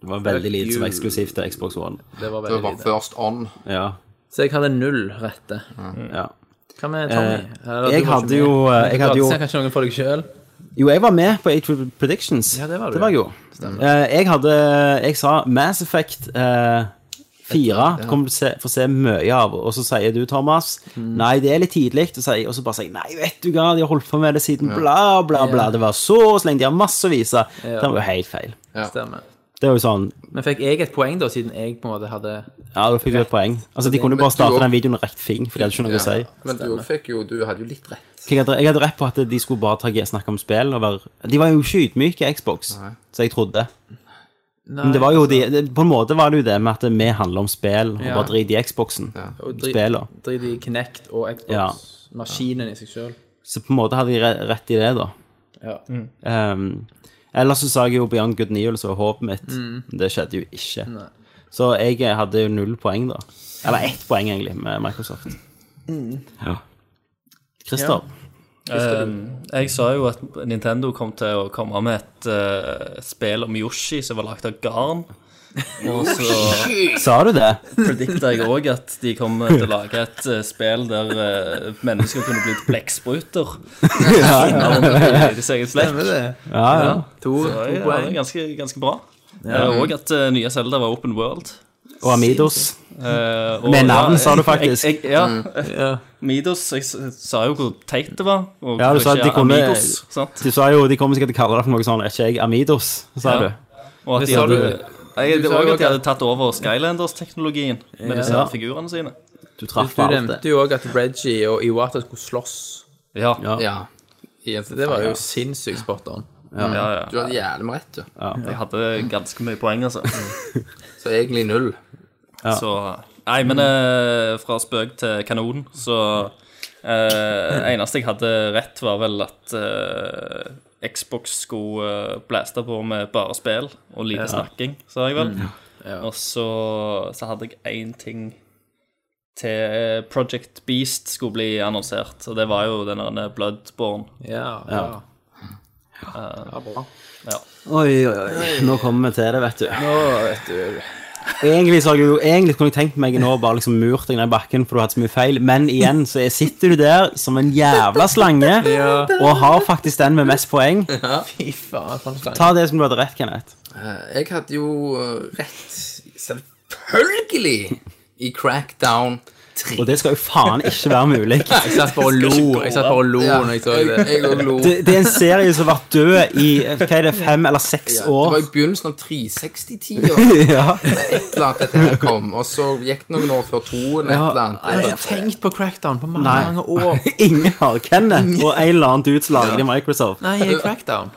F: Det var veldig lite som
D: you.
F: var eksklusivt til Xbox One.
D: Det var
E: Det var
D: veldig
E: bare
D: lite.
E: first on.
F: Ja,
D: Så jeg hadde null rette.
F: ja.
D: Hva med Tommy?
F: Eh,
D: Eller, du
F: jeg
D: var
F: hadde
D: ikke
F: jo-
D: med.
F: eh, jeg hadde
D: Du
F: jo-
D: sa kanskje noen for deg sjøl?
F: Jo, jeg var med på A3 Predictions.
D: Ja, det var du.
F: Det var jeg jo. Eh, jeg hadde Jeg sa Mass Effect eh, 4 kommer du til å se, få se mye av, og så sier du, Thomas,
D: Mm.
F: nei, det er litt tidlig, og, sier, og så bare sier jeg, nei, vet du hva, de har holdt på med det siden bla, bla, bla, det var så og så lenge, de har masse å vise. Det var jo helt feil.
D: Stemmer.
F: Det var jo sånn
D: Men fikk jeg et poeng, da, siden jeg på en måte hadde
F: Ja, da fikk du et poeng. Altså, de kunne jo
E: Men
F: bare
E: du også-
F: starte den videoen rett fing, for de hadde ikke noe å si.
E: Men du fikk jo Du hadde jo litt rett.
F: Jeg hadde, jeg hadde rett på at de skulle bare ta, snakke om spill. Og være, de var jo ikke ydmyke, Xbox, så jeg trodde. Men det var jo de, det, på en måte var det jo det med at vi handler om spill, og
D: Ja.
F: bare drit i Xboxen.
D: Og dri-
F: Spiller.
D: Drit i Kinect og
F: Ja.
D: Xbox-maskinen i seg sjøl.
F: Så på en måte hadde de re- rett i det, da.
D: Ja.
G: Mm.
F: Um, ellers så sa jeg jo Beyond Good News og håpet mitt.
D: Mm.
F: Det skjedde jo ikke. Så jeg eh, hadde jo null poeng, da. Eller ett poeng, egentlig, med Microsoft.
D: Mm.
F: Ja. Christer,
G: Eh, jeg sa jo at Nintendo kom til å komme med et eh, spill om Yoshi som var lagt av garn. Og så
F: sa du det?
G: predikta jeg òg at de kom til å lage et eh, spill der eh, mennesker kunne bli blekkspruter. ja,
F: Ja,
G: ja.
F: ja.
D: To,
G: Ja,
D: to
G: ja, det er
D: poeng.
G: ganske, ganske bra. Eh, Og at eh, nye Zelda var open world.
F: Og Amidos.
G: Eh, og-
F: Med navn,
G: ja,
F: sa du
G: jeg-
F: faktisk.
G: Jeg, jeg,
D: Mm.
G: ja. Midos Jeg s- sa jo hvor teit det var. Og
F: Ja, du
G: hvorfor
F: sa at
G: ikke
F: de kunne-
G: Amigos, sant?
F: Du sa jo de kommer sikkert til å kalle deg for noe sånn, er ikke jeg Amidos, sa
G: Ja.
F: du.
G: Og at de
D: sa
G: hadde,
D: du-
G: jeg, det
D: sa
G: var
D: jo
G: jo at de
D: at-
G: hadde tatt over Skylanders-teknologien med disse her figurene sine.
D: Du
F: Du traff på alt
D: nevnte
F: det.
D: jo òg at Reggie og Iwata skulle slåss.
G: Ja, ja,
F: Ja.
E: Ja.
D: Det var jo sinnssykt spot on.
G: ja.
E: Du hadde jævlig med rett, du.
G: Jeg hadde ganske mye poeng, altså.
E: Så egentlig null.
G: Så Nei, men eh, fra spøk til kanon, så eh, Eneste jeg hadde rett, var vel at eh, Xbox skulle eh, blaste på med bare spill og lite snakking, sa jeg vel. Og så, så hadde jeg én ting til eh, Project Beast skulle bli annonsert, og det var jo den der Bloodborne.
D: Ja, ja. ja bra.
F: Oi, oi, oi. Nå kommer vi til det, vet du.
D: Å, vet du.
F: Egentlig, så har jeg jo, egentlig kunne jeg tenkt meg nå bare liksom murt deg ned i bakken, for du har hatt så mye feil, men igjen så er, sitter du der som en jævla slange og har faktisk den med mest poeng.
D: Fy faen, for en slange.
F: Ta det som du hadde rett, Kenneth.
E: Jeg hadde jo eh, rett, selvfølgelig, i Crackdown 3.
F: Og det skal jo faen ikke være mulig.
D: Jeg satt bare og lo Jeg satt bare og lo
E: Ja,
D: når jeg så
E: jeg-
D: det.
E: jeg også lo.
F: Det, det er en serie som har vært død i hva er det, fem eller seks
E: Ja, Det
F: år.
E: var i begynnelsen av 360-tida
F: Ja.
E: at dette her kom, og så gikk det noen år før toen, et eller annet.
D: Jeg har ikke tenkt på crackdown på mange,
F: Nei.
D: mange år.
F: Ingen har Kenneth og en eller annen dude som lager det i Microsoft.
D: Nei, jeg er crackdown.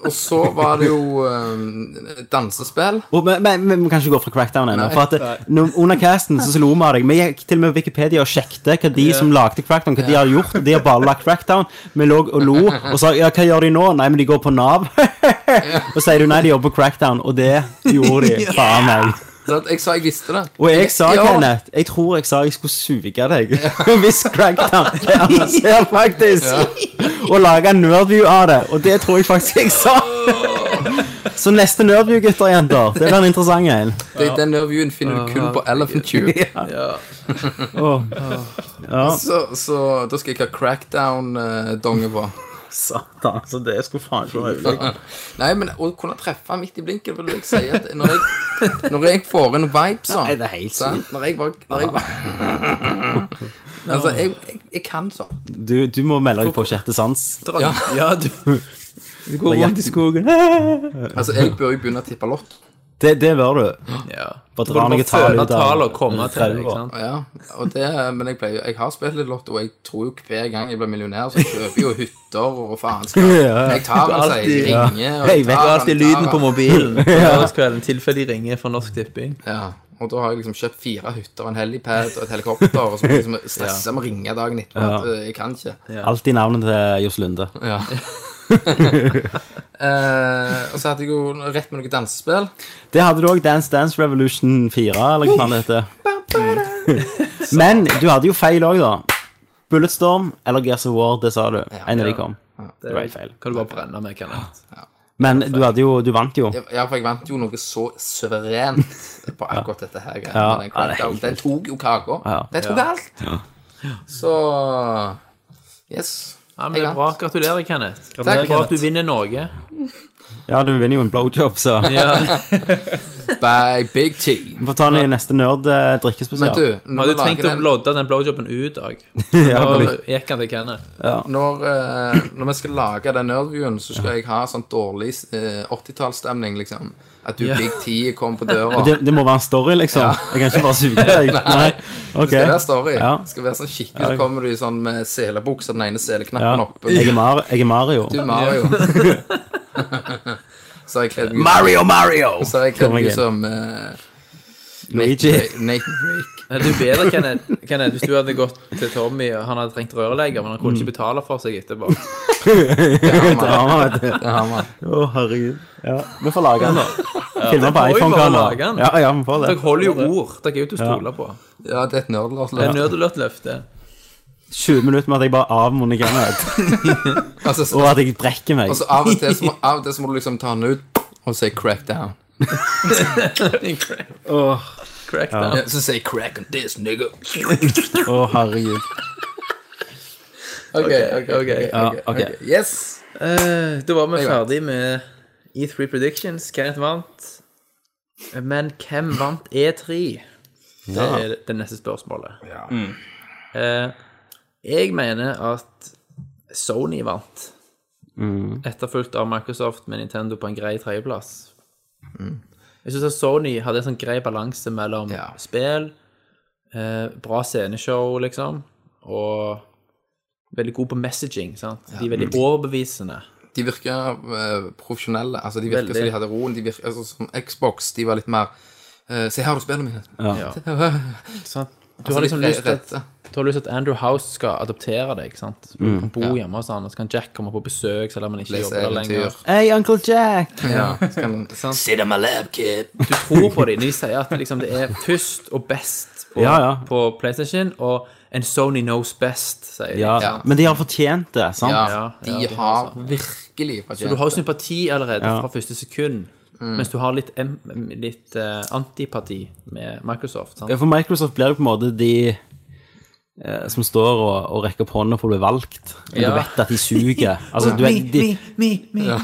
E: Og så var det jo eh, dansespill.
F: Og, men, men, men vi kan ikke gå fra crackdown ennå.
E: Nei.
F: For at eh, når- Under casten så slo vi av deg. Vi gikk til og med på Wikipedia og sjekket hva de som lagde crackdown, hva de har gjort. og De har bare lagt crackdown. Vi lå og lo og sa ja, hva gjør de nå? Nei, men de går på Nav. og så sier du nei, de jobber på crackdown. Og det gjorde de. Faen meg.
E: Så at jeg sa jeg visste det.
F: Og jeg sa,
E: Ja.
F: Kenneth, jeg tror jeg sa jeg skulle suge deg hvis crackdown ble annonsert, faktisk. Og lage en nerdview av det. Og det tror jeg faktisk jeg sa. Så neste nerdview, gutter og jenter, det blir en interessant en.
E: Det, den revyen finner du kun på Elephant Tube.
F: Åh. Ja,
E: Så, så da skal jeg ha crackdown-donge på.
F: satan. Så det skulle faen ikke være mulig.
E: Nei, men å kunne treffe midt i blinken, vil jeg si at når jeg, når jeg får en vibe sånn
F: Nei, det er helt
E: sant? Når jeg var, når jeg var Altså, jeg, jeg, jeg kan sånn.
F: Du, du må melde deg på Sjette sans.
E: Ja,
D: Ja, du Du går rundt i skogen.
E: altså, jeg bør jo begynne å tippe lott.
F: Det, det bør du.
D: Ja.
F: Bare
D: Du
F: dra
D: kan
F: meg
D: bare
F: et tall
D: føle
F: ut av-
D: tall og komme til det.
F: Ræva.
D: ikke sant?
E: Ja, og det, men jeg, pleier, jeg har spilt litt lotto, og jeg tror jo hver gang jeg blir millionær, så kjøper jeg jo hytter og faenskap. Men Jeg tar den, sier jeg.
D: Ja.
E: Ringer. og
F: Jeg
D: Det
F: vet
E: tar den,
D: var alltid
E: tar
D: lyden
E: den.
D: på mobilen på lørdagskvelden, tilfelle de ringer fra Norsk Tipping.
E: Ja, og da har jeg liksom kjøpt fire hytter, en helipad og et helikopter, og så må jeg liksom stresse med å ringe dagen etterpå.
F: Ja.
E: at, eh, Jeg kan ikke.
F: Alltid navnet til Johs Lunde.
E: Ja. Eh, og så hadde jeg jo rett med noe dansespill.
F: Det hadde du òg. Dance Dance Revolution 4, eller hva faen det heter. Men du hadde jo feil òg, da. Bulletstorm eller Gears of War, det sa du. En av de kom. Det var helt feil.
D: Kan du bare brenne med, Kenneth?
F: Men du hadde jo Du vant jo.
E: Ja, for jeg vant jo noe så suverent på akkurat dette her. greiene
F: Ja,
E: med
F: ja, det
E: den,
F: er
E: crackdown.
F: helt
E: den tok jo kaka.
F: Ja.
E: Den tok alt. Så Yes.
D: Ja, men det er
E: Jeg
D: bra.
E: vant.
D: Gratulerer, Kenneth.
E: Takk,
D: Bra at du
E: Kenneth.
D: vinner Norge.
F: Ja, du vinner jo en blowjob, så Vi
E: By Big T.
F: får ta den i neste nerd eh,
E: Men
F: drikkespesial.
E: du, når
D: Hadde
E: vi
D: du tenkt
E: lager
D: å
E: den-
D: lodde den blowjobben ut, Dag?
F: Ja,
D: Og
F: men-
D: gikk han til Kenneth?
E: Når, eh, når vi skal lage den nerdviewen, så skal jeg ha sånn dårlig eh, 80-tallsstemning, liksom. At du
D: Ja.
E: Big T kom på døra.
F: det, det må være en story, liksom. Jeg kan ikke bare suge deg. Nei. Ok.
E: Det skal være story.
F: Ja.
E: Det skal være sånn skikkelig, så kommer du i sånn med selebuksa, den ene
F: Ja.
E: seleknappen oppe.
F: Jeg er, Mar jeg er Mario.
E: Du Mario. så har jeg kledd meg
C: Mario, Mario!
E: Så har jeg kledd
F: Kom
E: meg
F: igjen.
E: som eh,
F: Luigi.
E: Nathan Drake.
D: Det er jo bedre, Kenneth, Kenneth, hvis du hadde gått til Tommy og han hadde trengt rørlegger, men han kunne
F: Mm.
D: ikke betale for seg etterpå.
F: Drama, vet du.
E: Det har man.
F: Å, herregud. Ja, vi får lage den, da.
D: må
F: Filme på
D: jo bare
F: iPhone-kamera.
D: lage den.
F: Ja, ja, vi får det.
D: Dere holder jo ord. Dere er jo til å stole på.
E: Ja, det er et nerdelåt.
D: Det er nerdeløftløfte.
F: 20 minutter med at jeg bare avmunner Kenneth,
E: Altså,
F: og
E: så-
F: at jeg brekker meg.
E: altså, av, og til så må- av og til så må du liksom ta den ut og si 'crack down'.
D: Correct.
F: Ja.
E: Ja, så sier jeg 'crack on this, nigga'.
F: Å, herregud.
E: Ok, ok, ok.
F: Ja, ok.
E: Yes.
D: Eh, da var vi
E: Jeg vant.
D: ferdig med E3 Predictions. Kenneth vant. Men hvem vant E3? Det er det neste spørsmålet. Mm. Eh, jeg mener at Sony vant. Etterfulgt av Microsoft med Nintendo på en grei tredjeplass. Jeg syns Sony hadde en sånn grei balanse mellom
E: Ja.
D: spill, eh, bra sceneshow, liksom, og veldig god på messaging. sant? De er veldig overbevisende.
E: De virker eh, profesjonelle. Altså, de virker
D: Veldig.
E: som de hadde roen. De virker, altså, som Xbox, de var litt mer eh, Se her, du spiller mine.
D: Sant? Du har liksom lyst til at Du har lyst til at Andrew House skal adoptere deg. ikke sant? Du
E: Mm,
D: kan bo hjemme hos han, og så kan Jack komme på besøk selv om han ikke
E: Lese
D: jobber der
E: eventyr.
D: lenger.
F: Hey, Uncle Jack!
E: Ja, så kan, sant?
C: Sit on my lap, kid.
D: Du tror på dem når de sier at liksom, det er først og best på,
F: Ja, ja.
D: på PlayStation, og en Sony knows best, sier de.
F: Ja,
E: Ja.
F: Men de har fortjent det, sant?
E: Ja,
D: Ja,
E: de
D: ja, det
E: har virkelig
D: Så du har jo sympati allerede
F: Ja.
D: fra første sekund,
E: Mm.
D: mens du har litt, em- litt eh, antipati med Microsoft. sant?
F: Ja, for Microsoft blir jo på en måte de eh, som står og, og rekker opp hånda for å bli valgt. Men
D: Ja.
F: du vet at de suger. Altså, du vet, de,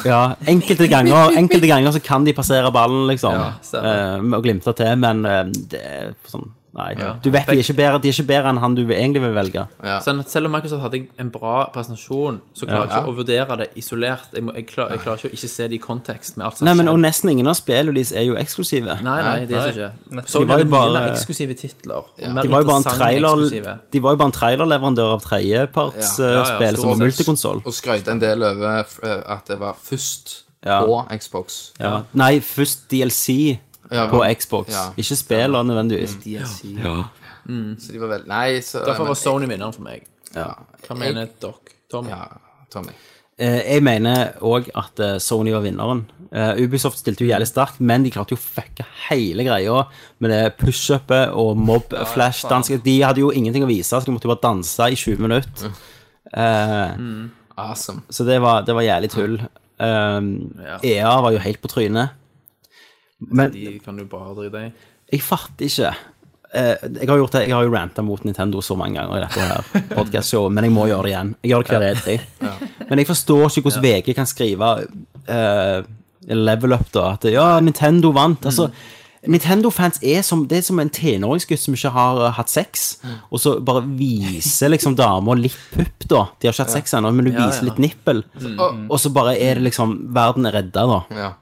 F: ja, enkelte, ganger, enkelte ganger så kan de passere ballen, liksom,
D: Ja, stemmer.
F: eh, med å glimte til, men eh, det er sånn Nei.
D: Ja.
F: Du vet de er, ikke bedre, de er ikke bedre enn han du egentlig vil velge.
E: Ja.
D: Sånn at selv om Microsoft hadde en bra presentasjon, så klarer jeg
E: Ja.
D: ikke å vurdere det isolert. Jeg, må, jeg, klarer, jeg klarer ikke å ikke se det i kontekst med alt som
F: Nei, men,
D: skjer.
F: Og nesten ingen av spillene deres er jo eksklusive.
D: Nei, nei, det er
G: Nei.
D: det
G: Nei.
D: ikke. Så
F: De var
D: det
F: jo
D: er bare
F: bare-
D: eksklusive titler. og mer
F: De var jo bare en
D: interessante
F: trailer
D: eksklusive.
F: De var jo bare en trailerleverandør av tredjepartsspill
E: Ja,
D: ja, ja,
F: som var
D: stort sett.
F: multikonsoll.
E: Og skrøt en del over eh, at det var først
F: Ja.
E: på Xbox.
F: Ja. Nei, først DLC
E: Ja,
F: på
E: ja.
F: Xbox.
E: Ja. Mm.
F: Ikke spiller nødvendigvis.
E: Så de var vel Nei, så
D: Derfor
E: men-
D: var Sony vinneren for meg.
E: ja.
D: Hva mener dere, Tom?
E: Ja, Tommy.
F: Eh, Jeg mener òg at eh, Sony var vinneren. Eh, Ubisoft stilte jo jævlig sterkt, men de klarte jo å fucke hele greia med det push-upet og mob-flash-dans. De hadde jo ingenting å vise, så de måtte jo bare danse i 20 minutter. Eh,
E: Mm. Awesome.
F: Så det var, det var jævlig tull. Um, EA var jo helt på trynet. Men
D: De kan du bare drite i.
F: jeg fatter ikke Eh, Jeg har, gjort det, jeg har jo ranta mot Nintendo så mange ganger i dette her podcastshowet, men jeg må gjøre det igjen. Jeg gjør det hver E3. Men jeg forstår ikke hvordan VG kan skrive eh, level up, da. At ja, Nintendo vant. Altså, Nintendo-fans er som, det er som en tenåringsgutt som ikke har eh, hatt sex, og så bare viser liksom dama litt pupp, da. De har ikke hatt sex ennå, men du viser litt nippel, og så bare er det liksom Verden er redda, da.
E: Ja.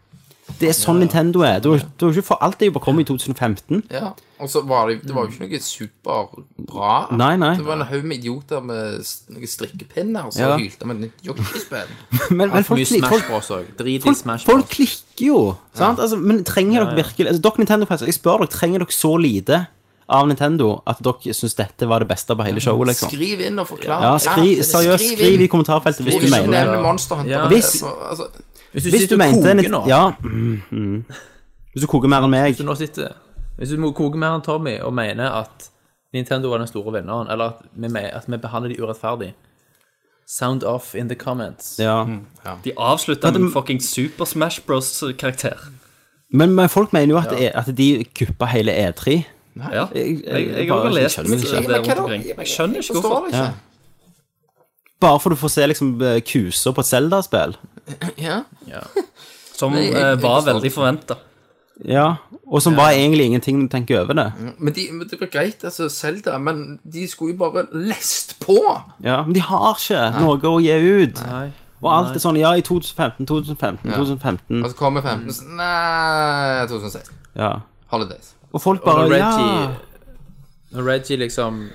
F: Det er sånn Nintendo er. Du, du har ikke for alt er jo bare kommet i 2015.
E: ja. Og så var det, det var jo
F: Mm.
E: ikke noe superbra.
F: Nei, nei.
E: Det var en haug med idioter med s- noen strikkepinner som
F: Ja.
E: hylte om et nytt jockeyspill.
F: Men, men folk,
D: Mye
F: kli- folk,
D: Smash Bros òg. Drit i
F: folk,
D: Smash
F: folk
D: Bros.
F: klikker jo. Sant? Altså, men trenger dere virkelig altså, Dere Nintendo-fans, jeg spør dere, trenger dere så lite av Nintendo at dere syns dette var det beste på hele showet, liksom?
E: Skriv inn og forklar.
F: Ja, skri, seriøst, skriv i
E: inn.
F: kommentarfeltet hvis du
E: Ikke
F: mener
E: nevne Monster Hunter.
D: Ja.
F: Hvis-
E: altså,
D: Hvis du
F: Hvis
D: sitter
F: du
D: og
F: mente
D: koker
F: en-
D: nå
F: Ja. Mm, mm. Hvis du koker mer enn meg.
D: Hvis du nå sitter Hvis du må koke mer enn Tommy og mener at Nintendo var den store vinneren, eller at vi, me- at vi behandler de urettferdig Sound off in the comments.
F: Ja.
G: De avslutta med en fucking Super Smash Bros.-karakter.
F: Men, men folk mener jo at, at de kuppa hele E3.
G: Ja. Jeg, jeg, jeg har
F: bare-
G: også lest eh,
F: jeg
G: det
F: skjønner ikke.
G: rundt omkring. Jeg skjønner ikke
E: forstår
G: hvorfor.
E: det ikke.
F: Bare for du får se liksom eh, kuser på et Zelda-spill.
E: Ja.
G: Som
E: jeg- jeg
G: eh, var
E: forstår
G: veldig
E: det.
G: forventa.
F: Ja. Og som var egentlig ingenting når du tenker over det.
E: Men, de, men det var greit, altså, Zelda, men de skulle jo bare lest på.
F: Ja, men de har ikke noe å gi ut. Og alt er sånn Ja, i 2015, 2015, 2015.
E: Og så kommer 15 så- Nei, 2006.
F: Ja.
E: Holidays.
F: Og folk
D: Og
F: bare
D: når
F: Ja.
D: Reggie, når Reggie liksom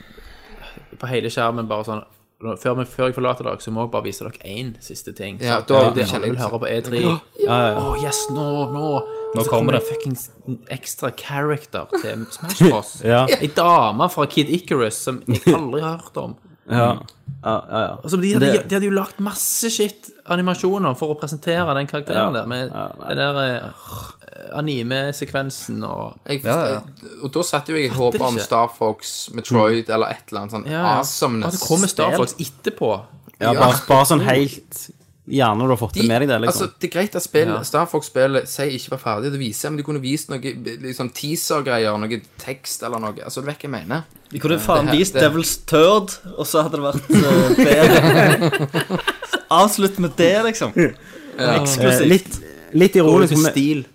D: På hele skjermen bare sånn nå- før, vi- før jeg forlater dere, så må jeg bare vise dere én siste ting.
E: Ja,
D: sant?
E: da-
D: det er det
E: ja.
D: alle vil høre på E E3. Å, yes, nå, nå
G: Nå
D: Så
G: kommer
D: kommer
G: det.
D: det fuckings ekstra character til Smash Bros.
F: Ja.
D: Ei dame fra Kid Icarus som jeg aldri har hørt om.
F: Ja. Ja, ja, ja.
D: Altså, de, hadde,
F: Det-
D: de hadde jo lagt masse shit animasjoner for å presentere den karakteren der, med den der eh, anime-sekvensen og
E: Jeg, Og da satt jo jeg i håp om
D: ikke. Mm.
E: Star Fox, Metroid eller et eller annet sånn
D: Og
E: awesomeness.
D: så kommer Star Fox etterpå.
F: ja bare, bare sånn helt Gjerne du har fått det
E: De-
F: med deg, det, liksom.
E: Altså, det er greit at spill, Star Fox-spillet sier ikke var ferdig, det viser, men de kunne vist noe liksom, teaser-greier, noe tekst eller noe. Altså, du vet hva jeg mener?
G: De kunne faen
E: her-
G: vist
E: det-
G: Devil's Turd, og så hadde det vært eh, bedre. Avslutt med det, liksom.
F: Eh,
G: Eksklusivt.
F: litt, litt ironisk. men-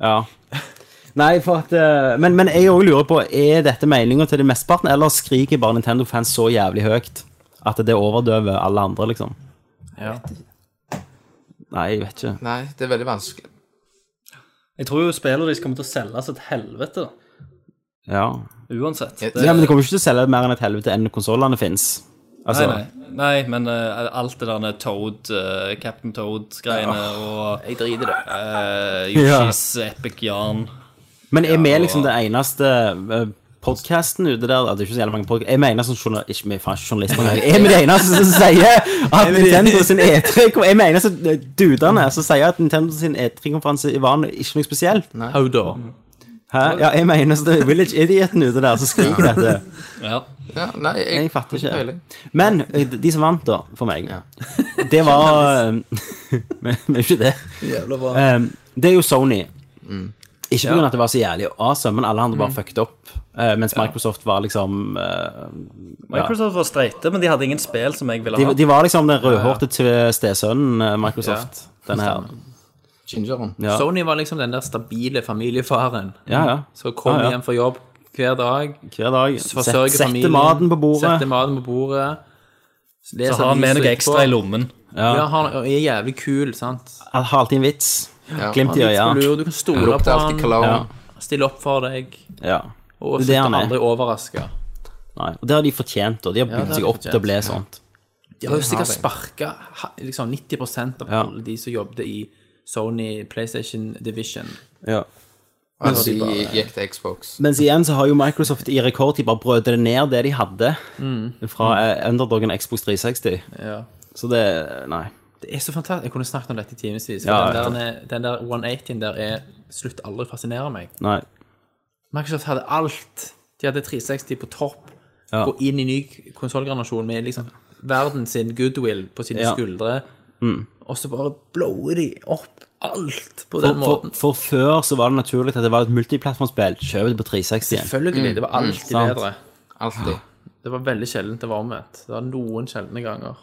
F: Ja. Nei, for at eh, Men, men jeg òg lurer på, er dette meninga til de mesteparten, eller skriker bare Nintendo-fans så jævlig høyt at det overdøver alle andre, liksom?
D: Ja.
F: Nei, jeg vet ikke.
E: Nei, det er veldig vanskelig.
G: Jeg tror jo spillet deres kommer til å selge seg til helvete, da.
F: Ja.
G: Uansett.
E: Ja,
F: Ja, men det kommer jo ikke til å selge mer enn et helvete enn konsollene fins. Altså,
G: Nei, nei. nei, men eh, alt det der Toad, eh, Captain Toad-greiene og
D: Jeg driter i det.
G: eh, Yoshis Epic Yarn
F: Men er vi liksom den eneste eh, podcasten ute der? at Det er ikke så jævlig mange podcaster. Er vi eneste som sånn journal... Ikke vi, faen, ikke journalister. men Er vi de eneste som sier at Nintendo sin E3 kom- Er vi eneste eh, dudene som sier at Nintendo sin E E3-konferanse i Varen er ikke noe spesielt?
D: How da?
F: Hæ? Ja, er vi eneste Village Idioten ute der som skriker dette?
G: Ja.
E: Ja, nei, jeg,
F: Jeg fatter
E: har peiling.
F: ikke. Men eh, de som vant, da, for meg, det var eh, Men men ikke det. Um, det er jo Sony.
D: Mm.
F: Ikke pga. at det var så jævlig awesome, men alle andre bare fucket opp. eh, mens Microsoft var liksom eh,
G: Microsoft var streite, men de hadde ingen spill som jeg ville
F: de,
G: ha.
F: de var liksom den rødhårte til stesønnen eh, Microsoft. Den her.
E: Gingeren.
F: Ja.
D: Sony var liksom den der stabile familiefaren
F: Ja, ja.
D: som kom
F: Ja, ja.
D: hjem fra jobb hver dag,
F: Hver dag. Set,
D: forsørger
F: sette
D: familien
F: maten på bordet.
D: Sette maten på bordet.
G: Så har han med noe ekstra i lommen.
D: Ja, ja han er jævlig kul, sant?
F: Har alltid en vits. Glimt i
D: Litt
F: øya.
D: lur, du kan
E: Det
D: stole
E: lukter
D: på
E: alltid
D: han,
E: cologne.
F: Ja.
D: stille opp for deg,
F: Ja.
D: og
F: Det er det
D: sette
F: han er.
D: andre overraska.
F: Nei. Og det har de fortjent, og de har bygd
D: det har
F: seg
D: de
F: opp til å bli sånt.
D: De har jo sikkert sparka liksom 90 av
F: Ja.
D: alle de som jobbet i Sony PlayStation Division.
F: Ja.
E: Altså, de gikk til Xbox.
F: Mens igjen så har jo Microsoft i rekordtid bare brødet det ned, det de hadde
D: Mm.
F: fra eh, underdogen Xbox 360. Så det Nei.
D: Det er så fantastisk. Jeg kunne snakket om dette i timevis. for
F: Ja, ja.
D: den, der- eh, den der 180 der er slutt aldri å fascinere meg.
F: nei.
D: Microsoft hadde alt. De hadde 360 på topp.
F: Ja.
D: Gå inn i ny konsollgranasjon med liksom verden sin goodwill på sine
F: Ja. Mm.
D: skuldre. Og så bare blower de opp alt på
F: For,
D: den
F: for,
D: måten.
F: for før så var det naturlig at det var et multiplattformspill. Kjøp det på 360.
D: Selvfølgelig. Det var alltid
F: Mm. sant.
D: bedre.
E: Alltid.
D: Det var veldig sjeldent det var omvendt. Det var noen sjeldne ganger.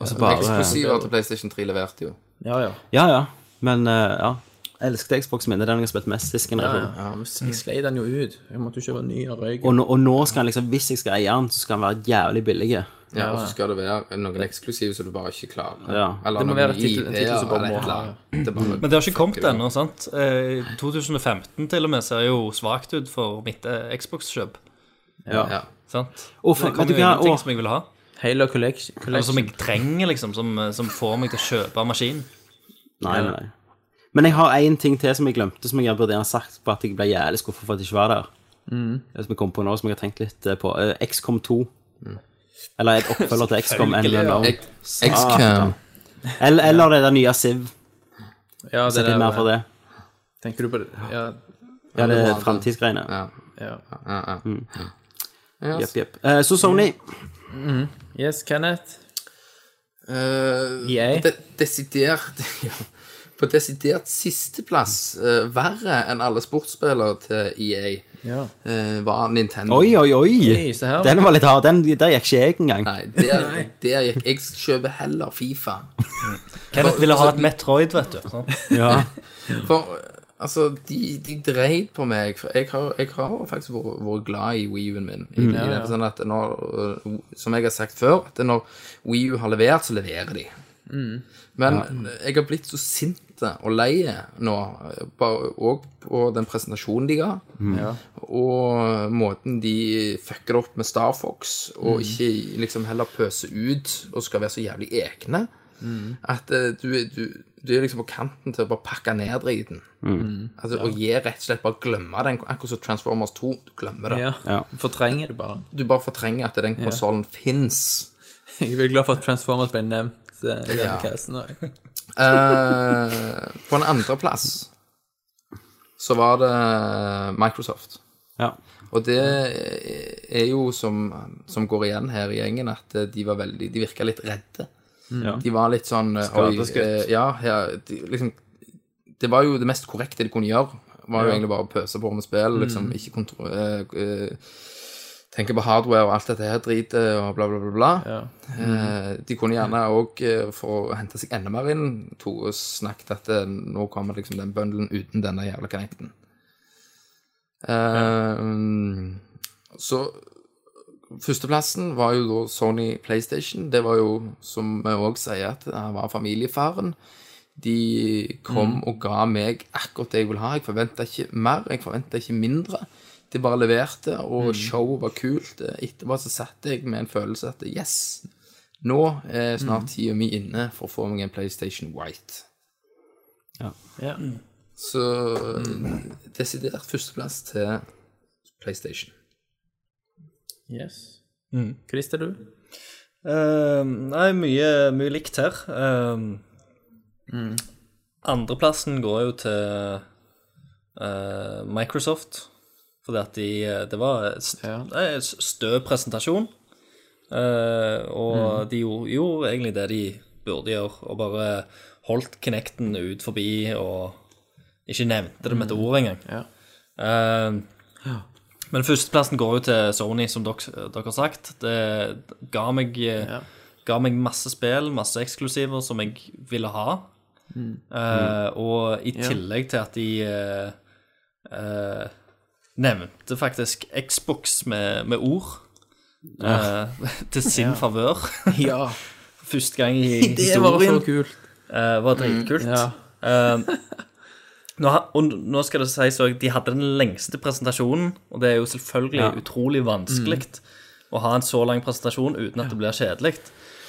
F: Og så
E: Men
F: bare
E: Eksklusiver til PlayStation 3 leverte jo.
D: Ja, ja.
F: Ja, ja. Men eh, ja. Jeg elsket Xbox min. Det er den jeg har spilt mest sist generasjon.
D: Ja, men Jeg sklei den jo ut. Jeg måtte jo kjøpe ny og røyk.
F: Og, nå- og nå skal han liksom, hvis jeg skal eie den, så skal han være jævlig billig.
E: Ja, og så skal det være noen eksklusive som du bare ikke klarer.
F: Ja.
E: Eller
D: Det må
E: noen
D: være titel- en titel som bare må ha.
G: Men det har ikke kommet ennå, sant? Eh, 2015 til og med ser jo svakt ut for mitt eh, Xbox-kjøp.
E: Ja.
G: Sant?
F: Og for,
G: Det
F: vet
G: kommer
F: du
G: jo
F: hva?
G: ingenting
F: Og,
G: som jeg vil ha.
D: Halo Collection.
G: Eller som
D: collection.
G: jeg trenger, liksom. Som, eh, som får meg til å kjøpe maskin.
F: nei, nei, nei. Men jeg har én ting til som jeg glemte, som jeg burde ha sagt på at jeg ble jævlig skuffet for at det ikke var der. Det Som jeg kom på nå, som jeg har tenkt litt eh, på. Eh, XCOM 2. Eller et oppfølger til XCOM. Eller,
E: Xcam.
F: eller, eller det der nye Siv.
D: Ja, det
F: Sett inn
D: der-
F: mer for det.
D: Tenker du på det? Ja,
F: Ja, det er framtidsgreiene.
E: Ja.
D: ja.
E: Ja, ja.
D: Mm.
E: Ja,
F: Jepp, jepp. Eh, Så Sony.
D: Yes, Kenneth.
E: Eh,
D: EA?
E: på de- Desidert ja. På desidert sisteplass, uh, verre enn alle sportsspillere til EA,
D: Ja.
E: eh, var Nintendo.
F: Oi,
D: Oi,
F: oi, oi!
D: se her.
F: Den var litt hard. Den, der gikk ikke jeg engang.
E: Nei, der, der gikk Jeg kjøper heller Fifa.
G: Kenneth ville ha et Metroid, vet du. sant?
F: Ja.
E: For eh, altså, de, de dreit på meg. For jeg har, jeg har faktisk vært, vært glad i Wii-en min. I, i den forstand at når, eh, som jeg har sagt før, at når Wii-U har levert, så leverer de. Men eh, jeg har blitt så sint og lei nå, eh, bare- og på den presentasjonen de ga, og måten de fucker opp med Star Fox, og ikke liksom heller pøser ut og skal være så jævlig egne, at eh, du, du, du er liksom på kanten til å bare pakke ned driten. Altså, Og gi rett og slett bare glemme den, akkurat som Transformers 2. Du glemmer det.
D: Ja.
F: Ja.
D: Fortrenger det bare.
E: Du bare fortrenger at den konsollen fins.
D: Jeg er glad for at Transformers ble nevnt eh, i denne
E: Ja.
D: casten også.
E: Eh, på en andreplass så var det Microsoft.
F: Ja.
E: Og det er jo som, som går igjen her i gjengen, at de var veldig De virka litt redde. De var litt sånn eh, oi, eh, Ja, her, de, liksom Det var jo det mest korrekte de kunne gjøre. Var jo egentlig bare å pøse på med spill, liksom ikke kontro... eh, eh, tenke på hardware og alt dette her dritet og bla, bla, bla. bla. Eh, de kunne gjerne òg, for å hente seg enda mer inn, to og snakket at eh, nå kommer liksom den bundlen uten denne jævla connecten. Eh, Så førsteplassen var jo da Sony PlayStation. Det var jo, som vi òg sier, at han var familiefaren. De kom og ga meg akkurat det jeg ville ha. Jeg forventa ikke mer, jeg forventa ikke mindre. De bare leverte, og showet var kult. Etterpå så satt jeg med en følelse at yes, nå er
D: Mm.
E: snart tida mi inne for å få meg en PlayStation White. Så desidert førsteplass til PlayStation.
D: Yes. Christer, du?
G: Eh, nei, mye, mye likt her. Ehm,
D: Mm.
G: Andreplassen går jo til eh, Microsoft, fordi at de eh, Det var en st
D: Ja.
G: eh, s- stø presentasjon, Eh,
D: Mm.
G: og de gjorde, gjorde egentlig det de burde gjøre, og bare holdt Kinecten ut forbi og ikke nevnte det med et ord engang.
D: Mm. Ja.
G: Eh, men førsteplassen går jo til Sony, som dere, dere har sagt. Det ga meg, eh, ga meg masse spill, masse eksklusiver som jeg ville ha.
D: Mm.
G: Eh, og i tillegg til at de eh, eh, nevnte faktisk Xbox med, med ord. eh, til sin favør.
D: Ja.
G: Første gang i
D: Det var
G: historien.
D: så kult.
G: Eh, var dritkult.
D: Ja.
G: Eh, nå, ha- og nå skal det sies også, de hadde den lengste presentasjonen, og det er jo selvfølgelig utrolig vanskelig
F: Mm.
G: å ha en så lang presentasjon uten at det blir kjedelig.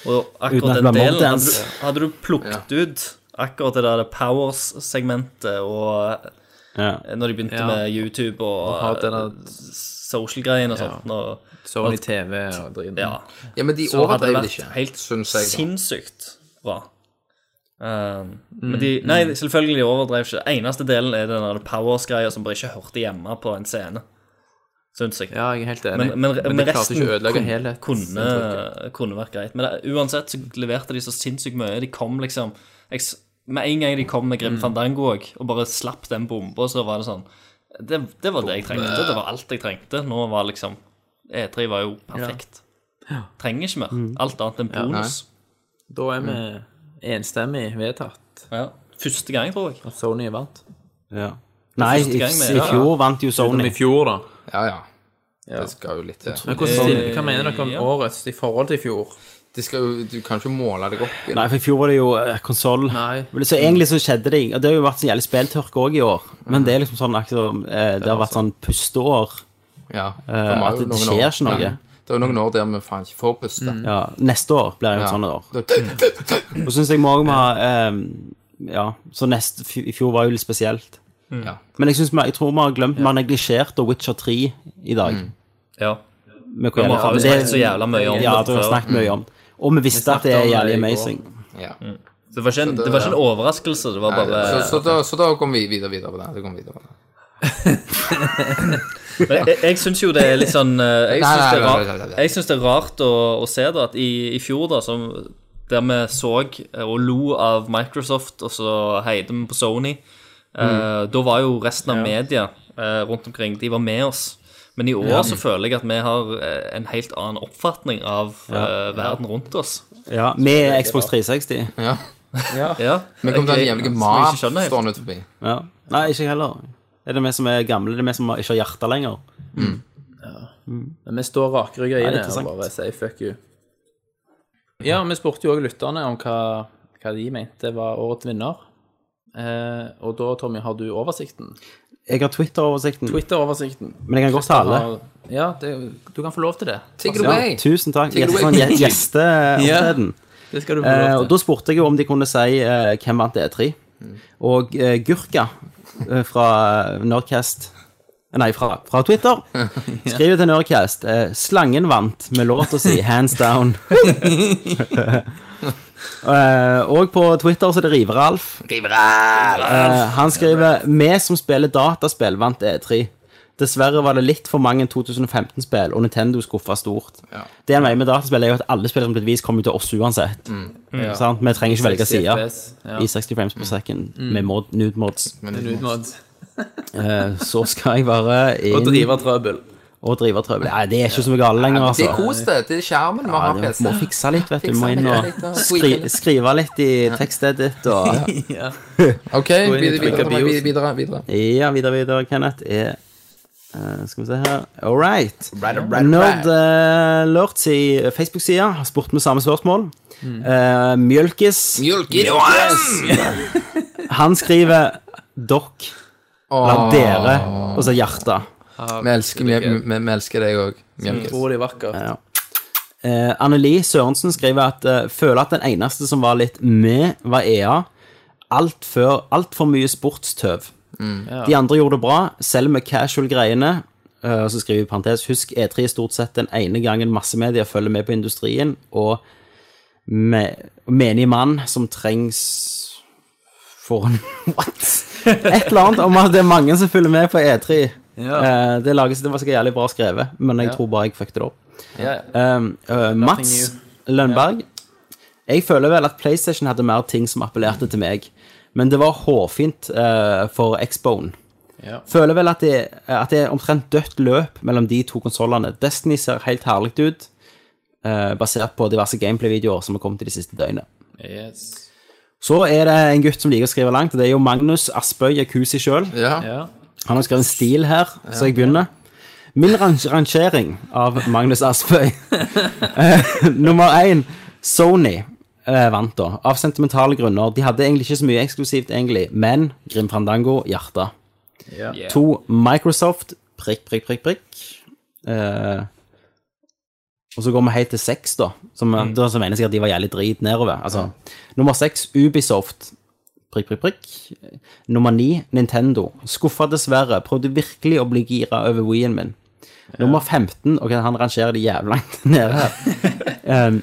G: Og
F: Uten at
G: akkurat
F: det
G: den
F: blir
G: delen hadde du,
F: mobdance.
G: hadde du plukket ut akkurat det der powers-segmentet og
F: Ja.
G: eh, når de begynte
D: Ja.
G: med YouTube
D: ha
G: og,
D: den der-
G: eh, social-greien og sånt. og-
D: Sony TV og driten.
G: ja.
E: Ja, men de
G: Så hadde det
E: overdrev det
G: vært
E: ikke,
G: helt
E: syns jeg. da.
G: sinnssykt bra. Um, men de, nei, selvfølgelig de overdrev ikke. Eneste delen er den der powers-greia som bare ikke hørte hjemme på en scene, syns jeg.
D: Ja, jeg er helt enig.
G: Men, men, men,
D: det klarte
G: resten
D: ikke å ødelegge
G: kun-
D: helheten.
G: kunne, kunne vært greit. Men det, uansett så leverte de så sinnssykt mye. De kom liksom jeg, s- Med en gang de kom med Grim Fandango òg, og bare slapp den bomba, så var det sånn det, det var det jeg trengte. Det var alt jeg trengte. Nå var liksom E3 var jo perfekt. Trenger ikke mer. Alt annet enn bonus.
D: Da er vi enstemmig vedtatt
G: Ja. Første gang, tror jeg.
D: at Sony vant.
F: ja. Nei, i,
G: Første gang med-
F: i fjor vant jo
D: Som
F: Sony.
D: i fjor, da. Eh,
E: Ja, ja. Det skal jo litt til.
D: Men hvordan, stiller- hva mener dere om
G: Ja.
D: årets i forhold til i fjor?
E: Det skal jo, du kan ikke måle deg opp i
F: Nei, for i fjor var det jo eh, konsoll.
D: Nei.
F: Men Så egentlig så skjedde det ikke- og Det har jo vært så jævlig speltørke òg i år. Men det er liksom sånn akkurat, eh, Det har vært sånn pusteår.
E: Ja,
F: Eh,
E: var
F: at
E: jo
F: det
E: noen
F: skjer
E: år-
F: ikke noe.
E: Nei, Det var noen år der vi faen ikke får puste.
F: Ja, neste år blir det jo
E: Ja.
F: et sånt år.
E: Da-
F: Og så syns jeg vi òg må ha ehm, Ja, så neste, fj- i fjor var jo litt spesielt.
E: Ja.
F: Men jeg, synes vi, jeg tror vi har glemt Vi har neglisjert The Witcher 3 i dag.
G: Ja.
F: Vi
G: Men vi har jo snakket så jævla mye om
F: ja,
G: det
F: det. Har
G: før.
F: snakket mye om. det. Og vi visste at det er
D: snakket om
F: jævlig
D: det i går.
F: amazing.
E: ja.
G: Det var ikke en, det var ikke en overraskelse. Det var
E: Nei,
G: bare
E: så, så, da, så da kom vi videre videre på det. det, kom vi videre på det.
G: Men jeg, jeg syns jo det er litt sånn eh, Jeg
E: Nei,
G: syns
E: nei,
G: det er
E: nei,
G: rart,
E: nei, nei, nei.
G: jeg synes det er rart å, å se da at i, i fjor, da, som der vi så eh, og lo av Microsoft, og så heide vi på Sony, eh,
E: Mm.
G: da var jo resten av media eh, rundt omkring De var med oss. Men i år så føler jeg at vi har eh, en helt annen oppfatning av eh, verden rundt oss.
F: Ja, med Xbox 360.
E: Ja.
G: Ja.
E: Men kom den
G: Jeg-
E: jævlige
G: som jeg
E: mat
G: ikke skjønner helt.
E: stående forbi.
F: Ja. Nei, ikke jeg heller. Er det vi som er gamle? Det er vi som ikke har hjerte lenger?
D: Men vi står rakrygga
F: Ja,
D: i
F: det er
D: det og
F: interessant.
D: bare sier fuck you. Ja, vi spurte jo òg lytterne om hva, hva de mente var årets vinner. Eh, og da, Tommy, har du oversikten?
F: Jeg har Twitter-oversikten,
D: Twitter-oversikten.
F: men jeg kan godt ta alle.
D: Ja, det, du kan få lov til det.
E: Take it
F: Ja,
E: away!
F: tusen takk.
E: Take it
F: Gjeste-
E: away.
F: Sånn gje- gjesteopptreden.
D: Det skal du få
F: Eh,
D: lov
F: og
D: til.
F: da spurte jeg jo om de kunne si eh, hvem vant E3. Og eh, Gurka eh, fra Nerdcast eh, Nei, fra, fra Twitter skriver til Nerdcast eh, 'Slangen vant med låta si hands down'. Eh, og på Twitter så er det River-Alf. Eh, han skriver 'Vi som spiller dataspill, vant E3'. Dessverre var det litt for mange 2015-spill, og Nintendo skuffa stort. Det han mener med dataspill, er jo at alle spill som blitt vist, kommer jo til oss uansett. Sant? Vi trenger ikke velge side
D: CFS, ja.
F: i 60 frames per second med mod, nude mods.
E: Men
D: En utmått.
F: Eh, så skal jeg bare inn
D: Og drive trøbbel.
F: og drive trøbbel. Nei, det er ikke så mye galt lenger,
E: Det er
F: altså.
E: kos, det. Det er skjermen vi
F: Ja,
E: har
F: du
E: PC.
F: må fikse litt, vet du. Du
E: Fikse
F: må inn
E: litt,
F: og
E: litt, og tweake
F: skri,
E: litt.
F: skrive litt i tekststedet ditt og
E: OK,
D: inn i
E: videre, videre,
D: Twitter-biosen.
E: videre, videre, videre.
F: Ja, videre, videre, Kenneth er eh, Skal vi se her All right.
E: Right, right, right.
F: Nerd eh, Lurts i Facebook-sida har spurt med samme spørsmål.
E: Mm.
F: Eh, Mjølkis
E: Mjølk i Johan!
F: Han skriver 'dokk',
E: Ah.
F: eller 'dere', og så hjerte.
E: Vi elsker, vi, vi, vi elsker deg òg, Mjølkis.
D: Utrolig vakkert.
F: Ja. Eh, Anneli Sørensen skriver at eh, føler at den eneste som var litt med, var EA. alt før altfor mye sportstøv. De andre gjorde det bra, selv med casual-greiene. eh, Og så skriver vi i parentes Husk E3 er stort sett den ene gangen massemedia følger med på industrien, og me menig mann som trengs for en What? Et eller annet om at det er mange som følger med på E3.
D: Ja.
F: Eh, det, lages, det var sikkert jævlig bra skrevet, men jeg tror bare jeg fucket det opp.
D: Ja, ja.
F: Um, uh, Mats Lønberg. Jeg føler vel at PlayStation hadde mer ting som appellerte til meg, men det var hårfint uh, for Xbone.
D: Ja.
F: Føler vel at det, at det er omtrent dødt løp mellom de to konsollene. Destiny ser helt herlig ut, uh, basert på diverse gameplay-videoer som har kommet i de siste døgnet.
D: Yes.
F: Så er det en gutt som liker å skrive langt, og det er jo Magnus Aspøy Jakusi sjøl.
E: Ja.
D: Ja.
F: Han har skrevet en stil her, så jeg begynner. Min rang- rangering av Magnus Aspøy. Eh, Nummer én, Sony eh, vant da, av sentimentale grunner. De hadde egentlig ikke så mye eksklusivt, egentlig, men Grim Fandango, hjerte.
D: Yeah.
F: To, Microsoft, prikk, prikk, prikk, prikk. Eh, og så går vi helt til seks, da, som, da, som mener jeg at de var jævlig drit nedover. Altså, Nummer seks, Ubisoft, prikk, prikk, prikk. Nummer ni, Nintendo. Skuffa dessverre. Prøvde virkelig å bli gira over Wii-en min. Nummer 15, ok, han rangerer det jævlig langt nede her. Um,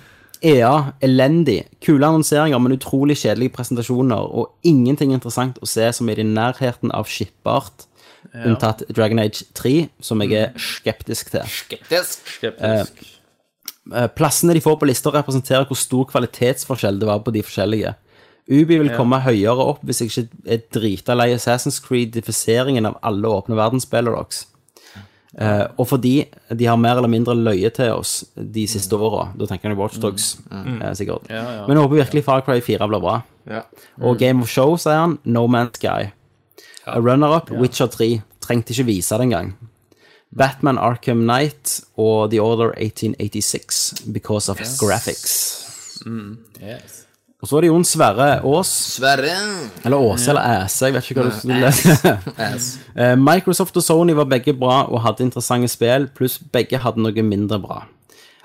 F: EA, elendig. Kule annonseringer, men utrolig kjedelige presentasjoner, og ingenting interessant å se som er i nærheten av skippbart, unntatt Dragon Age 3, som jeg er skeptisk til.
D: Skeptisk.
F: Eh, Plassene de får på lista representerer hvor stor kvalitetsforskjell det var på de forskjellige. Ubi vil komme høyere opp hvis jeg ikke er drita lei Assassin's Creed-difiseringen av alle åpne verdensspillere deres. Eh, og fordi de har mer eller mindre løyet til oss de siste åra. Da tenker jeg Watchdogs, eh, sikkert. Men jeg håper virkelig Far Cry 4 blir bra.
E: Ja.
F: Og Game of Show, sier han, No Man's Sky. A Runner-up, Witcher 3. Trengte ikke vise det engang. Batman Arkham Knight og The Order 1886 because of graphics.
D: Yes.
F: Og så er det Jon Sverre Aas,
E: Sverre.
F: eller Åse eller Æse, jeg vet ikke hva du skulle lese.
E: Ass.
F: Eh, Microsoft og Sony var begge bra og hadde interessante spill, pluss begge hadde noe mindre bra.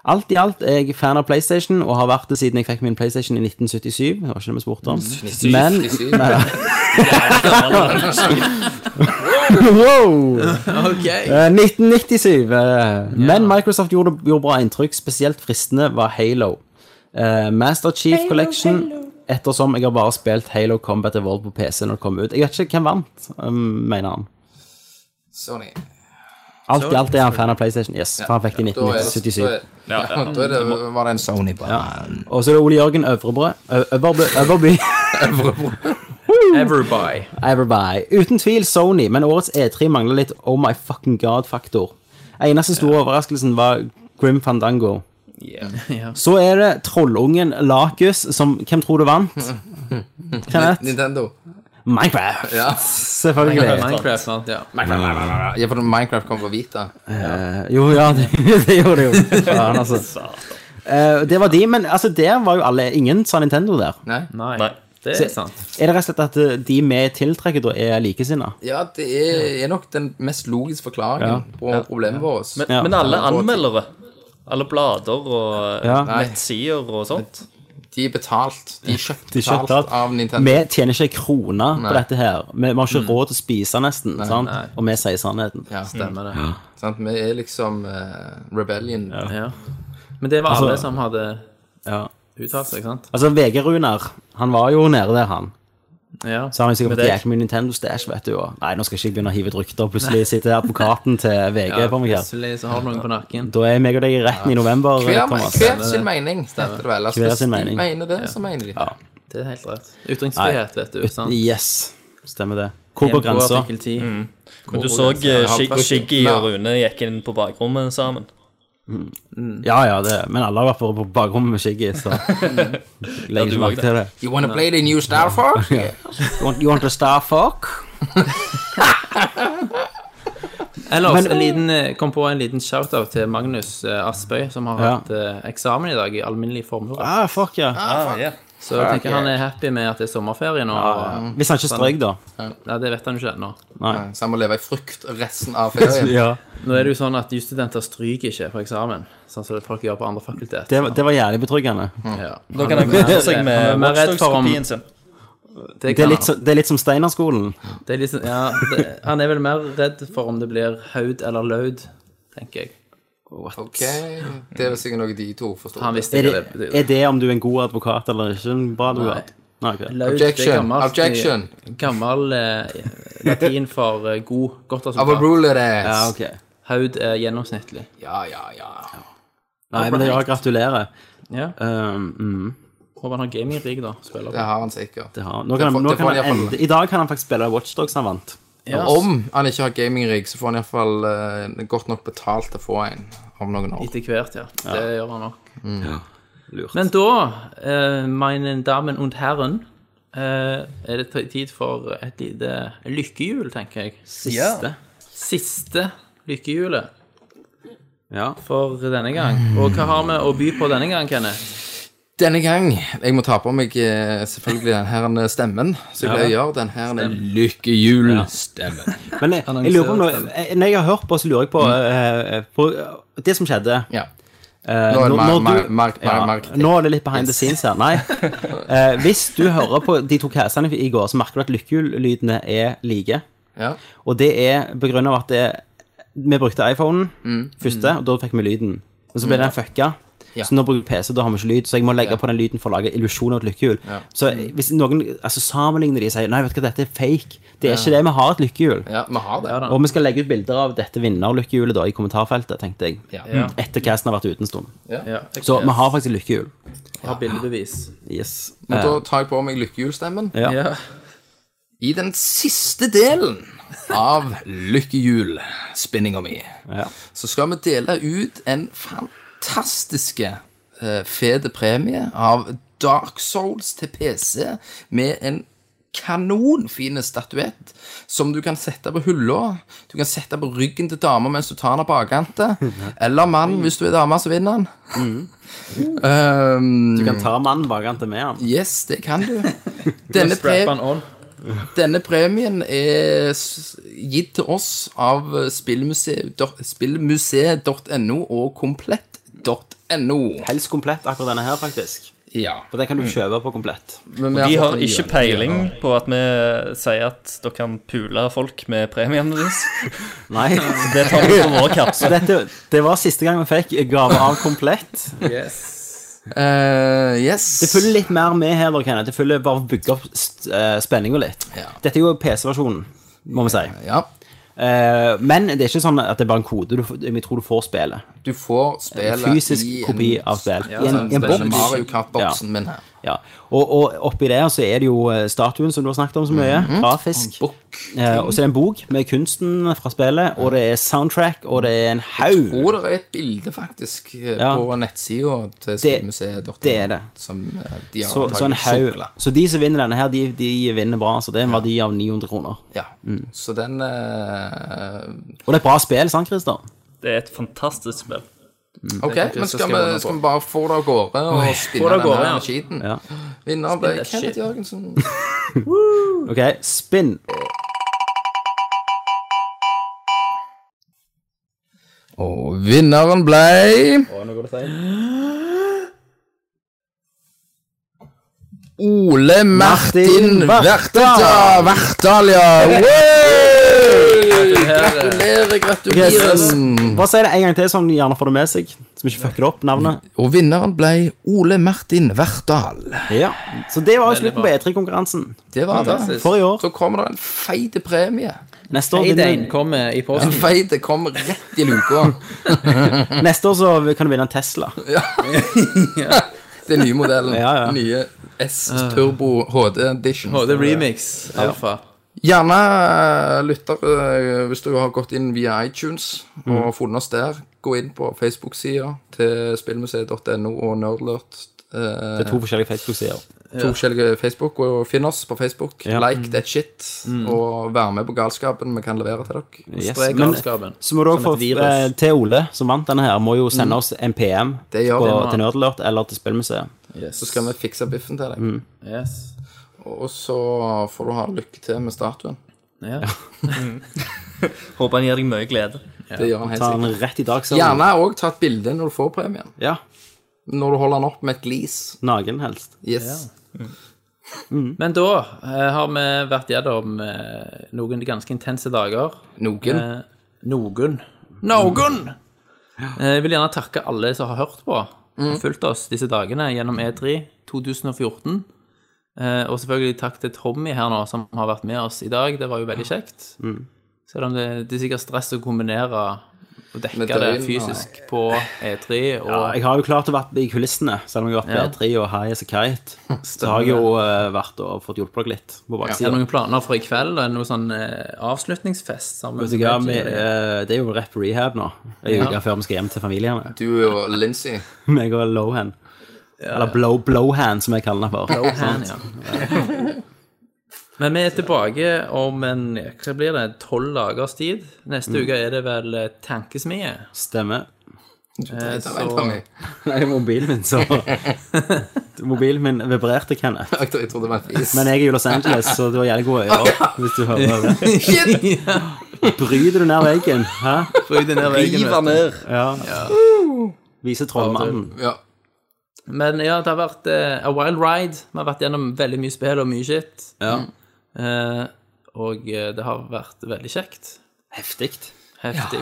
F: Alt i alt er jeg fan av PlayStation, og har vært det siden jeg fikk min PlayStation i 1977. Det var ikke det vi spurte om. Men
E: Frisør.
F: wow!
D: Ok.
F: Eh, 1997. eh, Men Microsoft gjorde, gjorde bra inntrykk. Spesielt fristende var Halo. Eh, Master Chief Collection. Ettersom jeg har bare spilt Halo Combat Evolved på PC når det kom ut. Jeg vet ikke hvem vant, um, mener han.
E: Sony.
F: Alt i alt er han fan av PlayStation. Yes, for han fikk det i
E: Da er det,
F: 1977.
E: da er, ja, da er det, var det en Sony på
F: Og så er det Ole Jørgen Øvrebrø. Ø- Øverby. Øverby.
D: Everby.
F: Everby. Uten tvil Sony, men årets E3 mangler litt Oh my fucking god-faktor. Eneste store overraskelsen var Grim Fandango.
D: Ja.
F: Så er det trollungen Lakus, som Hvem tror du vant? Kenneth?
E: Nintendo.
F: Minecraft!
E: Ja.
F: Selvfølgelig.
D: Minecraft, sant? Ja.
E: ja, for Minecraft kom fra Vita.
F: Eh, Jo, ja, det, det gjorde det jo. Faen, altså. Eh, det var de, men altså, der var jo alle Ingen sa Nintendo der.
E: Nei?
D: Nei.
G: Nei.
D: Det er sant.
F: Er det rett og slett at eh, de vi tiltrekker, da, er likesinna?
E: Ja, det er, er nok den mest logiske forklaringen på problemet vårt.
G: Men,
F: Ja.
G: men alle anmeldere, alle blader og eh,
F: Ja.
G: nettsider og sånt
E: De er betalt. De er kjøpt
F: De skjønte
E: betalt av
F: at
E: Nintendo.
F: vi tjener ikke en krone på
E: Nei. Mm.
F: dette her. Vi, vi har ikke råd til å spise, nesten. sant? Og vi sier sannheten.
E: Ja,
D: Stemmer det.
E: sant? Vi er liksom eh, rebellion.
D: Ja. Men det var
F: Altså-
D: alle som hadde
F: Ja.
D: uttalt seg, sant?
F: Altså, VG-Runar, han var jo nede der, han.
D: Ja.
F: Så har han jo sikkert
D: Med
F: fått
D: deg.
F: jækla mye Nintendo Stash, vet du. Og nei, nå skal ikke jeg begynne å hive ut rykter. Plutselig sitter advokaten til VG på meg her.
D: Plutselig så har du noen på nakken.
F: Da er meg og deg i retten i november,
E: Hver,
F: Thomas.
E: hver sin mening, heter det vel. Altså,
F: Hver
E: hvis
F: sin
E: de
F: mening.
E: mener det, så mener de det.
D: Det er helt rett. Ytringsfrihet, vet du. sant?
F: Yes. Stemmer det. Hvor går
D: På
F: grensa?
D: artikkel 10.
G: Mm. Men du så eh,
E: Ja,
G: Shig-
E: faktisk.
G: Shiggy
E: Ja.
G: og Rune gikk inn på bakrommet sammen.
F: Ja, ja, det. Men alle har vært på- på bakrommet med skjegg i, så legger
G: du
F: ikke
G: var
F: merke til det.
E: You wanna play the new Star Fox?
F: You want, you want to star fuck?
D: Ellers
F: Men-
D: en liten, eh, kom på en liten shout-out til Magnus eh, Aspøy, som har
F: Ja.
D: hatt eh, eksamen i dag i alminnelig formue.
F: Ah, fuck, ja.
D: Så jeg tenker han er happy med at det er sommerferie nå. og-
F: Hvis han ikke strøk, da.
D: Ja, det vet han jo ikke ennå.
E: Ja, Så han må leve i frukt resten av ferien.
F: Ja.
D: Nå er det jo sånn at jusstudenter stryker ikke på eksamen, sånn som det folk gjør på andre fakultet.
F: Det, var- det var jævlig betryggende.
D: Ja.
G: Da kan han kose seg
D: Han er
G: med
D: mer redd for om-
G: Watchdogs-kopien sin.
F: Det er litt, sånn- så, det er litt som Steinerskolen.
D: Det er liksom, ja, det, han er vel mer redd for om det blir haud eller laud, tenker jeg.
E: Ok, det er vel sikkert noe de to forstår.
D: Han visste
F: Er
D: ikke
F: det,
D: det. det,
F: er det om du er en god advokat eller ikke en bra advokat? Nei. ok.
D: Laud, det er
E: Objection,
D: gammelt, eh,
E: objection.
D: Gammel eh, latin for eh, god, godt resultat.
E: Overrule det.
F: Ja, ok.
D: Haud er gjennomsnittlig.
E: Ja, ja, ja.
F: Nei, men det er gratulerer.
D: Ja.
F: Um, mm,
D: Håper han har gaming-rig, da. Spiller på.
E: Det har han sikkert.
F: det har, nå kan
E: Det får-
F: han, nå
E: det får
F: kan
E: han
F: han
E: iallfall-
F: ende, I dag kan han faktisk spille Watchdogs han vant.
D: Ja.
E: Om han ikke har gamingrig, så får han iallfall uh, godt nok betalt til å få en om noen år.
D: Etter hvert, ja. Det gjør han nok.
E: Mm.
F: Lurt.
D: Men da, eh, meine Damen und Herren, eh, er det t- tid for et lite lykkehjul, tenker jeg. Siste. Siste lykkehjulet
F: Ja.
D: for denne gang. Og hva har vi å by på denne gang, Kenneth?
E: Denne gang Jeg må ta på meg eh, selvfølgelig den her stemmen. Så jeg pleier å gjøre den her lykkehjulstemmen.
F: Men jeg, jeg lurer på om noe, jeg- Når jeg har hørt på, så lurer jeg på, eh, på eh, det som skjedde.
E: Ja.
F: Eh,
E: Nå er
F: når-
E: det mer-
F: når
E: mer-
F: du-
E: mer- mer-
F: Ja,
E: mer-
F: Nå er det litt behind the scenes her. Nei. Eh, hvis du hører på de to castene i går, så merker du at lykkehjullydene er like.
E: Ja.
F: Og det er begrunnet av at det, vi brukte iPhonen første, og da fikk vi lyden. Men så ble den fucka.
E: Mm. Ja.
F: Så nå bruker jeg PC, da har vi ikke lyd, så jeg må legge på den lyden for å lage illusjon av et lykkehjul. Så hvis noen altså, sammenligner de og sier nei, vet du hva, dette er fake, det er ikke det, vi har et lykkehjul.
E: ja, vi har det.
F: Og vi skal legge ut bilder av dette vinnerlykkehjulet da, i kommentarfeltet, tenkte jeg.
E: Ja.
F: Mm. Etter casten har vært ute en stund.
D: Ja, jeg
F: Så vi har faktisk lykkehjul.
D: har bildebevis.
F: Yes.
E: Men da tar jeg på meg lykkehjulstemmen.
F: Ja.
E: I den siste delen av lykkehjulspinninga mi
F: Ja.
E: så skal vi dele ut en fantastiske eh, fete premie av Dark Souls til PC med en kanonfine statuett som du kan sette på hylla. Du kan sette på ryggen til dama mens du tar den av bakhåndet. Eller mann, hvis du er dame, så vinner han. Um,
F: Du
E: Mm.
F: kan ta mannen bak han til med han.
E: yes, det kan du. Denne, pre
D: Strap han on.
E: denne premien er s- gitt til oss av spillmuseet- dot- spillmuseet.no og komplett.no.
F: Helst komplett akkurat denne her, faktisk.
E: Ja.
F: For den kan du kjøpe på komplett.
G: De har ikke peiling på at vi sier at dere kan pule folk med premiene deres.
F: Nei.
G: Det tar vi på vår kappe.
F: Dette, det var siste gang vi fikk gave av komplett.
E: Eh, yes.
F: Det følger litt mer med her, da, Kenneth. Det følger bare å bygge opp uh, spenninga litt.
E: Ja.
F: Dette er jo PC-versjonen, må vi si.
E: Ja.
F: Eh, men det er ikke sånn at det er bare en kode. Du, får- vi tror du får spillet.
E: Du får spillet
F: Fysisk
E: i en-
F: kopi av spill. I en,
E: Den
F: i en
E: spesielle
F: boks.
E: Mario Kart-boksen min her.
F: Ja. Og, og oppi der så er det jo eh, statuen som du har snakket om så mye.
G: Mhm.
F: Grafisk.
E: Bok.
F: Eh, og så er det en bok med kunsten fra spillet, og det er soundtrack, og det er en haug.
E: Og oh, det er et bilde, faktisk, eh,
F: Ja.
E: på nettsida til spillmuseet.no.
F: det er det.
E: Som eh, de har
F: Så, så, en
E: antageligvis
F: haug.
E: suklet.
F: så de som vinner denne her, de, de vinner bra. Så det er en verdi av 900 kroner.
E: Ja.
F: Mm.
E: Så den eh,
F: Og det er et bra spill, sant, Christer?
G: Det er et fantastisk spill.
E: Ok,
D: kan ikke
E: men
D: så
E: skal
D: skrive under
E: vi,
D: på.
E: skal vi bare få det av gårde og spinne
D: det av
E: den
D: gårde,
E: her
D: ja.
E: skiten?
F: Ja.
E: Vinner ble
D: that shit.
E: Kenneth Jørgensen.
F: OK, spinn.
E: Og vinneren ble Ole Martin
F: Martin
E: Vertedal. Vertedal, ja. Gratulerer, gratulerer.
F: Bare si det en gang til, sånn de gjerne får det med seg. Så vi ikke fucker opp navnet.
E: Og vinneren ble Ole Martin Vertdal.
F: Ja. Så det var jo slutten på E3-konkurransen
E: Det var det.
F: for i år.
E: Så kommer det en feit premie.
F: Neste år,
D: Paydayen
F: vinner,
D: kommer i
E: En
D: posten.
E: feit kommer rett i luka.
F: neste år så kan du vinne en Tesla.
E: Den nye modellen.
F: Ja, ja.
E: Nye S Turbo HD Edition.
D: Og det er remix. Alfa.
E: Gjerne eh, lytter, eh, hvis du har gått inn via iTunes
F: Mm.
E: og funnet oss der, gå inn på Facebook-sida til spillmuseet.no og Nerdlert. eh,
F: Det er to forskjellige Facebook-sider.
E: to forskjellige Facebook, og finn oss på Facebook.
F: Ja. Mm.
E: Like that shit, og vær med på galskapen vi kan levere til dere.
F: Yes.
D: Spre
F: Men
D: galskapen.
F: så må du
D: Som
F: også
D: et
F: få
D: virus. Mm.
F: eh, til Ole, som vant denne her, må jo sende oss en PM på,
E: Det gjør vi nå.
F: til Nerdlert eller til Spillmuseet.
D: Yes.
E: Så skal vi fikse biffen til deg.
F: Mm.
D: Yes.
E: Og så får du ha lykke til med statuen.
D: Ja.
G: Håper han gir deg mye glede.
E: Det gjør han helt
F: Ta
E: sikkert.
F: den rett i dag, så
E: Gjerne òg ta et bilde når du får premien.
F: Ja.
E: Når du holder den opp med et glis.
F: Naken helst.
E: Yes.
D: Men da eh, har vi vært gjennom eh, noen ganske intense dager.
E: Noen.
D: Eh, noen. Noen!
E: Mm.
D: Eh, jeg vil gjerne takke alle som har hørt på
E: Mm.
D: og fulgt oss disse dagene gjennom E3 2014. Eh, og selvfølgelig takk til Tommy her nå, som har vært med oss i dag. Det var jo veldig kjekt.
E: Mm.
D: Selv om det, det er sikkert stress å kombinere og dekke
E: Med
D: det
E: døgn,
D: fysisk på E3 og
F: Ja, jeg har jo klart å vært i kulissene, selv om jeg har vært på E3 og High as a Kite. Så har jeg jo eh, vært og fått hjulpet dere litt
D: Er
F: på
D: det
F: baksiden.
D: noen planer for i kveld? Er det noe sånn eh, avslutningsfest sammen?
F: Vet du hva, vi, eh, det er jo rep rehab nå, en uke før vi skal hjem til familiene.
E: Du og Lincy.
F: Meg og Lowhan. Eller blow, Blowhan, som jeg kaller den for.
D: Hand, Sånn, ja. Men vi er tilbake om en hva blir det, tolv dagers tid. Neste uke er det vel eh, Tankesmie.
F: Stemmer.
E: Jeg tar
D: så-
E: vent på meg.
F: Nei, mobilen min, så Mobilen min vibrerte, Kenneth.
E: Jeg trodde jeg trodde det var et is.
F: Men jeg er i Los Angeles, så du har jævlig gode ører. Hvis du hører det. Bryter du ned veggen? Hæ?
G: River ned.
F: Ja. Viser trollmannen.
E: Ja.
D: Men ja, det har vært eh, a wild ride. Vi har vært gjennom veldig mye spill og mye shit.
F: Ja.
D: Eh, og eh, det har vært veldig kjekt.
F: Heftig.
D: Heftig.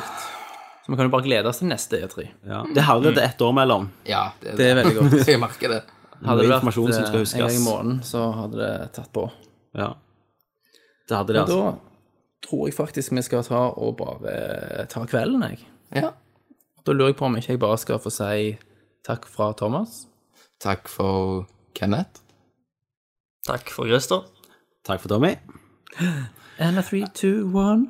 D: Så vi kan jo bare glede oss til neste E E3.
F: Ja. Mm. Det er herlig at det er ett år mellom.
E: ja, det,
D: Det er veldig godt.
E: Jeg merker det.
D: Hadde
F: Mye
D: det vært
F: informasjon som skal
D: eh,
F: huskes.
D: en gang i måneden, så hadde det tatt på.
F: Ja. Det hadde det,
D: Da
F: altså.
D: tror jeg faktisk vi skal ta og bare ta kvelden, jeg.
E: Ja.
D: Da lurer jeg på om ikke jeg bare skal få si takk fra Thomas.
E: Takk for Kenneth.
G: Takk for Christer.
F: Takk for Tommy.
D: And a three, two, one.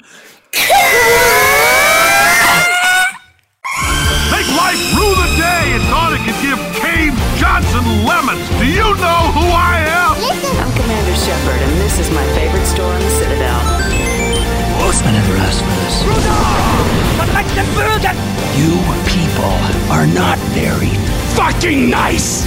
A: Take life through the day and thought it could give Cave Johnson lemons. Do you know who I am?
B: I'm Commander Shepard, and this is my favorite store on the Citadel.
C: Horsemen never asked for this. You people are not very fucking nice.